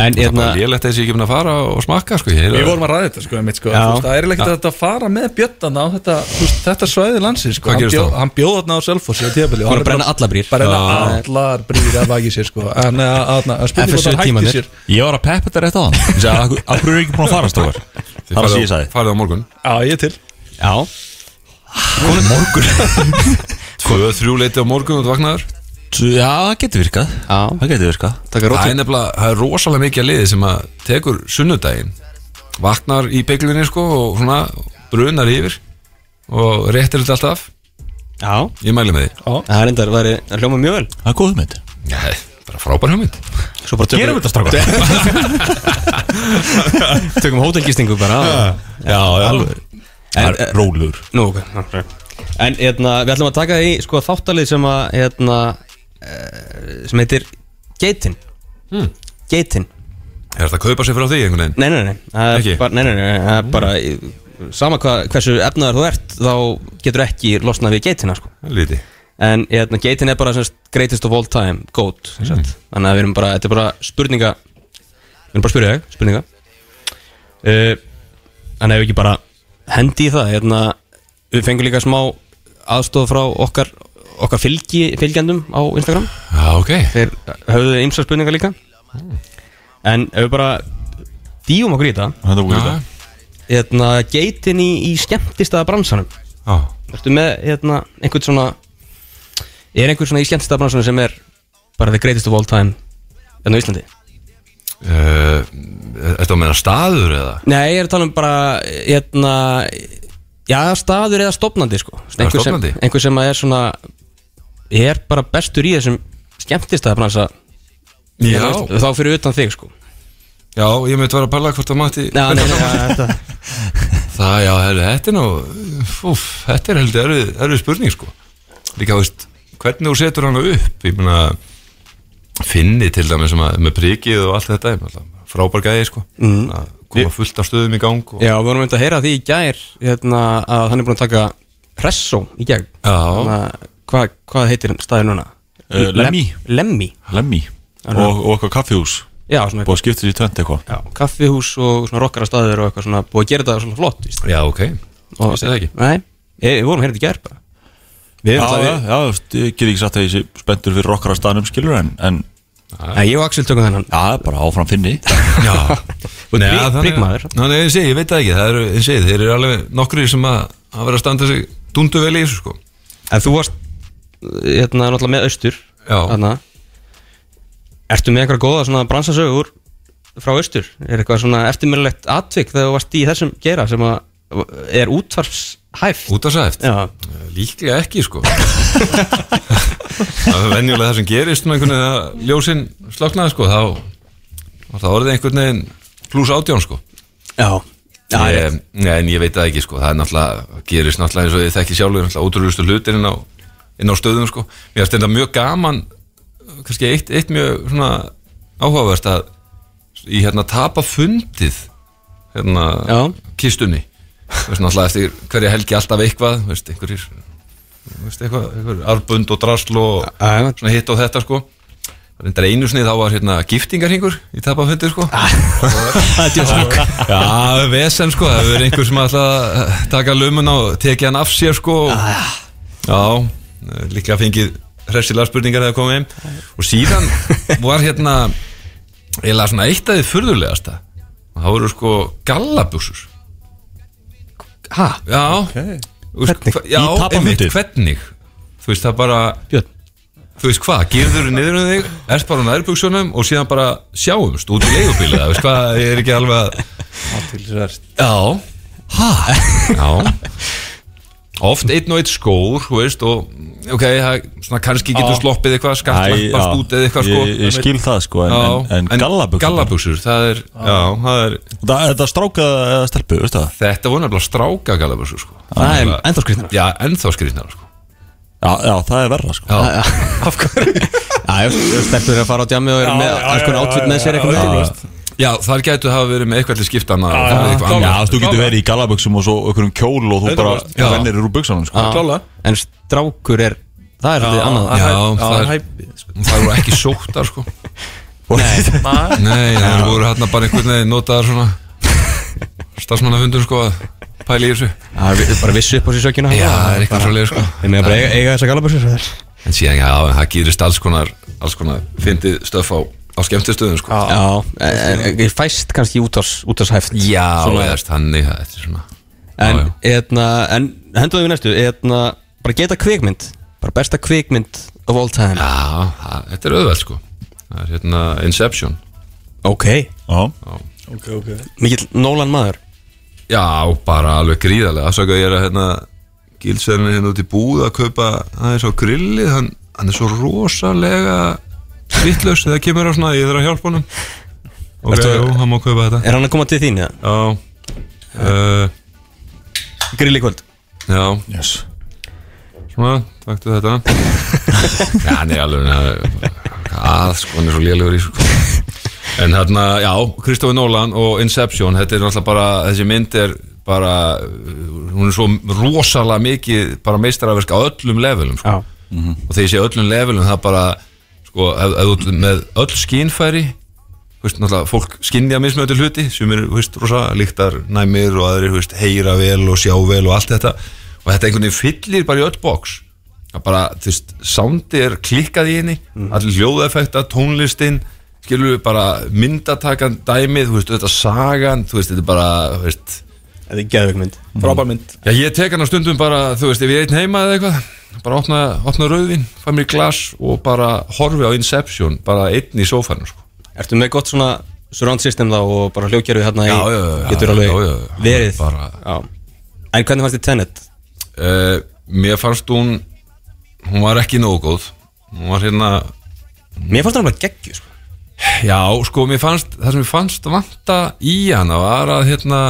B: En hérna-
C: Það er bara lélegt að þessi ekki búin að fara og smakka sko. Ég,
L: Við vorum að ræða þetta sko, einmitt, sko.
C: Já.
L: Þú veist, Það er ekkert
C: Já.
L: að þetta fara með bjötana á þetta, þú veist, þetta svæði landsins sko.
C: Hvað
L: Hann
C: gerist
L: bjó-
C: þá?
L: Hann bjóð þarna á Selfossi á tíðabili
B: Fór að brenna allar brýr.
L: Brenna
B: Já.
L: hérna allar brýr að vagi sér sko En að, að, að spurning hvort
B: FSU
L: hann hætti
B: tímarnir
L: sér
A: Ég var að peppa þetta rétt á hann Ég sagði, "Af hver- af hverju er ekki búin að fara strókar? Það var sem ég sagði
C: Farið á morgun
L: Já, ég er til
B: Já
C: Tvö, þrjú leiti á morgun og þú vaknaður
A: Já, það getur virkað
B: Já
A: Það getur virkað
B: Taka
C: Það er
B: rótin
C: nefnilega, það er rosalega mikið að liði sem að tekur sunnudaginn Vaknar í beiglinni sko og svona brunar yfir Og réttir þetta allt af
B: Já
C: Ég mæli með því
B: Það er endar, það er hljóma mjög vel
A: Það er góð mynd
C: Nei, bara frábær hugmynd
B: Svo bara tökum
A: Gerum þetta strákar
B: Tökum hótelgistingu bara
A: Já, alveg Það
C: eh,
A: er rólur
B: Nú, ok ok. En hérna, við ætlum að taka í sko þáttalið sem að hérna, eh, sem heitir Geitin
C: Hmm.
B: Geitin
C: Er þetta að kaupa sér frá því einhvern veginn?
B: Nei, nei, nei, það er
C: Ekki?
B: bara, nei, nei, nei, nei, það er bara í- sama hvað, hversu efnaðar þú ert þá getur ekki losnað við geitina sko.
C: Líti
B: en hérna, geitin er bara semst, greatest of all time, goat mm.
C: Mhm.
B: þannig að við erum bara, þetta er bara spurninga við erum bara að spyrja þig, spurninga uh, þannig að við ekki bara hendi í það hérna, við fengum líka smá aðstof frá okkar, okkar fylgi, fylgjandum á Instagram
C: Já, ok Mm.
B: þeir höfðu ymsa spurningar líka en ef við bara dýjum okkur í þetta
A: Þetta búið
C: Já,
A: þetta
B: hérna, geitin í, í skemmtistaða bransanum
C: já.
B: Ertu með hérna, einhvern svona Er einhvern svona í skemmtistaða bransanum sem er bara the greatest of all time hérna á Íslandi?
C: Uh, Þetta að meina staður eða?
B: Nei, ég er að tala um bara hérna, já, staður eða stopnandi sko.
C: Já,
B: einhver, sem,
C: stofnandi.
B: einhver sem er svona er bara bestur í þessum skemmtistaða bransa
C: Já.
B: þá fyrir utan þig sko.
C: Já, ég myndi vera að pæla hvort það mætti
B: Já, nei, nei, já, þetta
C: Það, já, herri, þetta er nú úf, Þetta er heldur erfið, erfið spurning sko. Líka, þú veist, hvernig þú setur hana upp Ég meina Finni til dæmis sem að, með prikið og allt þetta ég meina, alltaf Frábær gæði, sko
B: Mm.
C: Að Koma fullt af stöðum í gang og,
B: Já, við vorum myndið að heyra því í gær hérna, að hann er búin að taka Presso í gegn
C: Já, Uh,
B: Þannig að hvað hva heitir staðið núna?
A: Eh, Lemmy.
B: Lem- Lemmy,
A: Lemmi
C: eh,
A: og, og eitthvað kaffihús
B: já, svona
A: Búið að skipta sér í tvönd eitthvað
B: já, kaffihús og svona rockara staðir og eitthvað svona búið að gera þetta svona flott víst.
C: já ok
B: og,
C: Vissi það ekki.
B: Nei, ég, við vorum hérna í gær bara
A: Við
B: erum
A: Já,
B: það við-
A: já, þú veist, ég get ekki sagt að ég sé spenntur fyrir okkar að staðnum skilur en, en
B: Nei, ég og Axel tökum þennan
A: já, bara áfram finni
C: Já, Nei,
B: prik-
C: þannig-
B: prikmaður.
C: Ná, Nei, ég segi, ég veit það ekki Það eru, ég segi, þeir eru alveg nokkri sem að, að vera að standa sig dundu vel í þessu, sko
B: En þú varst hérna náttúrulega með austur
C: Já.
B: þarna. Ertu með einhverja góða svona bransasögur frá austur? Er eitthvað svona eftirmjörlegt atvik þegar þú varst í þessum gera sem að er útvarfshæft?
C: Út að sæft
B: Já,
C: Líklega ekki sko Það er venjulega það sem gerist með einhvern veginn að ljósin slöknaði sko þá var það orðið einhvern veginn pluss átján sko
B: já, já ég,
C: ég, Nei, en ég veit það ekki sko það er náttúrulega, gerist náttúrulega eins og ég þekki sjálfur náttúrulega ótrúlustu hlutir inn á, inn á stöðum sko Mér finnst þetta mjög gaman kannski eitt, eitt mjög svona áhugavert að í hérna tapa fundið hérna
B: Já.
C: kistunni Þú veist náttúrulega eftir hverja helgi alltaf eitthvað þú veist, einhverjir þú veist, eitthvað, einhverjir arbund og drasl og
B: Já, já.
C: svona hitt og þetta sko reyndar einu sinni þá var hérna giftingarhingur í tapafundi sko Já, vesen sko, það verður einhver sem ætla að taka lumun og tekið hann af sér sko og, Já, líklega fengið hressilega spurningar þegar komið heim og síðan var hérna eiginlega svona eitt af því furðulegasta og það voru sko gallabuxur
B: Ha?
C: Já,
L: Þú veist,
A: Hvernig?
L: hva- Já,
A: Í tapamótið?
L: einmitt, hvernig Þú veist, það bara Björn. Þú veist hvað, gerður niður um þig Erst bara á nærbuksunum og síðan bara sjáumst Út í leigubíla, þú veist hvað, ég er ekki alveg að
C: Athyglisvert.
L: Já
A: Hæ?
L: Já Oft einn og einn skór, þú veist Og ok, það, svona kannski getur
A: Já.
L: sloppið eitthvað
A: Æ, já.
L: Skattlapast út eða eitthvað sko
A: Ég- ég skil það, sko, en-
L: Já,
A: en- en gallabuxurnar?
L: gallabuxur, það er, já, það er
A: Það, þetta stráka eða stelpu, veistu það?
L: Þetta voru nefnilega stráka gallabuxur sko.
A: Það er
L: ennþá skrýtnar Já, ennþá skrýtnar sko.
A: Já, já, það er verra sko
L: Já,
B: Af hverju? Já, stelpur eru að fara á djammi og eru með alls konar outfit með sér eitthvað mikilvægt
L: já þar gætu hafa verið með eitthvað til skiptana
A: Já, þú getur verið í galaböksum og svo okkur um kjól og þú
L: Þetta
A: bara
L: var- Já.
A: vennir úr buksanum sko.
B: Já.
C: Klálega.
B: En strákur er, það er svolítið annað
L: Já, það er Það voru ekki sóttar sko
A: Nei.
L: Nei, það voru hérna bara einhvern veginn notaðar svona starfsmannafundum sko að pæla í þessu
B: Það er bara vissu upp á sér sökjuna
L: Já, það er eitthvað svolítið sko
B: Við meðum bara eiga, eiga þessa galabössur
L: En síðan, já, en það gerist alls konar alls konar fyndið stöf á, á skemmtistöðum sko
B: Já, en- en- ég fæst kannski útars, útarshæft
L: Já, eða þannig að þetta er svona
B: En,
L: Já,
B: eitna, en hendur við næstu eitna, Bara geta kvikmynd Bara besta kvikmynd of all time
L: Já, það- þetta er auðvelt sko Það er hérna Inception
B: Ok,
A: Já,
C: Ok, ok
B: mikill Nolan maður
L: Já, bara alveg gríðarlega Afsaka ég er að hérna Gilsverðin er hérna út í búð að kaupa aðeins á grillið hann, hann er svo rosalega vittlaus þegar kemur á svona ég þarf að hjálpa honum Ok,
B: Ertu-
L: jú, hann má kaupa þetta
B: Er hann að koma til þín eða?
L: Já uh,
B: Grill í kvöld
L: Já,
A: yes.
L: svona, taktu þetta Já, hann er alveg hann er- að, sko, hann er svo lélegur í sko. En hérna, já, Kristofur Nólan og Inception, þetta er náttúrulega bara þessi mynd er bara uh, hún er svo rosalega mikið bara meistaraverk á öllum levelum sko.
B: Já
L: og þegar ég sé öllum levelum það bara sko, ef, ef þú ert með öll skínfæri þú veist, náttúrulega, fólk skinnja mismötu hluti sem eru, þú veist, rosa líktar næmir og aðrir, þú veist, heyra vel og sjá vel og allt þetta og þetta einhvern veginn fyllir bara í öll box það bara, þú veist, soundi er klikkað í henni allir hljóðeffekta, tónlistin skilur við bara myndatakan dæmið, þú veist, þetta sagan þú veist, þetta er bara, þú veist
B: Þetta er geðvögmynd
C: Frábær mynd
L: Já, ég tek hann á stundum bara, þú veist, ef ég er einn heima eða eitthvað bara opna, opna rauðvin, fæ mér glas og bara horfi á Inception bara einn í sófanum, sko
B: Ertu með gott svona surround system þá og bara hljókjörfi hérna í
L: Já, já, já, já,
B: Getur alveg
L: já, já, já, hann
B: verið
L: er bara-
B: já. En hvernig fannst þið Tenet?
L: uh, Mér fannst hún hún var ekki nógu góð hún var hérna,
B: Mér fannst það alveg geggju sko.
L: já, sko, mér fannst það sem mér fannst vanta í hana var að, hérna,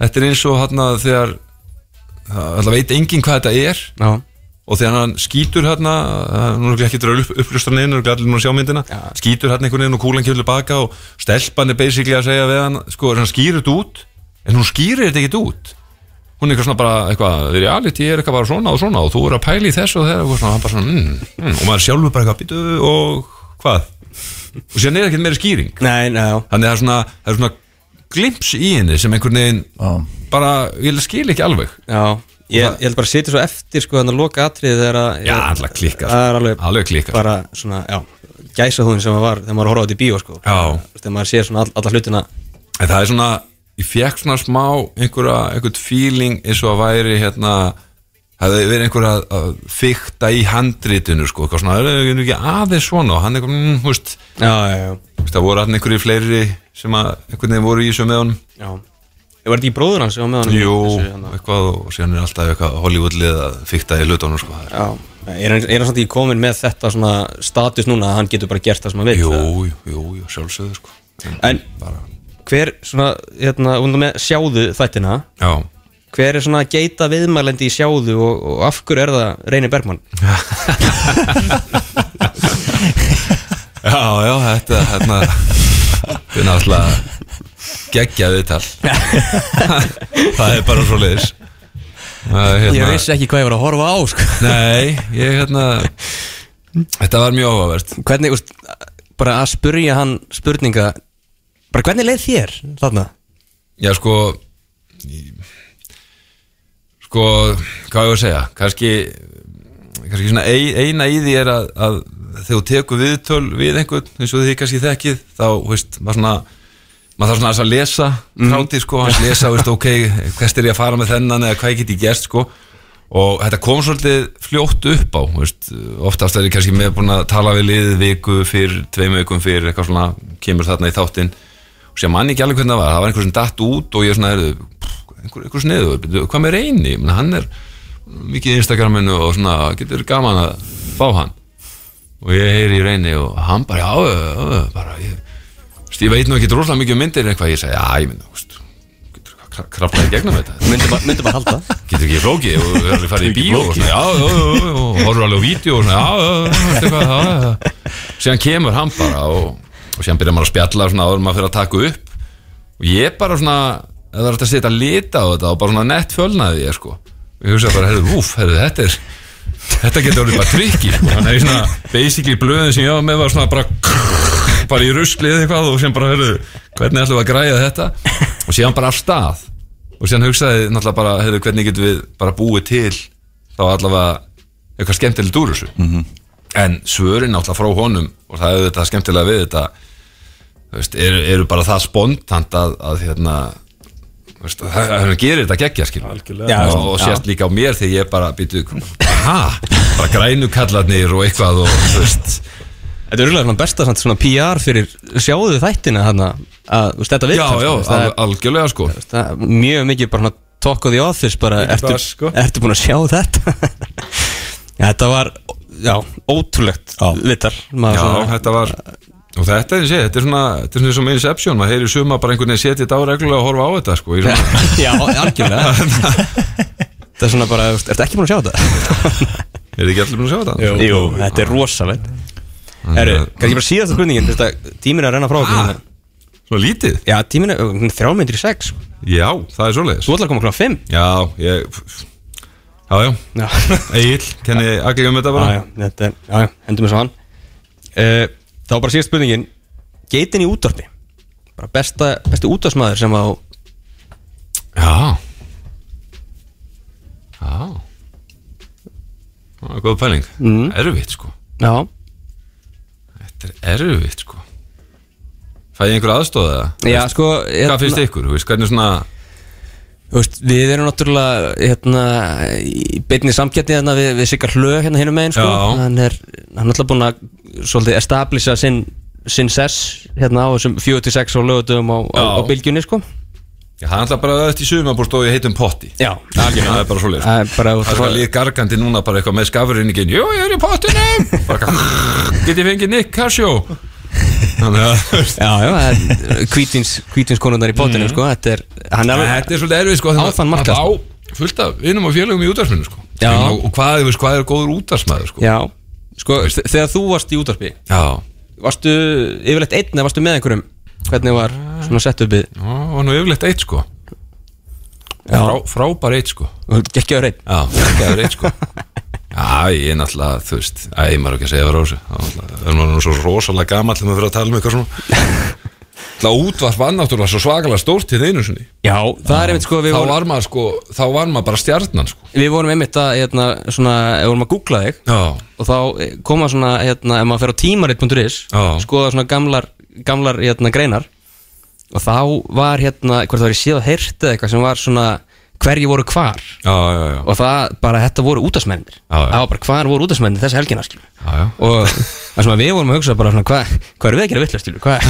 L: þetta er eins og hérna þegar það veit enginn hvað þetta er
B: Já
L: og þegar hann skýtur hérna eh, nú er örugglega ekki draul upp, upplustan inn og allir nú að sjá myndina, skýtur hérna einhvern veginn og kúlan kjölu baka og stelpan er basically að segja við hann, sko, hann skýrir þetta út en hún skýrir þetta ekkert út hún er eitthvað svona bara, eitthvað, reality er eitthvað bara svona og svona og þú er að pæla í þessu og þeirra og svona, hann bara svona, mm, mm, og maður sjálfur bara eitthvað, býtu og hvað og síðan er ekkert meiri skýring
B: Nei, nei, já
L: þannig að það er svona, það er svona glimps í henni sem einhvern veginn bara, ég skil ekki alveg
B: Já Ég, ég held bara að sitja svo eftir sko þannig að loka atrið þegar að
L: Já, alltaf klikkar, sko.
B: Það er alveg
L: Alveg klikkar.
B: Bara svona, já Gæsa hún sem að var þegar maður horfði á þetta í bíó sko
L: Já.
B: Þegar maður sér svona all, alla hlutina
L: En það er svona, ég fekk svona smá einhverja, einhvert feeling eins og að væri hérna það hefði verið einhver að, að fykta í handritinu sko, eitthvað svona, það er ekki aðeins svona og hann eitthvað, mm, þú veist,
B: Já, já, já
L: þú veist, það voru hann einhverju fleiri sem að einhvern veginn voru í þessu með honum
B: Já Ég var þetta í bróður hans sem var með honum í
L: Jú,
B: þessu, hérna.
L: eitthvað og síðan er alltaf eitthvað Hollywoodlið að fykta í hlutunum sko, það er,
B: Já, er hann, er hann samt ekki komin með þetta svona status núna að hann getur bara gert það sem hann vil
L: jú,
B: eða?
L: jú, jú, jú, sjálfsögðu sko
B: En hver svona, hérna, hún er með sjáðu þættina
L: Já,
B: Hver er svona geita viðmælendi í sjáðu og, og af hverju er það Reyni Bergmann?
L: já, já, þetta, hérna þetta er náttúrulega geggjaðið tal það er bara svo leiðis hérna,
B: ekki hvað ég var að horfa á sko.
L: Nei, ég hérna Þetta var mjög áhugavert
B: Hvernig, úst, bara að spurja hann spurninga Bara hvernig leið þér þarna?
L: Já, sko í- Sko, hvað ég var að segja Kannski, kannski svona ein, eina í því er að, að þegar þú tekur viðtöl við einhvern eins og þið kannski þekkið þá, veist, maður svona maður þarf svona aðeins að lesa mm. tráti, sko, hans lesa, veist, ok, hvert er ég að fara með þennan eða hvað ég geti gert, sko og þetta kom svolítið fljótt upp á þú veist, oftast er ég kannski með búin að tala við liðið viku fyrir, tveim vikum fyrir eitthvað svona, kemur þarna í þáttinn og sé manni ekki alveg hvernig það var, það var einhver sem datt út og ég svona, heyrðu, pff, einhver, einhver sniðu hvað með reyni, Men hann er mikið í Instagraminu og svona getur gaman að fá hann og ég heyri í reyni og hann bara já, já, já, já, bara ég, þú veist, ég veit nú ekki droslega mikið um myndir en eitthvað, ég segi, já, ég myndi, þú veist kraflaði gegnum þetta myndum að, myndum að halda getur ekki flókið og við erum alveg farið í
M: Getur ekki
L: bíó og
M: flókið.
L: svona, já, já, já, já, og horfum alveg á vídeo og svona, já, já, já, veistu hvað, já, já, já síðan kemur hann bara og, og síðan byrjar maður að spjalla svona áður en maður fyrir að taka upp og ég bara svona ef það er hægt að setja lita á þetta og bara svona nett fölnaði ég sko ég hugsa bara, herðu, úf, herðu, þetta er þetta getur orðið bara trikki sko. þannig að ég svona, basically blöðin sem ég var með var svona bara bara í ruslið eitthvað og sem bara, herðu, hvernig ætlum við að græja þetta og síðan bara af stað og síðan hugsaði náttúrulega bara, herðu, hvernig getum við bara búið til þá allavega eitthvað skemmtilegt úr þessu
A: Mhm.
L: en svörin náttúrulega frá honum og það er þetta skemmtilega við þetta þú veist, eru, eru bara það spontant að, að hérna þú veist, að það- að hann gerir þetta geggja skil
M: Já,
L: og, og
M: já.
L: sést líka á mér þegar ég bara býtu ha, bara grænu kallarnir og eitthvað og þú veist
B: Þetta er rúlega svona besta samt svona PR fyrir sjáðu þættina þarna að þú veist, þetta
L: Já,
B: viðtal,
L: já,
B: sko, þú veist, það
L: al-
B: er-
L: algjörlega sko
B: þú veist, það er Mjög mikið bara svona talk of the office bara
L: Mikið
B: ertu,
L: buzz, sko.
B: ertu búin að sjá þetta Já, þetta var, já, ótrúlegt vittar
L: Já, þetta var og þetta er, sé, þetta er svona, þetta er svona sem Inception, maður heyri suma bara einhvern veginn setja þetta á reglulega og horfa á þetta sko í svona-
B: Já, algjörlega Þetta er svona bara, þú veist, ertu ekki búin að sjá þetta?
L: Er þið ekki allir búin að sjá þetta?
B: Jú, þetta er rosalegt Herru, kannski bara síðasta spurningin Þú veist að tíminn er að renna frá okkur hérna.
L: Svo lítið?
B: Já, tíminn er hún er þrjár myndir í sex
L: Já, það er svoleiðis
B: Þú ætlar að koma klá fimm
L: Já, ég Já, já,
B: Já.
L: Egil, kenni allir um þetta bara
B: Já, já, þetta er, já, já, hendur mig svo hann uh, Þá var bara síðast spurningin Geitin í útvarpi Bara besta, besti útvarsmaður sem á
L: Já Já Það er góð pæling mm. Erfitt sko
B: Já
L: Þetta er erfitt sko Fæ ég einhver aðstóða það?
B: Já, sko, hérna-
L: Hvað finnst ykkur? Þú veist, hvernig svona
B: Þú veist, við erum náttúrulega hérna, í beinni samgætni hérna, við, við Sigga Hlö hérna hinum megin sko.
L: Já.
B: hann er hann er náttúrulega búinn að svolítið establisha sinn, sinn sess hérna á þessum 46 og lögutum á, á,
L: Já.
B: á bylgjunni sko.
L: Já, það er alltaf bara öðvist í sumabúrst og ég heitum potti
B: Já,
L: algjörlega Það er bara svoleiðis
B: Það er bara-
L: Það er eitthvað líð gargandi núna bara eitthvað með skafurinn í genn Jú, ég er í pottinum Bara eitthvað Get ég fengið Nick Casio Þannig að
B: Já, já, það er kvítins, kvítins konundar í bótinu
L: Mhm.
B: sko. þetta er, hann er
L: Þetta er svolítið erfið sko
B: á þann markað
L: Á
B: sko.
L: fullt af vinnum og félögum í útarsminu sko
B: Já.
L: Og og hvað, þú veist, hvað er góður útarsmaður sko
B: Já, sko, þe- þegar þú varst í útvarpi
L: Já
B: varstu yfirleitt einn eða varstu með einhverjum hvernig var svona sett uppið
L: Já, var nú yfirleitt eitt sko Frá, Frábær eitt sko
B: Gekkjaður einn
L: Já, geggjaður eitt sko Já, ég er náttúrulega, þú veist Æ, maður er ekki að segja það rósu Það er nú svo rosalega gamall þegar maður fyrir að tala um eitthvað svona Það útvarp var náttúrulega svo svakalega stórt til einu sinni
B: Já, það er einmitt sko
L: Þá var maður sko, þá var maður bara stjarnan sko
B: Við vorum einmitt að, hérna, svona, við vorum að googla þig
L: Já.
B: og þá eh, koma svona, hérna, ef maður fer á tímarit.is skoða svona gamlar, gamlar, hérna, greinar og þá var, hérna, hvort það var ég séð og heyrt eða eitthvað sem var svona hverju voru hvar
L: Já, já, já
B: og það bara, þetta voru útasmennir
L: Já, já.
B: það var bara hvar voru útasmennir þessi helgina, skilur
L: Já, já
B: og það sem að við vorum að hugsa bara svona, hvað hva erum við að gera vitlega, skilur, hvað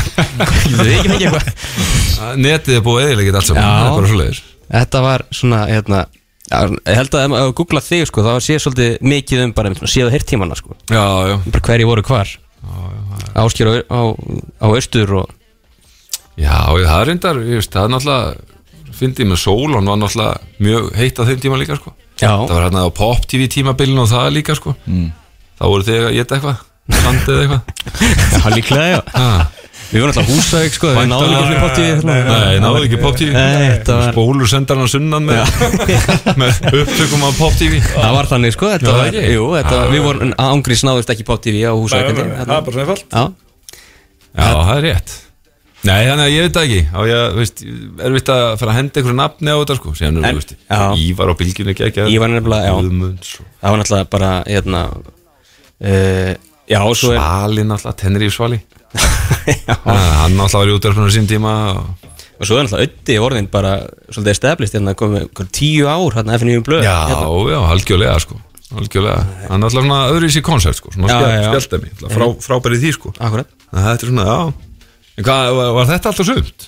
B: getum við ekki mikið eitthvað
L: Netið er búið eðilegget allt saman,
B: Já.
L: það er bara svoleiðis
B: Þetta var svona, hérna já, Ég held að ef maður googla þig, sko Það sé svolítið mikið um bara einmitt svona Séðu hirtímanna, sko
L: Já, já
B: Bara hverju voru hvar Áskjör á, á, á austur og
L: Já, ég, það er reyndar, ég veist, það er náttúrulega fyndið með sól, hann var náttúrulega mjög heitt á þeim tíma líka, sko
B: Já.
L: Það var hérna á Pop TV tímabilinu og það líka, sko mm. Þá voru þig að geta eitthvað, sandið eða eitthvað
B: Já, líklega, já Við vorum alltaf Húsavík, sko, við náðum ekki allir Pop TV, hérna.
L: Nei, náðum ekki Pop TV
B: Nei, þetta var-
L: Spólur sendar hann sunnan með, með upptökum á Pop TV
B: Það var þannig, sko Þetta
L: Já,
B: var,
L: ekki.
B: jú, þetta var,
L: Já.
B: við vorum Ángriðs náðust ekki Pop TV á Húsavík
C: Nei, nei, nei, það er bara svona einfalt.
B: Já,
L: Já, það er rétt Nei, þannig að ég veit það ekki Á ég, veist, er vitt að fara að henda einhverju nafni á þetta, sko Sér
B: En-
L: hann, veist, Ívar á bylginu ekki ekki
B: Ívar nefnilega, já. Það var náttúrulega bara, hérna uh, Já, og svo er
L: Svali náttúrulega, Tenri Svali Já, Hann náttúrulega var í útverfnum sín tíma og...
B: og svo er náttúrulega ötti orðin bara svolítið established hérna komið ykkur tíu ár hérna FNU blöð
L: Já,
B: hérna.
L: já, algjörlega sko Algjörlega, hann er alltaf svona öðruvísi koncert sko Svona
B: Já, já,
L: spjall-
B: já.
L: spjalldæmi, alltaf frá, frábærið því sko
B: Akkurat
L: En Þetta er svona, já En hvað, var- var þetta alltaf sumt?